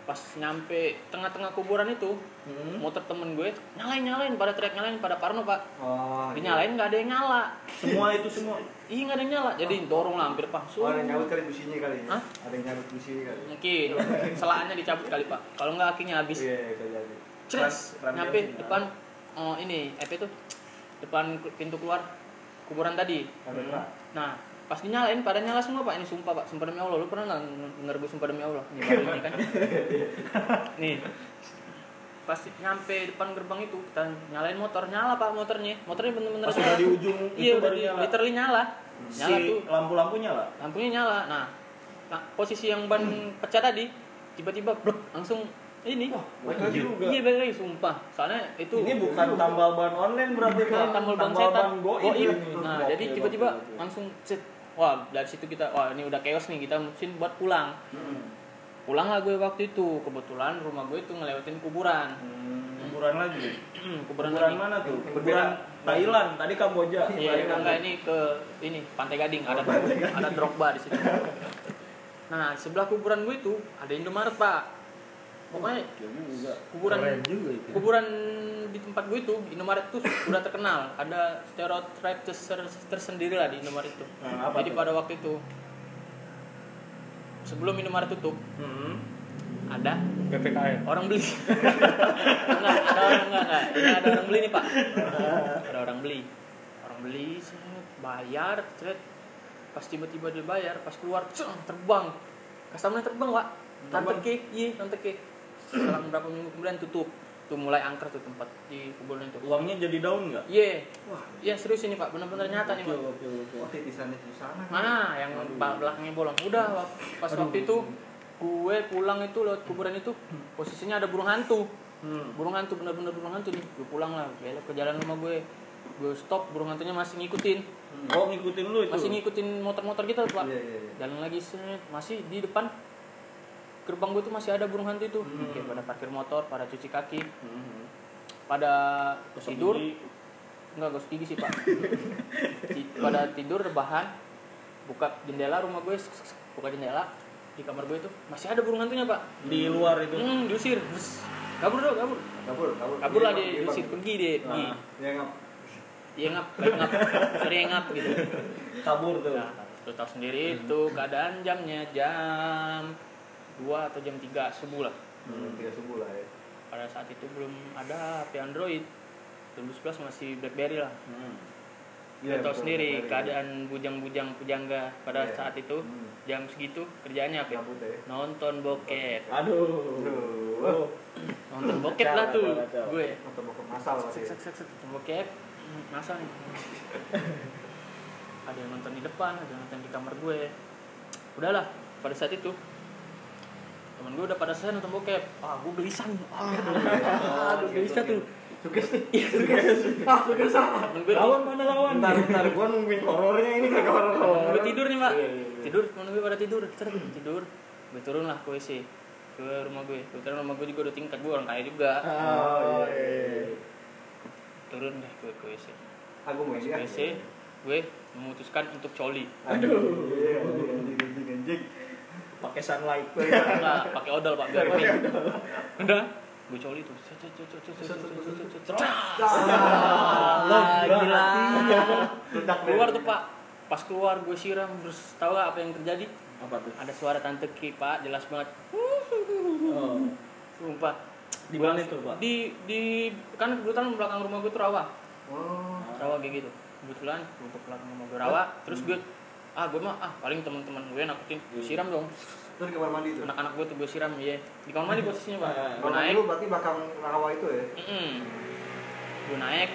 [SPEAKER 2] Pas nyampe tengah-tengah kuburan itu,
[SPEAKER 1] Hmm.
[SPEAKER 2] motor temen gue nyalain nyalain pada teriak nyalain pada Parno pak
[SPEAKER 4] Oh, iya.
[SPEAKER 2] dinyalain nggak ada yang nyala
[SPEAKER 1] Semua itu semua.
[SPEAKER 2] iya nggak ada yang nyala
[SPEAKER 1] Ah.
[SPEAKER 2] jadi dorong lah hampir pak
[SPEAKER 4] Oh, ada yang
[SPEAKER 2] Suruh.
[SPEAKER 4] nyawut kali businya kali ya?
[SPEAKER 2] Hah?
[SPEAKER 4] Ada yang nyawut businya kali. ya?
[SPEAKER 2] mungkin selaannya dicabut kali pak kalau nggak kakinya habis
[SPEAKER 4] Iya, iya, iya, iya.
[SPEAKER 2] Cres,
[SPEAKER 1] Ram- ramnya
[SPEAKER 2] nyampe
[SPEAKER 1] sih,
[SPEAKER 2] depan oh, ini apa itu depan ke- pintu keluar kuburan tadi
[SPEAKER 4] Ada Pak.
[SPEAKER 2] nah pas dinyalain pada nyala semua pak ini sumpah pak sumpah demi allah lu pernah nggak denger gue sumpah demi allah ini baru ini kan nih pas nyampe depan gerbang itu kita nyalain motor nyala pak motornya motornya bener-bener
[SPEAKER 1] Pas
[SPEAKER 2] nyala
[SPEAKER 1] udah di ujung
[SPEAKER 2] iya
[SPEAKER 1] itu
[SPEAKER 2] udah
[SPEAKER 1] baru
[SPEAKER 2] di,
[SPEAKER 1] nyala.
[SPEAKER 2] literally nyala
[SPEAKER 1] Si
[SPEAKER 2] nyala tuh
[SPEAKER 1] lampu-lampunya lah.
[SPEAKER 2] lampunya nyala nah, nah posisi yang ban pecah tadi tiba-tiba brok, langsung ini
[SPEAKER 1] Bener juga.
[SPEAKER 2] Iya balik lagi sumpah. Soalnya itu
[SPEAKER 1] Ini bukan tambal ban online berarti
[SPEAKER 2] bukan
[SPEAKER 1] Pak.
[SPEAKER 2] tambal ban setan.
[SPEAKER 1] goib
[SPEAKER 2] Goib.
[SPEAKER 1] ini. Oke,
[SPEAKER 2] Nah, jadi
[SPEAKER 1] oke,
[SPEAKER 2] tiba-tiba
[SPEAKER 1] oke.
[SPEAKER 2] langsung set. Wah, dari situ kita wah ini udah chaos nih, kita mungkin buat pulang.
[SPEAKER 1] Hmm.
[SPEAKER 2] Pulang lah gue waktu itu. Kebetulan rumah gue itu ngelewatin kuburan.
[SPEAKER 1] Hmm, Kuburan lagi.
[SPEAKER 2] kuburan,
[SPEAKER 1] Kuburan
[SPEAKER 2] lagi.
[SPEAKER 1] mana tuh?
[SPEAKER 4] Yang
[SPEAKER 1] Kuburan Thailand, tadi Kamboja.
[SPEAKER 2] Iya,
[SPEAKER 1] Balik
[SPEAKER 2] enggak
[SPEAKER 1] lagi.
[SPEAKER 2] ini ke ini Pantai Gading
[SPEAKER 1] Oh,
[SPEAKER 2] ada ada drop bar di situ. Nah, di sebelah kuburan gue itu ada Indomaret, Pak. Pokoknya
[SPEAKER 1] Ya juga.
[SPEAKER 2] kuburan
[SPEAKER 5] Keren juga itu.
[SPEAKER 2] kuburan di tempat gue itu di Indomaret tuh udah terkenal ada stereotip terser- tersendiri lah di Indomaret itu
[SPEAKER 1] Nah, apa tuh?
[SPEAKER 2] jadi pada waktu itu sebelum Indomaret tutup
[SPEAKER 1] Hmm.
[SPEAKER 2] ada
[SPEAKER 5] PPKM.
[SPEAKER 2] orang beli enggak ada orang enggak enggak Ini ada orang beli nih pak ada orang beli orang beli set, bayar set. pas tiba-tiba dia bayar pas keluar ceng, terbang customer terbang pak nonton
[SPEAKER 1] Terbang.
[SPEAKER 2] cake iya nonton cake selang berapa minggu kemudian tutup tuh mulai angker tuh tempat di kuburan itu
[SPEAKER 1] Uangnya jadi daun nggak?
[SPEAKER 2] iya
[SPEAKER 4] Wah,
[SPEAKER 2] iya serius ini pak benar-benar nyata
[SPEAKER 1] Oke,
[SPEAKER 2] nih pak
[SPEAKER 1] oke, oke.
[SPEAKER 4] oh, titisannya susana.
[SPEAKER 2] Nah, yang bal- belakangnya bolong. Udah, wak- pas waktu itu gue pulang itu lewat kuburan itu posisinya ada burung hantu.
[SPEAKER 1] Hmm.
[SPEAKER 2] Burung hantu bener-bener burung hantu nih. Gue pulang lah, belok ke jalan rumah gue. Gue stop, burung hantunya masih ngikutin.
[SPEAKER 1] Oh ngikutin lu itu.
[SPEAKER 2] Masih ngikutin motor-motor gitu, Pak.
[SPEAKER 4] Iya, iya, iya.
[SPEAKER 2] Jalan lagi set, masih di depan gerbang gue tuh masih ada burung hantu itu. Oke, pada parkir motor, pada cuci kaki,
[SPEAKER 1] Hmm.
[SPEAKER 2] pada
[SPEAKER 1] Gosok
[SPEAKER 2] tidur.
[SPEAKER 1] gigi.
[SPEAKER 2] Enggak gosok gigi sih pak Ti- Pada tidur rebahan Buka jendela rumah gue sek- sek- sek. Buka jendela Di kamar gue itu Masih ada burung hantunya pak
[SPEAKER 1] di luar itu.
[SPEAKER 2] Hmm diusir Bus. Kabur dong kabur
[SPEAKER 4] Kabur, kabur.
[SPEAKER 2] Kabur lah
[SPEAKER 4] Iya,
[SPEAKER 2] dia diusir
[SPEAKER 4] Bang.
[SPEAKER 2] Pergi dia pergi
[SPEAKER 1] Nah.
[SPEAKER 4] Iya, ngap.
[SPEAKER 2] Dia ngap Dia ngap Dia ngap gitu
[SPEAKER 1] Kabur tuh.
[SPEAKER 2] Nah Lu tau sendiri itu Keadaan jamnya Jam 2 atau jam 3 subuh lah
[SPEAKER 4] Hmm, tiga subuh lah ya.
[SPEAKER 2] Pada saat itu belum ada HP Android 2011 masih Blackberry lah
[SPEAKER 1] Hmm.
[SPEAKER 4] Iya,
[SPEAKER 2] Lo tau
[SPEAKER 4] betul,
[SPEAKER 2] sendiri
[SPEAKER 4] betul.
[SPEAKER 2] keadaan bujang-bujang pujangga pada
[SPEAKER 4] Iya.
[SPEAKER 2] saat itu
[SPEAKER 4] Hmm.
[SPEAKER 2] jam segitu kerjaannya apa? ya?
[SPEAKER 4] Gabut ya.
[SPEAKER 2] Nonton bokep.
[SPEAKER 1] Aduh. Oh,
[SPEAKER 4] Aduh.
[SPEAKER 2] Nonton bokep
[SPEAKER 4] Iya,
[SPEAKER 2] lah
[SPEAKER 1] Kacau,
[SPEAKER 2] tuh
[SPEAKER 1] kacau, kacau.
[SPEAKER 2] gue.
[SPEAKER 4] Atau mau ke masal pasti.
[SPEAKER 2] Set, set, set, nonton bokep. Hmm, Masa nih. ada yang nonton di depan, ada yang nonton di kamar gue. Udahlah, pada saat itu temen gue udah pada selesai nonton bokep. Ah, gue gelisah nih. Ah, aduh, gelisah tuh. Ah, Temen gue
[SPEAKER 1] Lawan mana lawan?
[SPEAKER 4] Ntar, ntar gua nungguin horornya ini kagak horor.
[SPEAKER 2] Gue tidur nih mbak
[SPEAKER 4] Iya, iya, iya.
[SPEAKER 2] Tidur, temen gue pada tidur Seret, Tidur Gue turun lah ke WC Ke rumah gue Kebetulan rumah gue juga dua tingkat Gue orang kaya juga
[SPEAKER 1] Oh, iya.
[SPEAKER 2] Turun deh gue ke WC
[SPEAKER 3] Aku mau
[SPEAKER 2] Ke
[SPEAKER 4] ah.
[SPEAKER 3] ya.
[SPEAKER 2] WC Gue memutuskan untuk coli
[SPEAKER 4] Iya,
[SPEAKER 1] Aduh.
[SPEAKER 4] anjing, anjing, anjing, anjing.
[SPEAKER 1] Pakai sunlight.
[SPEAKER 2] Enggak, pakai odol pak Biar ini Udah Gue coli tuh Cet, cet, cet, cet, cet, cet, cet, cet, cet, cet.
[SPEAKER 1] Ah, gila.
[SPEAKER 4] Ledak
[SPEAKER 2] Keluar tuh pak Pas keluar gue siram Terus tau gak apa yang terjadi
[SPEAKER 1] Apa tuh?
[SPEAKER 2] Ada suara tante Ki pak Jelas banget
[SPEAKER 1] Oh.
[SPEAKER 2] Sumpah
[SPEAKER 1] Di mana itu, Pak?
[SPEAKER 2] Di, di Kan kebetulan belakang rumah gue tuh rawa
[SPEAKER 4] Oh.
[SPEAKER 2] rawa kayak gitu kebetulan gue ke belakang rumah gue rawa terus gue ah gue mah ah paling teman-teman gue nakutin gue siram dong
[SPEAKER 1] Iya.
[SPEAKER 4] Terus kamar mandi tuh.
[SPEAKER 2] anak-anak gue tuh gue siram ya di kamar mandi posisinya pak
[SPEAKER 1] Ah,
[SPEAKER 2] gue
[SPEAKER 4] Kalau
[SPEAKER 2] naik
[SPEAKER 4] dulu berarti bakal rawa itu ya.
[SPEAKER 2] Mm-mm. gue naik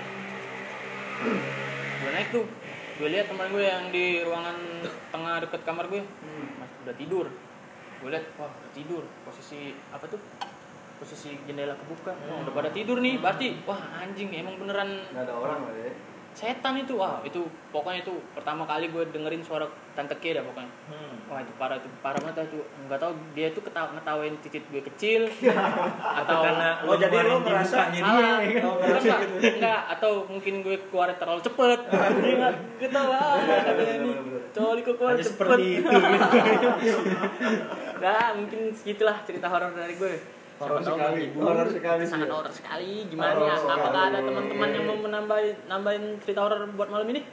[SPEAKER 2] gue naik tuh gue lihat teman gue yang di ruangan tengah deket kamar gue
[SPEAKER 4] Mm.
[SPEAKER 2] mas udah tidur gue lihat wah udah tidur posisi apa tuh posisi jendela kebuka wah udah pada tidur nih berarti wah anjing emang beneran
[SPEAKER 4] Enggak Mm. ada orang lah ya.
[SPEAKER 2] setan itu wah itu pokoknya itu pertama kali gue dengerin suara tante Kia dah pokoknya
[SPEAKER 4] Mm.
[SPEAKER 1] Hmm.
[SPEAKER 2] wah itu parah itu parah banget itu nggak tahu dia itu ketawa ngetawain titik gue kecil atau
[SPEAKER 5] karena
[SPEAKER 1] Oh, jadi lu merasa-
[SPEAKER 2] salah
[SPEAKER 1] dia, ya kan?
[SPEAKER 2] Bukan, Pak. Ah, oh, enggak atau mungkin gue keluar terlalu cepet dia nggak ketawa katanya ini coli kok keluar
[SPEAKER 1] Hanya
[SPEAKER 2] cepet
[SPEAKER 1] seperti itu.
[SPEAKER 2] nah mungkin segitulah cerita horor dari gue
[SPEAKER 4] Horor
[SPEAKER 2] Siapa
[SPEAKER 3] oh.
[SPEAKER 2] tahu
[SPEAKER 4] sekali,
[SPEAKER 2] menghibur.
[SPEAKER 4] horor sekali sih.
[SPEAKER 2] sangat horor sekali gimana ya?
[SPEAKER 4] Horor sekali.
[SPEAKER 2] apakah ada teman-teman yang mau menambahin nambahin cerita horor buat malam ini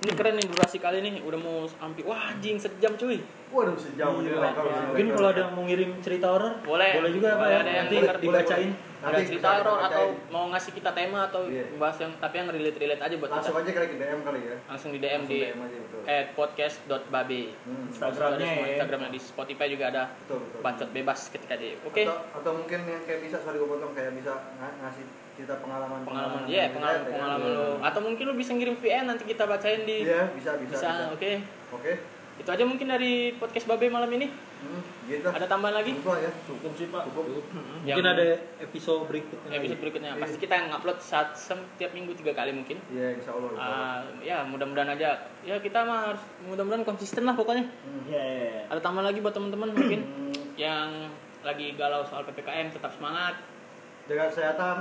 [SPEAKER 2] ini keren nih durasi kali ini udah mau hampir wah anjing sejam cuy
[SPEAKER 4] Waduh sejauh ini
[SPEAKER 1] Iya,
[SPEAKER 4] bakal-
[SPEAKER 5] Mungkin kalau ada yang mau ngirim cerita horor,
[SPEAKER 2] Boleh.
[SPEAKER 5] boleh juga Pak
[SPEAKER 2] Boleh,
[SPEAKER 5] ya.
[SPEAKER 2] ada yang
[SPEAKER 5] Nanti
[SPEAKER 2] denger.
[SPEAKER 5] dibacain.
[SPEAKER 2] ada
[SPEAKER 4] Nanti
[SPEAKER 2] cerita
[SPEAKER 4] kita-
[SPEAKER 2] horor
[SPEAKER 4] kita
[SPEAKER 2] atau
[SPEAKER 4] bacain.
[SPEAKER 2] mau ngasih kita tema atau
[SPEAKER 4] Iya.
[SPEAKER 2] bahas yang tapi yang relate relate aja buat
[SPEAKER 4] langsung
[SPEAKER 2] kita
[SPEAKER 4] aja kali ke DM kali ya.
[SPEAKER 2] langsung di DM di
[SPEAKER 4] DM aja betul.
[SPEAKER 2] at podcast.babe
[SPEAKER 4] Hmm,
[SPEAKER 2] Instagramnya
[SPEAKER 1] Instagramnya ya.
[SPEAKER 2] Instagramnya di Spotify juga ada
[SPEAKER 4] betul, betul.
[SPEAKER 2] bacot bebas ketika di oke
[SPEAKER 4] Atau, atau mungkin yang kayak bisa sorry gue potong kayak bisa nga- ngasih kita pengalaman
[SPEAKER 2] pengalaman ya pengalaman
[SPEAKER 4] relate ya.
[SPEAKER 2] pengalaman lo atau mungkin lo bisa ngirim VN nanti kita bacain di
[SPEAKER 4] Iya, bisa bisa.
[SPEAKER 2] bisa
[SPEAKER 4] bisa.
[SPEAKER 2] oke
[SPEAKER 4] Oke.
[SPEAKER 2] itu aja mungkin dari podcast babe malam ini
[SPEAKER 4] Hmm, gitu.
[SPEAKER 2] ada tambahan lagi
[SPEAKER 4] Cukup lah ya.
[SPEAKER 1] Cukup sih, Pak.
[SPEAKER 4] Cukup.
[SPEAKER 5] Mungkin ada episode berikutnya.
[SPEAKER 2] episode berikutnya pasti kita ngupload saat setiap minggu tiga kali mungkin
[SPEAKER 4] Iya, insya Allah. insya Allah.
[SPEAKER 2] Ah, ya mudah-mudahan aja ya kita mah harus mudah-mudahan konsisten lah pokoknya
[SPEAKER 4] Hmm.
[SPEAKER 1] Iya, iya, iya.
[SPEAKER 2] ada tambahan lagi buat teman-teman mungkin
[SPEAKER 4] Hmm,
[SPEAKER 2] yang lagi galau soal ppkm tetap semangat
[SPEAKER 4] Jaga kesehatan,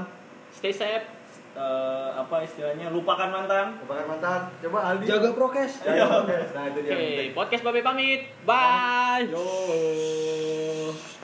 [SPEAKER 2] stay safe
[SPEAKER 1] Eh, apa istilahnya? Lupakan mantan.
[SPEAKER 4] kebakar mantan. Coba Aldi.
[SPEAKER 5] Jaga prokes.
[SPEAKER 4] Jaga, oke. Nah, itu
[SPEAKER 2] oke
[SPEAKER 4] dia.
[SPEAKER 2] podcast babe pamit bye
[SPEAKER 1] Yo.